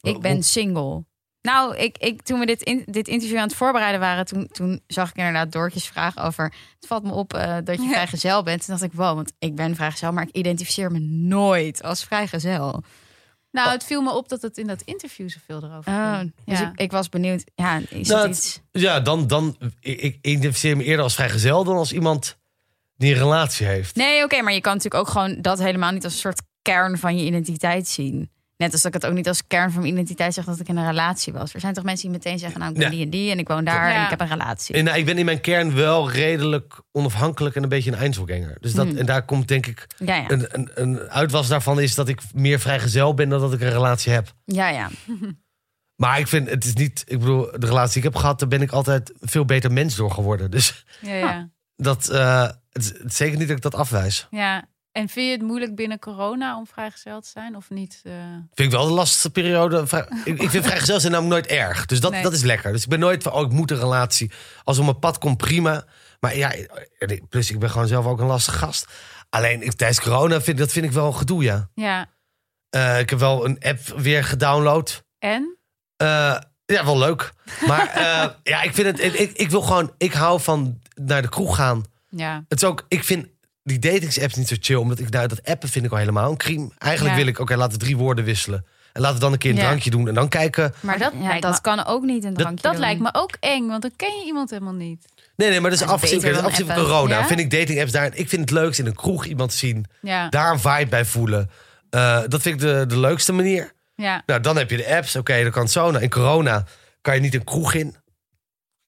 S1: Ik
S3: Hoe-
S1: ben single. Nou, ik, ik, toen we dit, in, dit interview aan het voorbereiden waren, toen, toen zag ik inderdaad Doortjes vraag over. Het valt me op eh, dat je vrijgezel bent. Toen dacht ik, wow, want ik ben vrijgezel, maar ik identificeer me nooit als vrijgezel.
S2: Nou, het viel me op dat het in dat interview zoveel erover
S1: Oh,
S2: ging.
S1: Dus
S2: Ja.
S1: ik, ik was benieuwd. Ja, is
S3: Nou,
S1: dat
S3: het-
S1: iets?
S3: Ja, dan, dan ik, ik identificeer me eerder als vrijgezel dan als iemand die een relatie heeft.
S1: Nee, oké, maar je kan natuurlijk ook gewoon dat helemaal niet als een soort kern van je identiteit zien. Net als dat ik het ook niet als kern van mijn identiteit zeg dat ik in een relatie was. Er zijn toch mensen die meteen zeggen, nou, ik ben
S3: Ja.
S1: die en die en ik woon daar en
S2: Ja.
S1: ik heb een relatie.
S3: En, nou, ik ben in mijn kern wel redelijk onafhankelijk en een beetje een eindselganger. Dus dat,
S1: Hmm.
S3: en daar komt denk ik
S1: Ja, ja.
S3: een, een, een uitwas daarvan is dat ik meer vrijgezel ben dan dat ik een relatie heb.
S1: ja, ja.
S3: Maar ik vind het is niet, ik bedoel, de relatie die ik heb gehad, daar ben ik altijd veel beter mens door geworden. Dus
S2: Ja, ja.
S3: dat, eh, het, is, het is zeker niet dat ik dat afwijs.
S2: ja. En vind je het moeilijk binnen corona om vrijgezel te zijn of niet? eh?
S3: Vind ik wel de lastigste periode. Vrij- Ik, ik vind vrijgezel zijn namelijk nooit erg. Dus dat,
S2: Nee.
S3: dat is lekker. Dus ik ben nooit van, oh, ik moet een relatie. Als het op mijn pad komt, prima. Maar ja, plus ik ben gewoon zelf ook een lastig gast. Alleen ik, tijdens corona, vind, dat vind ik wel een gedoe, ja.
S2: Ja.
S3: Eh, ik heb wel een app weer gedownload.
S2: En?
S3: Eh, ja, wel leuk. Maar eh, ja, ik vind het. Ik, ik wil gewoon. Ik hou van naar de kroeg gaan.
S2: Ja.
S3: Het is ook. Ik vind die datingsapps niet zo chill. Omdat ik nou, dat appen vind ik al helemaal een crime. Eigenlijk
S2: Ja.
S3: wil ik. Oké, laten we drie woorden wisselen. En laten we dan een keer een
S2: Ja.
S3: drankje doen. En dan kijken.
S1: Maar dat,
S2: dat
S1: ja,
S2: lijkt
S1: dat
S2: me-
S1: kan ook niet een drankje
S2: Dat lijkt me ook eng, want dan ken je iemand helemaal niet.
S3: Nee, nee, maar dat is
S1: Dat is
S3: afgezien,
S1: beter
S3: dat is
S1: dan
S3: afgezien van
S1: appen.
S3: corona.
S2: Ja?
S3: Vind ik datingapps daar. Ik vind het leukst in een kroeg iemand zien.
S2: Ja.
S3: Daar een vibe bij voelen. Eh, dat vind ik de, de leukste manier.
S2: Ja.
S3: Nou, dan heb je de apps. Oké, dan kan het zo. Nou, in corona kan je niet een kroeg in.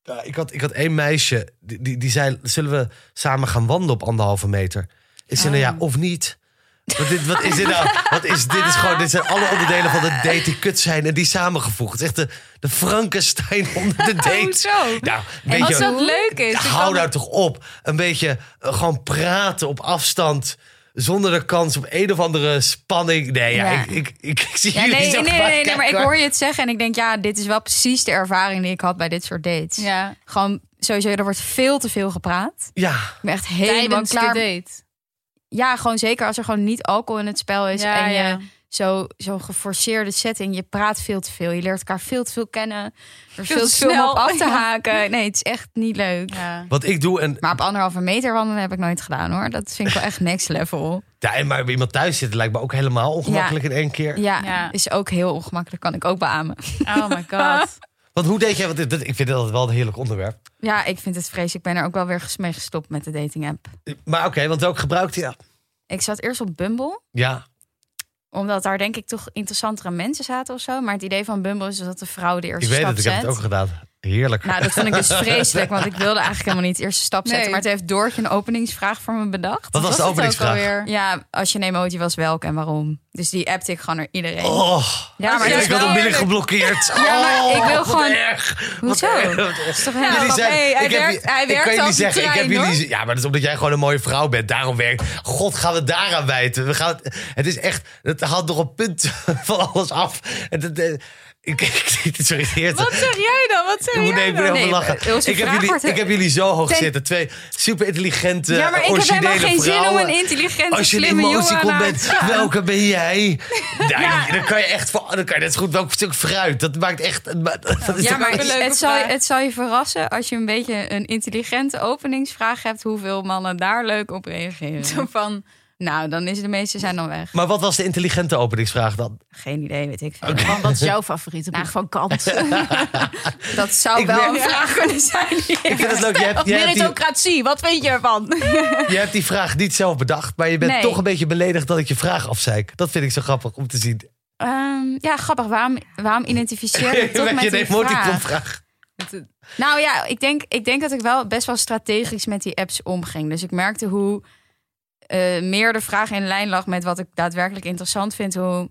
S3: Ja, ik, had, ik had één meisje, die, die, die zei... zullen we samen gaan wandelen op anderhalve meter? Ik zei,
S2: Oh.
S3: nou ja, of niet. Wat, dit, wat is dit nou? Wat is, dit, is gewoon, dit zijn alle onderdelen van de date die kut zijn... en die samengevoegd. Het is echt de, de Frankenstein onder de date.
S2: Hoezo?
S3: Nou,
S1: En
S3: weet
S2: Oh, Als
S3: je,
S2: dat leuk is. dan
S3: hou
S2: kan-
S3: nou toch op. Een beetje eh, gewoon praten op afstand... Zonder de kans op een of andere spanning. Nee, ja,
S1: Ja.
S3: Ik, ik, ik, ik zie
S1: Ja,
S3: jullie
S1: nee,
S3: zo
S1: nee, nee,
S3: vaak
S1: nee, nee, maar ik
S3: kijken,
S1: hoor je het zeggen en ik denk, ja, dit is wel precies de ervaring die ik had bij dit soort dates.
S2: Ja.
S1: Gewoon sowieso, er wordt veel te veel gepraat.
S3: Ja,
S1: Ik ben echt helemaal
S2: Tijdens de
S1: klaar.
S2: date.
S1: Ja, gewoon zeker als er gewoon niet alcohol in het spel is
S2: Ja,
S1: en je
S2: ja.
S1: zo- zo'n geforceerde setting. Je praat veel te veel. Je leert elkaar veel te veel kennen. Er is
S2: Veel
S1: veel
S2: te
S1: te veel om
S2: snel.
S1: op af te haken. Nee, het is echt niet leuk.
S2: Ja.
S3: wat ik doe, en,
S1: Maar op anderhalve meter wandelen heb ik nooit gedaan hoor. Dat vind ik wel echt next level.
S3: ja, en maar bij iemand thuis zitten lijkt me ook helemaal ongemakkelijk in één keer.
S1: Ja,
S2: Ja.
S1: is ook heel ongemakkelijk. Kan ik ook beamen.
S2: Oh my god.
S3: Want hoe deed jij, want dit- dit- ik vind dat wel een heerlijk onderwerp.
S1: Ja, ik vind het vreselijk. Ik ben er ook wel weer ges- mee gestopt met de dating app.
S3: Maar oké, want welk gebruikte je?
S1: Ik zat eerst op Bumble.
S3: Ja,
S1: Omdat daar denk ik toch interessantere mensen zaten of zo. Maar het idee van Bumble is dus dat de vrouw de eerste
S3: ik weet
S1: stap
S3: het, ik heb het
S1: zet.
S3: ook gedaan. Heerlijk.
S1: Nou, dat vond ik dus vreselijk, want ik wilde eigenlijk helemaal niet de eerste stap zetten.
S2: Nee.
S1: Maar het heeft Doortje een openingsvraag voor me bedacht.
S3: Wat was de
S2: het ook
S3: openingsvraag?
S2: alweer?
S1: Ja, als je een emoji was, welk en waarom? Dus die appte ik gewoon naar iedereen.
S3: Oh,
S1: ja, maar
S2: dat
S1: dat is
S3: ik
S2: wel
S3: had
S1: wel...
S3: onmiddellijk geblokkeerd.
S1: Ja, maar ik
S3: Oh,
S1: wil
S3: wat
S1: gewoon-
S3: Erg. Wat
S1: Hoezo?
S3: erg.
S1: Dat is toch
S2: Ja,
S1: helemaal...
S3: Jullie
S2: want
S3: zijn-
S2: hey, hij
S3: ik heb
S2: werkt-
S3: je-
S2: hij
S3: ik
S2: werkt
S3: kan jullie
S2: als een
S3: zeggen, ik heb
S2: trein,
S3: jullie, ze- ja, maar dat is omdat jij gewoon een mooie vrouw bent. Daarom werkt. God, gaan we daaraan wijten. We gaan, het- het is echt. Het haalt nog een punt van alles af. Het, het, eh, ik, ik, sorry, het irriteert me.
S2: Wat zeg jij dan? Wat zeg
S3: Ik moet
S2: jij
S3: even heel
S2: dan?
S3: veel
S1: Nee,
S3: lachen.
S1: maar Ilse
S3: Ik heb,
S1: Vraag
S3: jullie,
S1: wordt-
S3: ik heb jullie zo hoog
S1: Ten-
S3: zitten. Twee super intelligente,
S1: Ja, maar ik heb helemaal geen zin om een intelligente,
S3: eh, Als je een
S1: slimme jongen
S3: emoticon
S1: aan
S3: bent, welke ben jij? Ja, Dan kan je echt voor, dan kan je net zo goed welk stuk fruit. Dat maakt echt. Dat is
S1: Ja,
S3: toch
S1: maar
S3: ook-
S2: een leuke
S1: het zal, je-
S2: vraag.
S1: het zal je verrassen als je een beetje een intelligente openingsvraag hebt... hoeveel mannen daar leuk op
S2: Zo
S1: reageren.
S2: van,
S1: Nou, dan is de meeste zijn dan weg.
S3: maar wat was de intelligente openingsvraag dan?
S1: Geen idee, weet ik veel.
S2: van wat is jouw favoriete boek van Kant?
S1: Dat zou
S3: Ik
S1: wel
S3: merk-
S1: een vraag kunnen zijn.
S3: Ik vind het leuk. Je hebt, je, hebt die,
S2: Meritocratie, wat vind je ervan?
S3: je hebt die vraag niet zelf bedacht, maar je bent
S1: Nee.
S3: toch een beetje beledigd dat ik je vraag afzeik. Dat vind ik zo grappig om te zien.
S1: Ehm, ja, grappig. Waarom, waarom identificeer je toch
S3: Met
S1: met
S3: je
S1: die
S3: emoticon
S1: vraag?
S3: vraag.
S1: Nou ja, ik denk, ik denk dat ik wel best wel strategisch met die apps omging. Dus ik merkte hoe eh, meer de vraag in lijn lag met wat ik daadwerkelijk interessant vind, hoe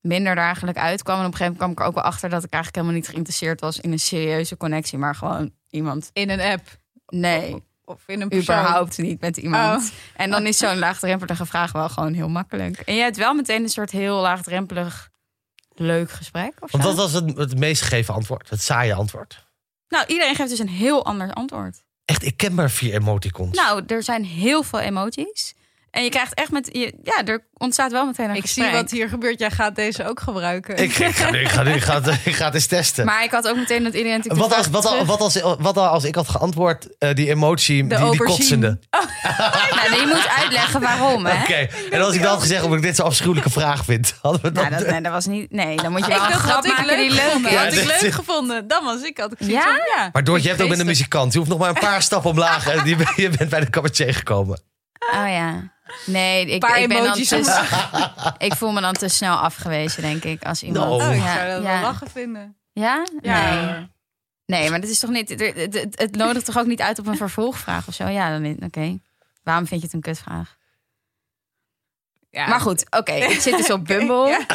S1: minder daar eigenlijk uitkwam. En op een gegeven moment kwam ik er ook wel achter dat ik eigenlijk helemaal niet geïnteresseerd was in een serieuze connectie, maar gewoon iemand.
S2: In een app.
S1: Nee.
S2: Of in een persoon?
S1: überhaupt niet met iemand.
S2: Oh.
S1: En dan is zo'n laagdrempelige vraag wel gewoon heel makkelijk. En je hebt wel meteen een soort heel laagdrempelig leuk gesprek. Of zo.
S3: Want dat was het, het meest gegeven antwoord. Het saaie antwoord.
S1: Nou, iedereen geeft dus een heel ander antwoord.
S3: Echt, ik ken maar vier emoticons.
S1: Nou, er zijn heel veel emoties. En je krijgt echt met... Je, ja, er ontstaat wel meteen een
S2: Ik
S1: gesprek.
S2: zie wat hier gebeurt. Jij gaat deze ook gebruiken.
S3: ik, ik ga, nu- ik, ga, nu- ik, ga, het- ik ga het eens testen.
S1: Maar ik had ook meteen dat iedereen... natuurlijk
S3: wat
S1: de
S3: als,
S1: vraag
S3: wat, als,
S1: terug-
S3: wat, als, wat als ik had geantwoord, eh, die emotie, die, die
S2: aubergine.
S3: kotsende.
S1: Nou, nee, je moet uitleggen waarom, hè?
S3: Oké, en als ik dan had gezegd omdat ik dit zo'n afschuwelijke vraag vind, hadden we
S1: Nou,
S3: dat...
S1: dat, nee, dat was niet... Nee, dan moet je
S2: Ik
S1: wel een
S2: dacht
S1: grap
S2: dat ik
S1: maken
S2: leuk
S1: die leuk
S2: gevonden.
S1: is.
S2: Had ik
S3: Ja, dat
S2: leuk
S3: is-
S2: gevonden. Dan was ik altijd
S1: Ja?
S2: Van, ja.
S3: Maar Doortje, je hebt ook met een
S2: Geestig.
S3: muzikant. Je hoeft nog maar een paar stappen omlaag en die, je bent bij de cabaretier gekomen.
S1: Oh ja. Nee, ik,
S2: Paar
S1: ik ben dan
S2: emojis
S1: te,
S2: omlaag.
S1: Ik voel me dan te snel afgewezen, denk ik, als iemand...
S3: Oh.
S2: Oh, ik
S1: ja,
S2: zou dat wel
S1: ja.
S2: lachen vinden.
S1: Ja?
S2: Ja.
S1: Nee. Nee, maar dat is toch niet. Het, het- het- het nodigt toch ook niet uit op een vervolgvraag of zo? Ja, dan oké. Waarom vind je het een kutvraag?
S2: Ja.
S1: Maar goed, oké. ik zit dus op Bumble.
S2: Ja.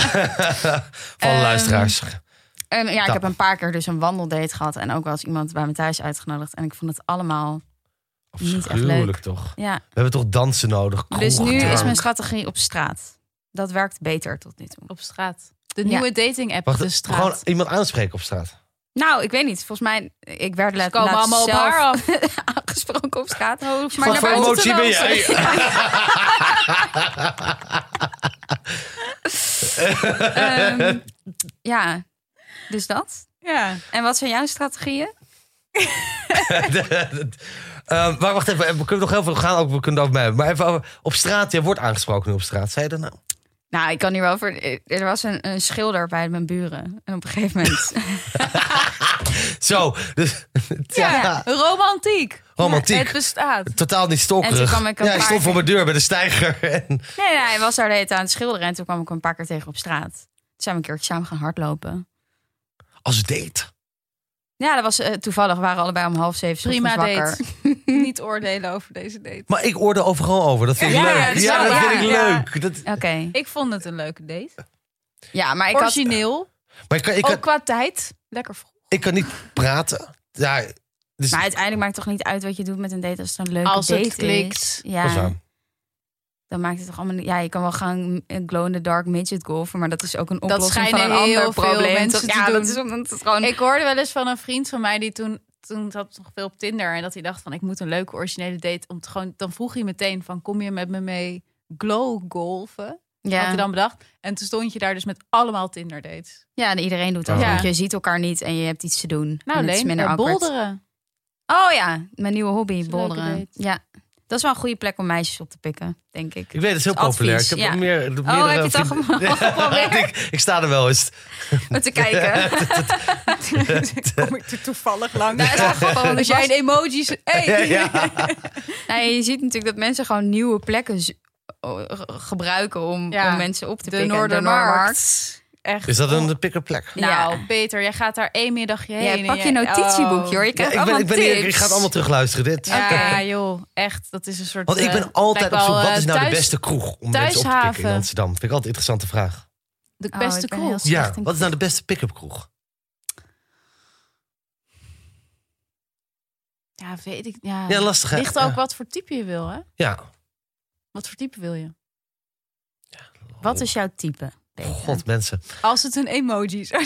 S3: Van
S1: Ehm,
S3: luisteraars.
S1: En ja, ik
S3: Ja.
S1: heb een paar keer dus een wandeldate gehad. En ook wel eens iemand bij me thuis uitgenodigd. En ik vond het allemaal. niet echt
S3: Afschuwelijk
S1: leuk.
S3: toch?
S1: Ja.
S3: We hebben toch dansen nodig?
S1: Dus nu is
S3: kroegdrank.
S1: mijn strategie op straat. Dat werkt beter tot nu toe.
S2: Op straat. De
S1: Ja.
S2: nieuwe dating app,
S3: Wacht,
S2: de straat.
S3: Gewoon iemand aanspreken op straat.
S1: Nou, ik weet niet. Volgens mij, ik werd
S2: Ze
S1: laat-
S2: komen
S1: laatst
S2: allemaal op
S1: zelf
S2: haar af.
S1: aangesproken op straat. Maar
S3: Oh, Wat
S1: naar
S3: voor
S1: buiten te
S3: emotie ben
S1: dansen.
S3: jij?
S1: Ehm, ja, dus dat.
S2: Ja.
S1: En wat zijn jouw strategieën?
S3: Ehm, maar wacht even, we kunnen nog heel veel gaan. Ook, we kunnen het ook bij. Maar even over- op straat, je wordt aangesproken nu op straat. Zei je dat nou?
S1: Nou, ik kan hier wel over. Er was een, een schilder bij mijn buren. En op een gegeven moment.
S3: Zo, dus
S2: Ja. romantiek.
S3: Romantiek.
S2: Het bestaat.
S3: totaal niet stalkerig.
S1: En toen kwam ik een
S3: ja, hij
S1: paar
S3: stond voor
S1: keer-
S3: mijn deur bij de stijger. En,
S1: nee, nee, hij was daar de hele tijd aan het schilderen. En toen kwam ik hem een paar keer tegen op straat. Toen zijn we een keertje samen gaan hardlopen.
S3: als date.
S1: Ja, dat was eh, toevallig. We waren allebei om half zeven. 's
S2: Prima
S1: ochtends wakker.
S2: date. Niet oordelen over deze date.
S3: Maar ik oorde overal over. Dat vind ik
S2: Ja,
S3: leuk.
S2: ja,
S3: Ja,
S2: dat is
S1: wel
S3: dat
S1: waar.
S3: vind ik
S2: Ja.
S3: leuk. Dat,
S1: Oké.
S2: Ik vond het een leuke date.
S1: Ja, maar ik had.
S2: Origineel.
S3: maar ik kan, ik, kan,
S2: Ook qua tijd. Lekker vroeg.
S3: ik kan niet praten. Ja, dus,
S1: Maar uiteindelijk maakt het toch niet uit wat je doet met een date als het een leuke
S2: Als het
S1: date
S2: klikt.
S1: is. Ja.
S3: dat is waar.
S1: Dan maakt het toch allemaal niet... Ja, je kan wel gaan eh, glow in the dark midget golfen, maar dat is ook een oplossing van
S2: schijnen
S1: een ander
S2: heel veel
S1: probleem.
S2: mensen
S1: toch?
S2: te
S1: ja,
S2: doen.
S1: dat is omdat het gewoon...
S2: Ik hoorde wel eens van een vriend van mij die toen toen zat nog veel op Tinder en dat hij dacht van ik moet een leuke originele date om te gewoon dan vroeg hij meteen van kom je met me mee glow golfen had
S1: ja.
S2: hij dan bedacht en toen stond je daar dus met allemaal Tinder dates
S1: ja, en iedereen doet dat.
S3: Ja.
S1: want Je ziet elkaar niet en je hebt iets te doen.
S2: nou
S1: en het is
S2: Leen
S1: minder
S2: eh,
S1: awkward.
S2: bolderen
S1: Oh ja, mijn nieuwe hobby,
S2: een
S1: bolderen.
S2: leuke
S1: Ja, dat is wel een goede plek om meisjes op te pikken, denk ik.
S3: Ik weet, het is heel
S1: Advies,
S3: populair. Ik heb
S1: ja.
S3: meer, meerdere
S1: heb je het al
S3: vrienden-
S1: ge- al geprobeerd?
S3: ik, ik sta er wel eens.
S1: Om te kijken.
S2: kom ik er toevallig lang
S1: Nou, het is wel grappig, want
S2: als
S1: ik
S2: jij
S1: was-
S2: een emoji zet- hey.
S3: Ja.
S1: Nee, je ziet natuurlijk dat mensen gewoon nieuwe plekken z- o- ge- gebruiken om,
S2: Ja,
S1: om mensen op te
S2: de
S1: pikken.
S2: Noordermarkt echt
S3: Is dat een pick-up plek?
S2: nou
S1: Ja.
S2: Peter jij gaat daar één middagje
S1: Ja,
S2: heen en
S1: pak je
S2: jij-
S1: notitieboekje
S2: Oh.
S1: hoor. Je krijgt
S3: ik, ben,
S1: allemaal
S3: ik, ben, hier-
S1: tips.
S3: ik ga het allemaal terugluisteren, dit.
S2: ja
S1: Oké.
S2: joh echt dat is een soort
S3: Want ik
S2: eh,
S3: ben altijd op
S2: lijkt
S3: zoek,
S2: wel,
S3: wat
S2: eh,
S3: is nou de
S2: thuis-
S3: beste kroeg om mensen op te pikken in
S2: thuishaven.
S3: Amsterdam? Vind ik altijd een interessante vraag.
S2: de
S1: Oh,
S2: beste
S1: ik ben
S2: kroeg
S1: heel
S3: Ja,
S1: Echt een
S3: wat is nou de beste pick-up kroeg?
S2: Ja, weet ik. Ja,
S3: Ja, lastig hè?
S2: ligt ook
S3: Ja.
S2: wat voor type je wil, hè?
S3: Ja.
S2: Wat voor type wil je?
S1: Wat is jouw type? Peter?
S3: God, mensen.
S2: Als het een emoji is.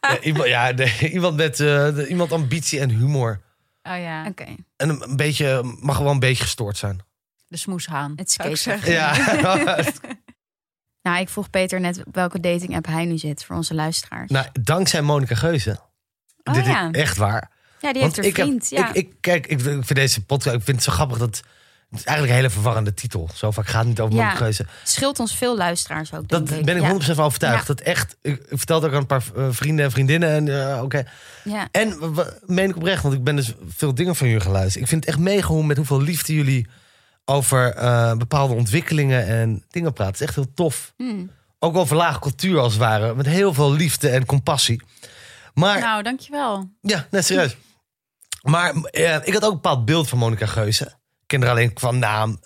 S3: Ja, iemand, ja, nee, iemand met eh, de- iemand ambitie en humor.
S2: Oh ja,
S1: Oké,
S3: En een, een beetje, mag wel een beetje gestoord zijn.
S2: de smoeshaan.
S1: het
S2: zou ik
S1: is
S2: zeggen.
S3: Ja.
S1: Nou, ik vroeg Peter net welke dating app hij nu zit voor onze luisteraars.
S3: nou, dankzij Monica Geuze.
S1: Oh,
S3: Dit
S1: ja.
S3: is echt waar.
S1: ja, die heeft
S3: Want
S1: er vriend.
S3: Ik heb,
S1: ja.
S3: ik, ik, kijk, ik, ik vind deze podcast, ik vind het zo grappig dat... Het is eigenlijk een hele verwarrende titel. Zo vaak gaat het niet over
S1: Ja.
S3: mijn keuze.
S1: Scheelt ons veel luisteraars ook,
S3: Dat
S1: denk ik.
S3: ben ik
S1: Ja.
S3: 100% van overtuigd. Dat echt, ik, ik vertel het ook aan een paar eh, vrienden en vriendinnen. En, eh, oké.
S1: Ja.
S3: en w- w- meen ik oprecht, want ik ben dus veel dingen van jullie geluisterd. Ik vind het echt mega hoe met hoeveel liefde jullie over eh, bepaalde ontwikkelingen en dingen praten. Het is echt heel tof.
S1: Hmm.
S3: Ook over lage cultuur als het ware. Met heel veel liefde en compassie. Maar
S2: Nou, dankjewel.
S3: ja, net serieus. Maar eh, ik had ook een bepaald beeld van Monica Geuze. Ik ken haar alleen qua naam.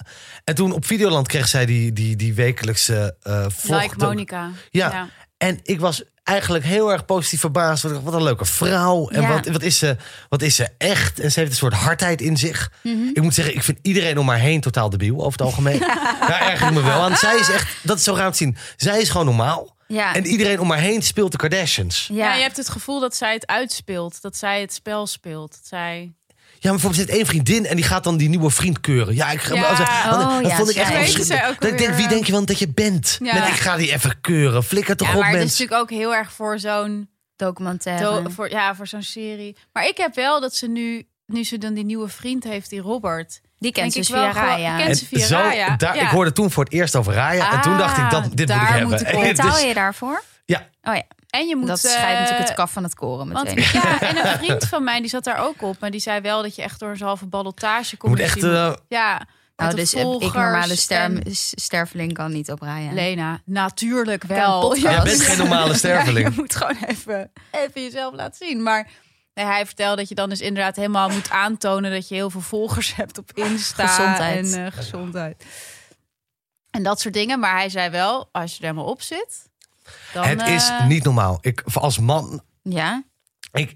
S3: En toen op Videoland kreeg zij die, die, die wekelijkse eh vlog.
S2: Like Monica.
S3: Ja. En ik was eigenlijk heel erg positief verbaasd. Want ik dacht, Wat een leuke vrouw. En
S1: Ja.
S3: wat, wat, is ze, wat is ze echt? En ze heeft een soort hardheid in zich.
S1: Mhm.
S3: Ik moet zeggen, ik vind iedereen om haar heen totaal debiel over het algemeen. Daar erger ik me wel aan. Zij is echt, dat is zo raar te zien. Zij is gewoon normaal.
S1: Ja.
S3: En iedereen om haar heen speelt de Kardashians.
S2: Ja.
S1: Ja.
S2: je hebt het gevoel dat zij het uitspeelt. Dat zij het spel speelt. Dat zij...
S3: Ja, maar bijvoorbeeld er zit één vriendin en die gaat dan die nieuwe vriend keuren. Ja, ik ga.
S2: Ja.
S3: dat-
S1: Oh,
S3: dat
S1: ja,
S3: vond ik echt
S1: zij-
S2: Weten
S3: afschrik-
S2: zij ook
S3: Dat ik denk,
S2: alweer,
S3: wie
S2: eh,
S3: denk je wel dat je bent?
S2: Ja.
S3: Met, ik ga die even keuren. Flikker toch
S2: Ja,
S3: op,
S2: maar het is
S3: mensen.
S2: natuurlijk ook heel erg voor zo'n
S1: Documentaire.
S2: do- voor, ja, voor zo'n serie. Maar ik heb wel dat ze nu, nu ze dan die nieuwe vriend heeft, die Robert.
S1: Die kent ze
S2: denk
S1: dus
S2: ik wel
S1: via
S2: gewoon-
S1: Raya.
S2: ken- mensen via Raya.
S3: daar,
S2: Ja. Ah,
S3: Ik hoorde toen voor het eerst over Raya. en toen dacht ik, dat, dit moet ik
S2: daar
S3: hebben.
S2: moet ik op.
S3: En
S1: Betaal
S3: dus-
S1: je daarvoor?
S3: Ja.
S1: Oh ja,
S2: En je moet.
S1: dat
S2: eh,
S1: scheidt natuurlijk het kaf van het koren meteen.
S2: Want, ja, en een vriend van mij die zat daar ook op, maar die zei wel dat je echt door zo'n halve ballotage
S3: je
S2: komt.
S3: moet
S2: Dus
S3: echt...
S2: je moet-
S3: eh,
S2: ja. met
S1: nou,
S2: de
S1: dus eh, ik
S2: volgers
S1: normale sterm,
S2: en-
S1: s- sterfeling kan niet op Raya.
S2: Lena, natuurlijk
S1: Kan
S2: wel.
S1: podcast. Jij
S3: bent geen normale sterveling.
S2: Ja, je moet gewoon even, even jezelf laten zien. Maar nee, hij vertelde dat je dan dus inderdaad helemaal moet aantonen dat je heel veel volgers hebt op Insta
S1: Gezondheid.
S2: en eh, gezondheid. En dat soort dingen. Maar hij zei wel, als je er helemaal op zit, dan.
S3: het is
S2: eh,
S3: niet normaal. Ik, als man,
S1: Ja?
S3: ik,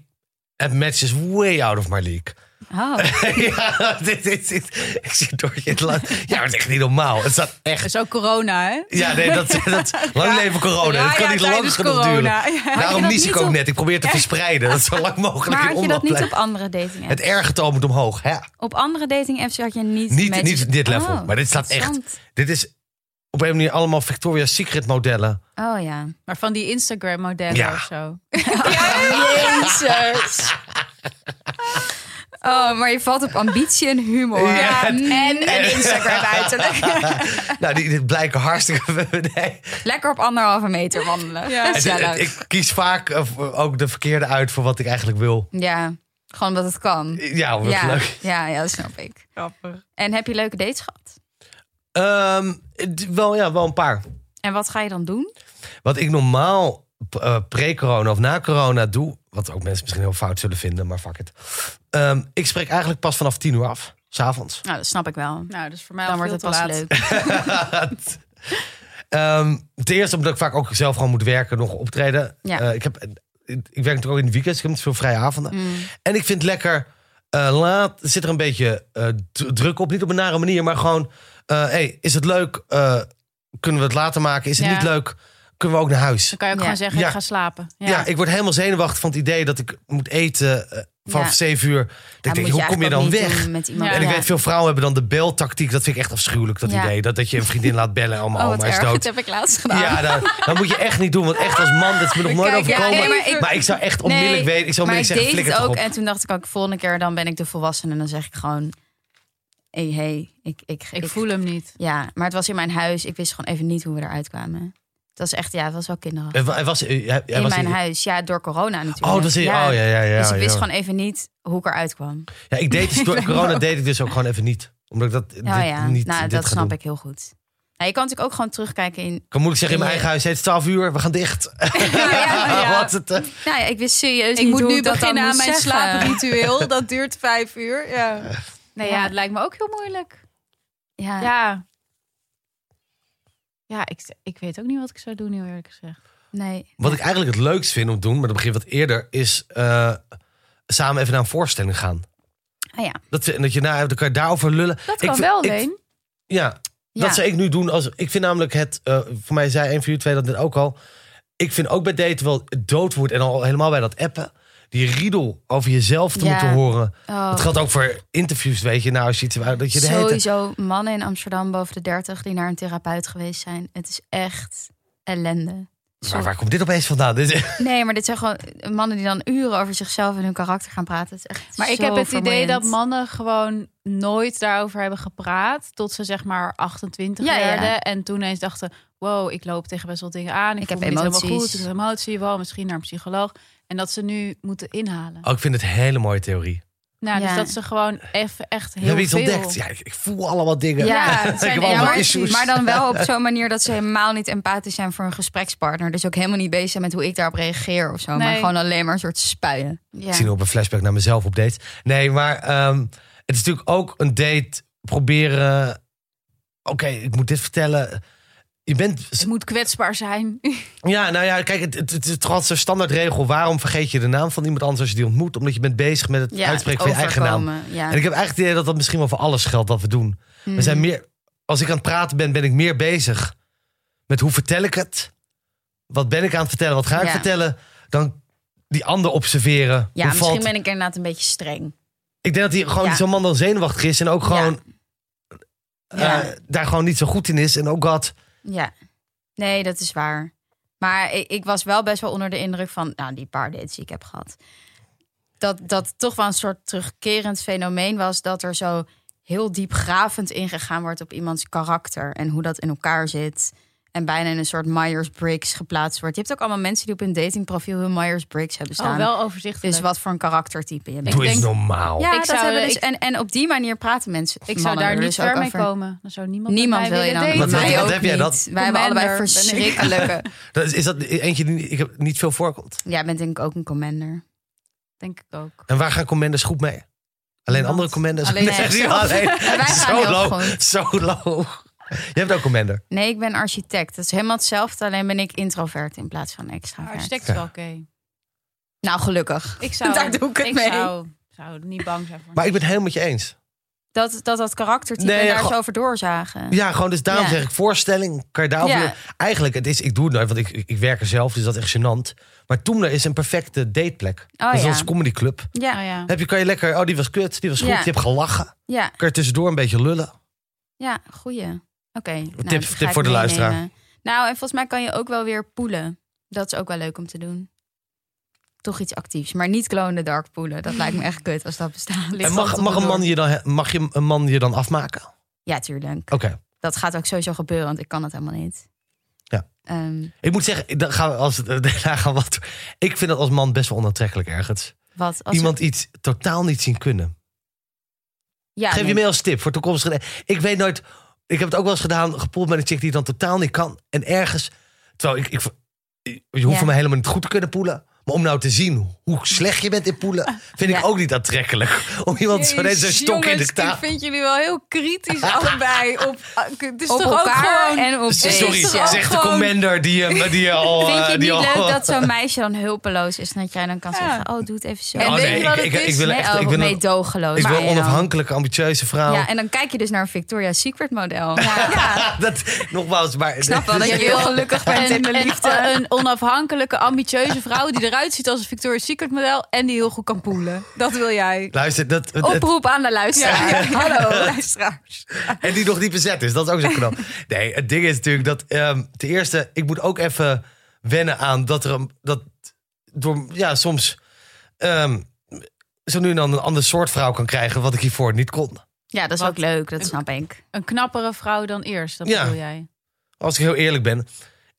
S3: het match is way out of my league.
S1: Oh,
S3: ja, dit, dit, dit- ik zit door je het land. Ja, maar het is echt niet normaal. Het staat echt...
S2: is ook corona, hè?
S3: Ja, nee, dat, dat, lang leven corona. Het kan niet lang genoeg duren. Daarom
S1: dat
S3: nies ik
S1: niet
S3: ook
S1: op-
S3: net. Ik probeer het te verspreiden. Dat zo lang mogelijk
S1: maar
S3: in
S1: had je dat
S3: omloop
S1: niet
S3: blijft.
S1: op andere dating
S3: Het
S1: apps?
S3: ergetal moet omhoog. Hè?
S1: Op andere dating apps had je niet...
S3: Niet,
S1: matches-
S3: niet dit level.
S1: Oh,
S3: maar dit staat echt.
S1: interessant.
S3: Dit is op een manier allemaal Victoria's Secret modellen.
S1: Oh ja.
S2: Maar van die Instagram-modellen
S3: Ja.
S2: of zo.
S1: Jezus. Oh, maar je valt op ambitie en humor.
S3: Ja,
S1: Mm. en, Instagram uiterlijk.
S3: nou, die, dit blijken hartstikke. nee.
S1: Lekker op anderhalve meter wandelen.
S2: Ja.
S1: Ja,
S3: Het- het- ik kies vaak eh, voor- ook de verkeerde uit voor wat ik eigenlijk wil.
S1: ja gewoon omdat het kan.
S3: Ja, wat
S1: Ja,
S3: leuk.
S1: ja, ja, dat snap ik.
S2: Grappig.
S1: En heb je leuke dates gehad?
S3: Ehm, d- wel, ja, wel een paar.
S1: En wat ga je dan doen?
S3: Wat ik normaal eh, pre-corona of na corona doe, wat ook mensen misschien heel fout zullen vinden, maar fuck it. Ehm, ik spreek eigenlijk pas vanaf tien uur af, s'avonds.
S1: Nou, dat snap ik wel.
S2: Nou, dus voor mij
S1: Dan
S2: al
S1: wordt
S2: veel
S1: het
S2: te
S1: pas
S2: laat.
S1: leuk.
S3: Ehm ten eerste omdat ik vaak ook zelf gewoon moet werken, nog optreden.
S1: Ja.
S3: Eh, ik, heb, ik werk natuurlijk ook in de weekends, ik heb niet veel vrije avonden. En ik vind lekker eh, laat, zit er een beetje eh, d- druk op. Niet op een nare manier, maar gewoon, eh hey, is het leuk? Eh, kunnen we het later maken? Is het
S2: Ja.
S3: niet leuk? Kunnen we ook naar huis?
S2: Dan kan je ook
S1: Ja.
S2: gewoon zeggen,
S3: Ja.
S2: ik ga slapen.
S3: Ja. ik word helemaal zenuwachtig van het idee dat ik moet eten eh, vanaf
S1: Ja.
S3: zeven uur. Dat
S1: Ja,
S3: ik denk,
S1: moet
S3: hoe
S1: je
S3: kom je
S1: eigenlijk ook
S3: dan
S1: niet
S3: weg?
S1: doen Met iemand.
S2: Ja.
S3: En ik weet, veel vrouwen hebben dan de beltactiek. Dat vind ik echt afschuwelijk, dat
S1: Ja.
S3: idee. Dat, dat je een vriendin laat bellen en allemaal,
S1: Oh,
S3: oh,
S1: wat
S3: maar is
S1: erg. Dat
S3: dood.
S1: heb ik laatst gedaan.
S3: Ja, dan, dan moet je echt niet doen. Want echt als man, dat is me nog nooit
S1: Kijk, ja,
S3: overkomen.
S1: nee,
S3: maar,
S1: maar
S3: ik,
S1: ik-
S3: zou echt onmiddellijk weten. Ik zou
S1: maar ik
S3: onmiddellijk zeggen,
S1: deed
S3: flikker
S1: het
S3: toch
S1: ook.
S3: op.
S1: En toen dacht ik ook, volgende keer dan ben ik de volwassene. En dan zeg ik gewoon, hey, hey, ik, ik,
S2: Ik voel hem niet.
S1: Ja, maar het was in mijn huis. Ik wist gewoon even niet hoe we eruit kwamen. Het was echt, ja, het was wel kinderen.
S3: Hij wa- hij was, hij- hij
S1: in
S3: was
S1: mijn
S3: niet-
S1: huis, ja, door corona natuurlijk.
S3: Oh, dat is, oh ja, ja, ja.
S1: dus ik wist
S3: ja.
S1: gewoon even niet hoe ik eruit kwam.
S3: Ja, ik deed dus, door corona deed ik dus ook gewoon even niet. Omdat ik dat dit,
S1: Nou ja,
S3: niet
S1: nou,
S3: dit
S1: dat
S3: ga
S1: snap
S3: doen.
S1: ik heel goed. Nou, je kan natuurlijk ook gewoon terugkijken in...
S3: Ik kan moeilijk zeggen in mijn
S1: Ja.
S3: eigen huis, het is 12 uur, we gaan dicht.
S1: Nou ja,
S3: Wat het, eh,
S1: nou ja, ik wist serieus
S2: Ik
S1: niet
S2: moet
S1: hoe
S2: nu
S1: ik dat
S2: beginnen
S1: dan
S2: aan
S1: moest
S2: mijn
S1: zeggen.
S2: slaapritueel. Dat duurt vijf uur. Ja. Nee, ja,
S1: Ja.
S2: het lijkt me ook heel moeilijk.
S1: Ja.
S2: Ja. Ja, ik, ik weet ook niet wat ik zou doen, heel eerlijk gezegd.
S1: nee.
S3: Wat ik eigenlijk het leukst vind om te doen, maar dat begint wat eerder, is eh, samen even naar een voorstelling gaan.
S1: Ah ja.
S3: Dat, we- dat je na, dan kan je daarover lullen.
S2: Dat
S3: Ik
S2: kan
S3: vind-
S2: wel,
S3: ik-
S2: Leen.
S3: Ja,
S1: Ja.
S3: dat zou ik nu doen. Als, ik vind namelijk het, eh, voor mij zei een van jullie twee dat net ook al. Ik vind ook bij daten wel het doodwoord en al helemaal bij dat appen. Die riedel over jezelf te
S1: Ja.
S3: moeten horen.
S1: Oh,
S3: Dat geldt ook voor interviews, weet je. Nou, als je iets waar- dat je de hele tijd-
S1: sowieso mannen in Amsterdam boven de 30 die naar een therapeut geweest zijn. Het is echt ellende.
S3: Maar waar komt dit opeens vandaan? Dit is-
S1: Nee, maar dit zijn gewoon mannen die dan uren over zichzelf en hun karakter gaan praten. Het is echt
S2: Maar ik
S1: zo
S2: heb het idee
S1: vermoeiend.
S2: dat mannen gewoon nooit daarover hebben gepraat. Tot ze zeg maar 28
S1: Ja, ja.
S2: werden. En toen eens dachten, wow, ik loop tegen best wel dingen aan. Ik,
S1: Ik
S2: voel
S1: heb
S2: me niet helemaal
S1: emoties.
S2: goed. Ik heb emotie, wow, misschien naar een psycholoog. En dat ze nu moeten inhalen.
S3: Oh, ik vind het een hele mooie theorie.
S2: Nou, dus
S1: Ja.
S2: dat ze gewoon even echt heel
S3: We hebben iets
S2: veel...
S3: ontdekt. Ja, ik, ik voel allemaal dingen.
S1: Ja,
S2: het zijn
S3: heb allemaal
S1: maar,
S3: issues.
S1: maar dan wel op zo'n manier dat ze helemaal niet empathisch zijn voor hun gesprekspartner. Dus ook helemaal niet bezig zijn met hoe ik daarop reageer of zo. Maar
S2: Nee.
S1: gewoon alleen maar een soort spuien.
S3: Ik zie nu op een flashback naar mezelf op dates. Nee, maar ehm, het is natuurlijk ook een date proberen. Oké, ik moet dit vertellen. je bent
S2: Het moet kwetsbaar zijn.
S3: Ja, nou ja, kijk, het, het, het is toch altijd zo'n standaardregel. Waarom vergeet je de naam van iemand anders als je die ontmoet? Omdat je bent bezig met het
S1: Ja,
S3: uitspreken van je eigen naam.
S1: overkomen, Ja.
S3: En ik heb eigenlijk het idee dat dat misschien wel voor alles geldt wat we doen. We
S1: Hmm.
S3: zijn meer, als ik aan het praten ben, ben ik meer bezig met hoe vertel ik het? Wat ben ik aan het vertellen? Wat ga ik
S1: Ja.
S3: vertellen? Dan die ander observeren.
S1: ja,
S3: Hoe
S1: misschien
S3: valt-
S1: ben ik inderdaad een beetje streng.
S3: Ik denk dat hij gewoon
S1: Ja.
S3: zo'n man dan zenuwachtig is en ook gewoon eh,
S1: Ja.
S3: daar gewoon niet zo goed in is. En ook dat.
S1: Ja, nee, dat is waar. Maar ik, ik was wel best wel onder de indruk van nou, die paar dates die ik heb gehad. Dat dat toch wel een soort terugkerend fenomeen was dat er zo heel diepgravend ingegaan wordt op iemands karakter en hoe dat in elkaar zit. En bijna in een soort Myers-Briggs geplaatst wordt. Je hebt ook allemaal mensen die op hun datingprofiel hun Myers-Briggs hebben
S2: Oh,
S1: staan.
S2: wel overzichtelijk.
S1: Dus wat voor een karaktertype je bent.
S3: Doe eens
S2: denk-
S3: normaal.
S1: Ja,
S2: Ik
S1: dat
S2: zou,
S1: hebben
S2: eh,
S1: dus,
S2: ik-
S1: en, en op die manier praten mensen.
S2: ik zou
S1: mannen
S2: daar
S1: er
S2: niet
S1: dus
S2: ver
S1: ook
S2: mee
S1: over.
S2: komen. Dan zou niemand met
S1: Niemand
S2: mij
S1: wil je nou
S2: willen
S1: dan.
S2: daten.
S3: Wat- wat-
S1: Mij
S3: wat
S1: ook
S3: heb jij
S1: niet.
S3: dat?
S1: Wij hebben allebei
S2: Commander ben ik.
S1: verschrikkelijke.
S3: Dat is, is dat eentje die ik heb niet veel voorkomt?
S1: Jij bent denk ik ook een commander.
S2: Denk ik ook.
S3: En waar gaan commanders goed mee? Alleen
S2: Niemand.
S3: andere commanders?
S2: Alleen
S3: Nee,
S2: zelf.
S3: niet alleen.
S1: En wij gaan
S3: Zo
S1: heel
S3: low.
S1: goed.
S3: Zo low. Je hebt ook commander.
S1: Nee, ik ben architect. Dat is helemaal hetzelfde, alleen ben ik introvert in plaats van extravert.
S2: Architect
S3: Ja.
S2: is wel oké.
S1: Nou, gelukkig.
S2: Ik zou,
S1: Daar doe ik het
S2: ik
S1: mee.
S2: Zou, zou niet bang zijn voor.
S3: Maar ik ben het helemaal met je eens.
S1: Dat dat, dat karaktertype
S3: Nee,
S1: daar
S3: gewoon-
S1: zo over doorzagen.
S3: Ja, gewoon dus daarom
S1: Ja.
S3: zeg ik voorstelling. Kan je daarover...
S1: Ja.
S3: Eigenlijk, het is, ik doe het nooit, want ik, ik, ik werk er zelf, dus dat is echt gênant. Maar toen er is een perfecte dateplek.
S1: Oh,
S3: dus
S1: ja.
S3: dat is comedyclub.
S1: Ja,
S2: Oh ja.
S3: Heb je, kan je lekker, oh die was kut, die was goed,
S1: Ja.
S3: je hebt gelachen.
S1: ja,
S3: Kan je tussendoor een beetje lullen.
S1: ja, goeie. Oké. nou,
S3: Tip-
S1: die ga
S3: tip
S1: ik
S3: voor de
S1: meenemen.
S3: luisteraar.
S1: Nou, en volgens mij kan je ook wel weer poelen. Dat is ook wel leuk om te doen. Toch iets actiefs, maar niet glow in the dark poelen. Dat lijkt me echt kut als dat bestaat.
S3: En mag, mag, een man je dan, mag je een man je dan afmaken? Oké.
S1: Ja, tuurlijk. Dat gaat ook sowieso gebeuren, want ik kan het helemaal niet.
S3: Ja.
S1: Ehm,
S3: Ik moet zeggen, dan gaan we, als, het- daarna gaan we wat, ik vind dat als man best wel onaantrekkelijk ergens.
S1: wat als
S3: Iemand iets totaal niet zien kunnen.
S1: Ja,
S3: Geef
S1: nee.
S3: je mee als tip voor toekomstige. Ik weet nooit. Ik heb het ook wel eens gedaan, gepoeld met een chick die het dan totaal niet kan. En ergens. Terwijl ik. ik je hoeft
S1: Ja.
S3: voor mij helemaal niet goed te kunnen poelen. Maar om nou te zien hoe slecht je bent in poelen. vind
S1: Ja.
S3: ik ook niet aantrekkelijk. Om iemand zo net zo'n
S2: Jezus,
S3: stok in
S2: jongens,
S3: de taal.
S2: Ik vind jullie wel heel kritisch allebei op. eh, Het is
S1: op
S2: toch
S1: elkaar
S2: ook gewoon.
S1: en op
S2: is
S3: Sorry,
S1: deze.
S2: toch ook
S3: zegt de
S2: gewoon-
S3: commander die, eh, die al.
S1: Vind je
S3: eh,
S1: het
S3: die
S1: niet leuk
S3: al-
S1: dat zo'n meisje dan hulpeloos is? En dat jij dan kan
S2: Ja.
S1: zeggen, oh, doe het even zo.
S2: En
S3: Oh,
S2: weet
S3: nee,
S2: je wat
S3: ik,
S2: het
S3: ik, ik
S2: is?
S3: wil echt.
S1: oh,
S3: ik wil, een,
S1: meedogenloos.
S3: ik wil
S1: ben je
S3: een
S1: dan.
S3: onafhankelijke, ambitieuze vrouw.
S1: Ja, en dan kijk je dus naar een Victoria's Secret model.
S3: dat, nogmaals, maar. Ik
S1: snap wel dat je heel gelukkig bent in de
S2: en
S1: liefde.
S2: een onafhankelijke, ambitieuze vrouw die eruit ziet als een Victoria's Secret model en die heel goed kan poelen. Dat wil jij.
S3: Luister, dat, het-
S1: Oproep aan de luisteraar. Hallo.
S2: luisteraars.
S3: En die nog niet bezet is. Dat is ook zo knap. Nee, het ding is natuurlijk dat... ehm, ten eerste, ik moet ook even wennen aan dat er... een- Dat door, ja, soms... ehm, zo nu en dan een ander soort vrouw kan krijgen... wat ik hiervoor niet kon.
S1: Ja, dat is
S2: Wat?
S1: ook leuk, dat snap ik.
S2: Een knappere vrouw dan eerst, dat
S3: Ja.
S2: bedoel jij.
S3: Als ik heel eerlijk ben.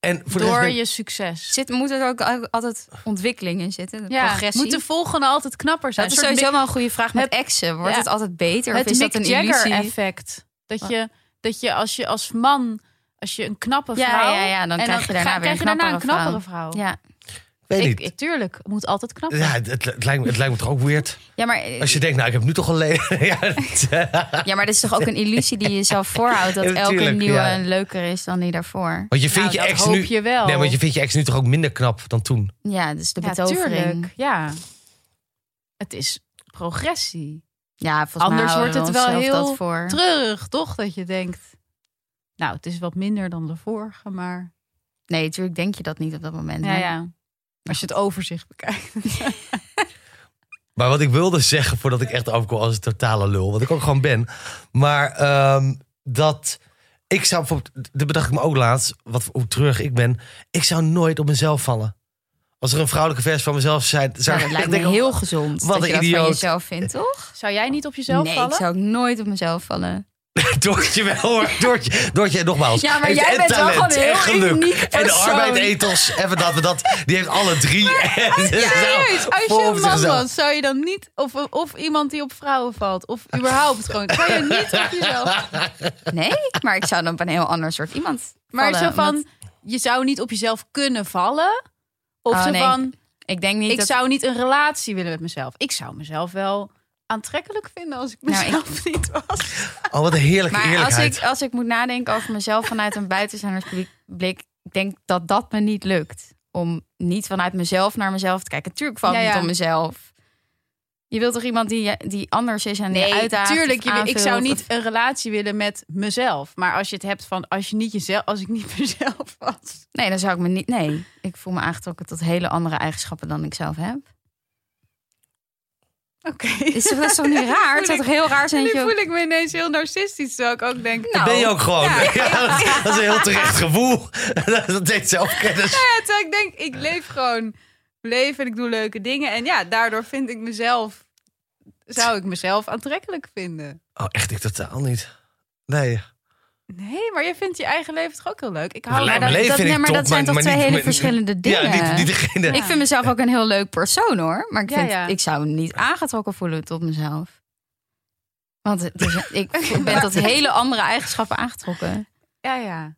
S3: En voor de rest
S2: Door
S3: ben-
S2: je succes.
S1: Zit, moet er ook al- altijd ontwikkeling in zitten?
S2: Ja,
S1: progressie?
S2: moet de volgende altijd knapper zijn.
S1: dat is
S2: Een soort
S1: sowieso wel een goede vraag met
S2: Het-
S1: exen. Wordt
S2: ja.
S1: het altijd beter?
S2: het
S1: of is
S2: Mick
S1: dat een
S2: Jagger
S1: illusie?
S2: effect. Dat je, dat je als je als man, als je een knappe
S1: Ja,
S2: vrouw...
S1: ja, ja, dan
S2: en
S1: krijg je daarna
S2: ga-
S1: weer een
S2: krijg je daarna
S1: knappere
S2: knappere vrouw.
S1: Ja.
S3: ik weet
S2: Ik,
S3: niet.
S2: ik, tuurlijk, het moet altijd knapper.
S3: ja, het, het, lijkt me, het lijkt me toch ook weird.
S1: Ja, maar
S3: Als je denkt, nou, ik heb nu toch al leden. ja, het- eh,
S1: Ja, maar dat is toch ook een illusie die je jezelf voorhoudt. Dat
S3: Ja,
S1: elke
S3: tuurlijk,
S1: nieuwe
S3: ja.
S1: leuker is dan die daarvoor.
S3: want je vindt
S2: Nou,
S3: je
S2: dat
S3: ex
S2: hoop
S3: nu...
S2: je wel.
S3: Nee, want je vindt je ex nu toch ook minder knap dan toen?
S1: Ja, dus de
S2: Ja,
S1: betovering.
S2: tuurlijk. Ja. Het is progressie.
S1: Ja, volgens
S2: Anders
S1: mij houden
S2: wordt het
S1: we
S2: wel
S1: onszelf
S2: heel
S1: dat voor.
S2: Treurig, toch? Dat je denkt, nou, het is wat minder dan de vorige, maar...
S1: Nee, natuurlijk denk je dat niet op dat moment.
S2: Ja,
S1: hè?
S2: ja. Als je het overzicht bekijkt.
S3: Maar wat ik wilde zeggen, voordat ik echt overkom als een totale lul, wat ik ook gewoon ben. Maar ehm, dat ik zou bijvoorbeeld, dat bedacht ik me ook laatst, wat, hoe treurig ik ben. Ik zou nooit op mezelf vallen. Als er een vrouwelijke versie van mezelf zijn, zou
S1: Nou,
S3: ik
S1: dat lijkt
S3: echt
S1: me
S3: denken,
S1: heel gezond.
S3: wat
S1: dat
S3: een
S1: je dat
S3: idioot.
S1: van jezelf vindt, toch?
S2: Zou jij niet op jezelf
S1: nee,
S2: vallen?
S1: ik zou ook nooit op mezelf vallen.
S3: Doortje wel hoor, Doortje, Doortje nogmaals.
S1: Ja, maar
S3: heeft
S1: jij
S3: en
S1: bent wel
S3: talent,
S1: gewoon een
S3: en
S1: heel
S3: geluk,
S1: uniek
S3: En de e-
S1: persoon.
S3: arbeidsethos, even dat we dat, die heeft alle drie. En ze zou
S2: Serieus, als
S3: vol
S2: je
S3: op
S2: een man
S3: zichzelf-
S2: was, zou je dan niet... Of, of iemand die op vrouwen valt, of überhaupt gewoon... Zou je niet op jezelf...
S1: Nee, maar ik zou dan op een heel ander soort iemand
S2: Maar
S1: vallen,
S2: zo van,
S1: omdat-
S2: je zou niet op jezelf kunnen vallen. Of
S1: Oh,
S2: zo
S1: nee.
S2: van,
S1: Ik denk niet
S2: ik
S1: dat...
S2: zou niet een relatie willen met mezelf. Ik zou mezelf wel aantrekkelijk vinden als ik
S1: Nou, ik-
S2: mezelf niet was.
S3: Oh, wat een heerlijke
S1: Maar als
S3: eerlijkheid.
S1: ik, als ik moet nadenken over mezelf vanuit een buitenstaander-blik, ik denk dat dat me niet lukt. Om niet vanuit mezelf naar mezelf te kijken. Tuurlijk valt
S2: Ja,
S1: het
S2: ja.
S1: niet om mezelf. Je wilt toch iemand die, je- die anders is en die uitdaagt?
S2: tuurlijk.
S1: of
S2: je- ik
S1: aanvult
S2: zou
S1: of-
S2: niet een relatie willen met mezelf. Maar als je het hebt van als je niet jezelf, als ik niet mezelf was.
S1: Nee, dan zou ik me niet. Nee, ik voel me aangetrokken tot hele andere eigenschappen dan ik zelf heb.
S2: Oké.
S1: Is toch, dat is toch niet raar? Het zou toch heel raar zijn
S2: Nu
S1: dat je
S2: voel
S1: ook-
S2: ik me ineens heel narcistisch, terwijl ik ook denk.
S1: Nou,
S3: Ben je ook gewoon.
S2: Ja.
S3: Ja, dat, dat is een heel terecht gevoel. dat deed zelfkennis.
S2: Ja, terwijl ik denk, ik leef gewoon leven en ik doe leuke dingen. En ja, daardoor vind ik mezelf, zou ik mezelf aantrekkelijk vinden.
S3: Oh, echt, ik totaal niet.
S1: Nou,
S3: Nee.
S2: Nee, maar jij vindt je eigen leven toch ook heel leuk? Ik
S3: Mijn
S2: hou
S1: dat-
S3: leven
S1: dat-
S3: vind
S1: nee,
S3: ik
S1: maar
S3: top,
S1: dat zijn toch
S3: maar
S1: twee
S3: niet-
S1: hele
S3: maar-
S1: verschillende
S3: Ja,
S1: dingen.
S3: niet, niet degene.
S1: Ik vind mezelf ook een heel leuk persoon hoor. Maar ik,
S2: Ja,
S1: vind,
S2: ja.
S1: ik zou me niet aangetrokken voelen tot mezelf. Want het is- ik ben tot hele andere eigenschappen aangetrokken.
S2: Ja, ja.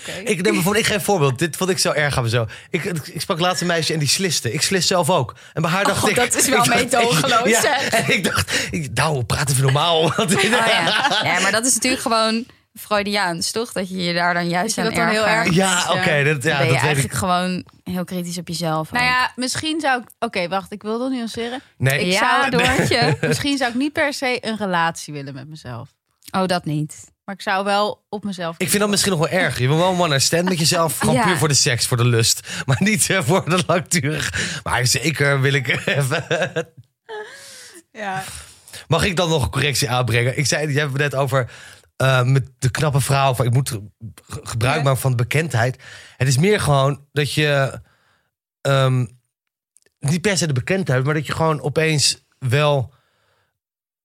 S2: Oké.
S3: Ik neem bijvoorbeeld, ik geef een voorbeeld. Dit vond ik zo erg aan mezelf. Ik, ik sprak laatst een meisje en die sliste. Ik slis zelf ook. En bij haar dacht
S1: Oh,
S3: ik...
S1: dat is wel
S3: ik dacht-
S1: meedogenloos,
S3: Ja,
S1: zeg.
S3: en ik dacht, ik, nou, praat even normaal. Want-
S1: Oh, ja. ja, maar dat is natuurlijk gewoon Freudiaans, toch? Dat je je daar dan juist
S2: Dat je
S1: aan
S2: dat dan heel
S1: ergert.
S2: erg-
S3: Ja, oké, dat,
S1: Dan
S3: ja,
S1: ben je
S3: dat weet
S1: eigenlijk
S3: ik.
S1: gewoon heel kritisch op jezelf.
S2: Nou
S1: ook.
S2: ja, misschien zou ik. Oké, wacht, ik wil dat nuanceren.
S3: Nee,
S1: Ja,
S2: zou-
S1: Doortje.
S2: Misschien zou ik niet per se een relatie willen met mezelf.
S1: Oh, dat niet.
S2: Maar ik zou wel op mezelf.
S3: ik vind dat misschien nog wel erg. Je wil wel een one night stand met jezelf. Gewoon
S1: Ja.
S3: puur voor de seks, voor de lust. Maar niet eh, voor de langdurig. Maar zeker wil ik even...
S2: Ja.
S3: Mag ik dan nog een correctie aanbrengen? Ik zei, jij hebt het net over eh, met de knappe vrouw. Van, ik moet ge- gebruik
S2: Ja.
S3: maken van bekendheid. Het is meer gewoon dat je ehm, niet per se de bekendheid, maar dat je gewoon opeens wel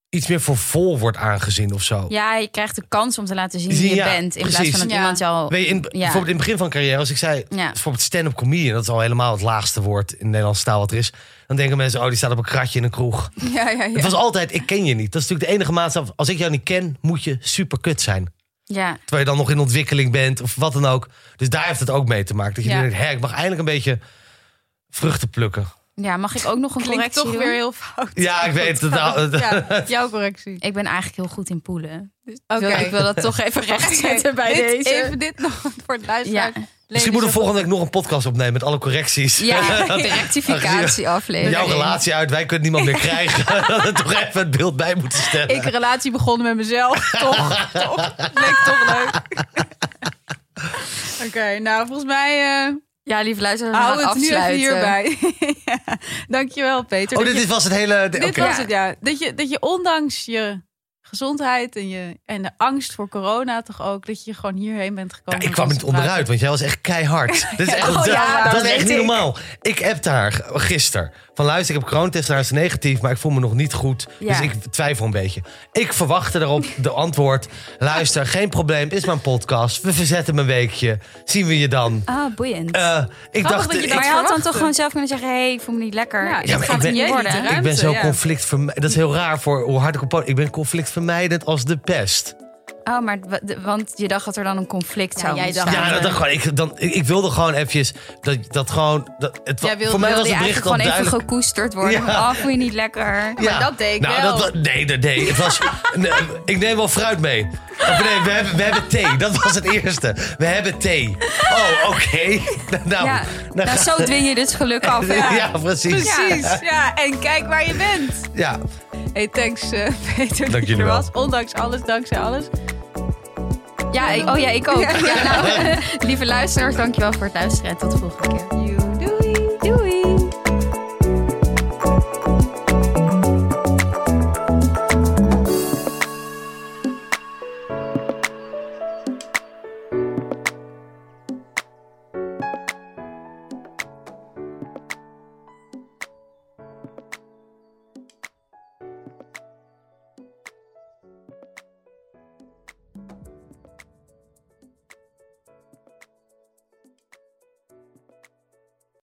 S3: iets meer voor vol wordt aangezien of zo.
S1: Ja, je krijgt de kans om te laten zien
S3: Zie-
S1: wie je
S3: ja,
S1: bent. In plaats
S3: precies.
S1: van dat
S2: Ja.
S1: iemand jou al...
S3: Weet je, in, bijvoorbeeld in het begin van carrière, als ik zei,
S1: Ja.
S3: bijvoorbeeld stand-up comedian, dat is al helemaal het laagste woord in Nederlandse taal wat er is. Dan denken mensen, oh, die staat op een kratje in een kroeg.
S2: ja, ja, ja.
S3: Het was altijd, ik ken je niet. Dat is natuurlijk de enige maatstaf. Als ik jou niet ken, moet je super kut zijn.
S1: Ja,
S3: Terwijl je dan nog in ontwikkeling bent of wat dan ook. Dus daar heeft het ook mee te maken. Dat je
S2: Ja.
S3: denkt, hé, ik mag eindelijk een beetje vruchten plukken.
S1: ja, mag ik ook nog een
S2: Klinkt
S1: correctie
S2: toch
S1: doen?
S2: weer heel fout.
S3: Ja, ik weet het. Nou,
S2: Ja, jouw correctie.
S1: Ik ben eigenlijk heel goed in poelen.
S2: Oké.
S1: Ik wil dat toch even rechtzetten bij
S2: Dit-
S1: deze.
S2: Even dit nog voor het
S1: ja,
S2: luisteraar.
S3: Misschien moeten we volgende week nog een podcast opnemen met alle correcties.
S1: ja, de rectificatieaflevering.
S3: Jouw relatie uit, wij kunnen niemand meer krijgen. dat we toch even het beeld bij moeten stellen.
S2: Ik relatie begonnen met mezelf. toch, toch. Leek toch leuk. Oké, nou volgens mij eh,
S1: Ja, lieve luisteraars, we gaan
S2: houden we het nu even
S1: afsluiten.
S2: hierbij. ja. Dankjewel Peter.
S3: oh,
S2: Dat
S3: dit
S2: je-
S3: is- was het hele...
S2: dit
S3: Oké.
S2: was het, ja. Dat je, dat je ondanks je gezondheid en, je, en de angst voor corona toch ook... dat je gewoon hierheen bent
S3: Ja,
S2: gekomen.
S3: ik
S2: om
S3: kwam
S2: ons
S3: niet
S2: te praten.
S3: onderuit, want jij was echt keihard. Dit is echt,
S2: Oh dus ja,
S3: dat,
S2: dat
S3: is echt
S2: weet
S3: niet
S2: ik.
S3: normaal. Ik appte haar g- gisteren. Van luister, ik heb coronatest, daar is negatief, maar ik voel me nog niet goed.
S1: Ja.
S3: Dus ik twijfel een beetje. Ik verwachtte daarop de antwoord. Luister, geen probleem, is mijn podcast. We verzetten mijn weekje. Zien we je dan.
S1: Ah, boeiend.
S3: Eh, ik dacht,
S2: dat je
S1: maar
S3: ik-
S2: dat
S1: je had dan
S2: verwachten.
S1: toch gewoon zelf kunnen zeggen... hé, hey, ik voel me niet lekker.
S2: Ja,
S1: Dit
S3: ja, maar
S1: gaat
S3: ik
S1: er
S3: ben,
S1: niet
S2: jij
S1: worden.
S2: niet
S3: ik ben
S2: ruimte,
S3: zo
S2: ja.
S3: conflictvermijdend. Dat is heel raar voor hoe hard ik op... Ik ben conflictvermijdend als de pest.
S1: Oh, maar wa- de- want je dacht dat er dan een conflict zou
S2: jij dacht-
S1: ontstaan.
S3: Ja, dat, dat gewoon, ik, dan, ik, ik wilde gewoon eventjes... Dat, dat gewoon... Dat, het,
S2: Jij wilde-
S3: voor mij
S1: Wilde
S3: was
S1: je
S3: het bericht
S1: eigenlijk
S3: al
S1: gewoon
S3: duidelijk.
S1: even gekoesterd worden.
S3: Ja.
S1: van, Oh, voel je niet lekker?
S2: Maar dat deed ik
S3: nou,
S2: wel.
S3: Dat, wa- nee, dat nee. Het was, nee, ik neem wel fruit mee. Of nee, we hebben, we hebben thee. Dat was het eerste. We hebben thee. Oh, oké.
S1: Ja,
S3: Nou, nou,
S1: nou,
S3: ga-
S1: zo dwing je dus geluk af. hè?
S3: ja. precies. Ja.
S2: Precies, ja. En kijk waar je bent. Hey, thanks eh, Peter
S3: Dank
S2: dat je
S3: jullie
S2: er
S3: wel.
S2: was. Ondanks alles, dankzij alles.
S1: Ja, ik- oh ja, ik ook. Ja, nou, lieve luisteraars, dankjewel voor het luisteren en tot de volgende keer.
S2: You.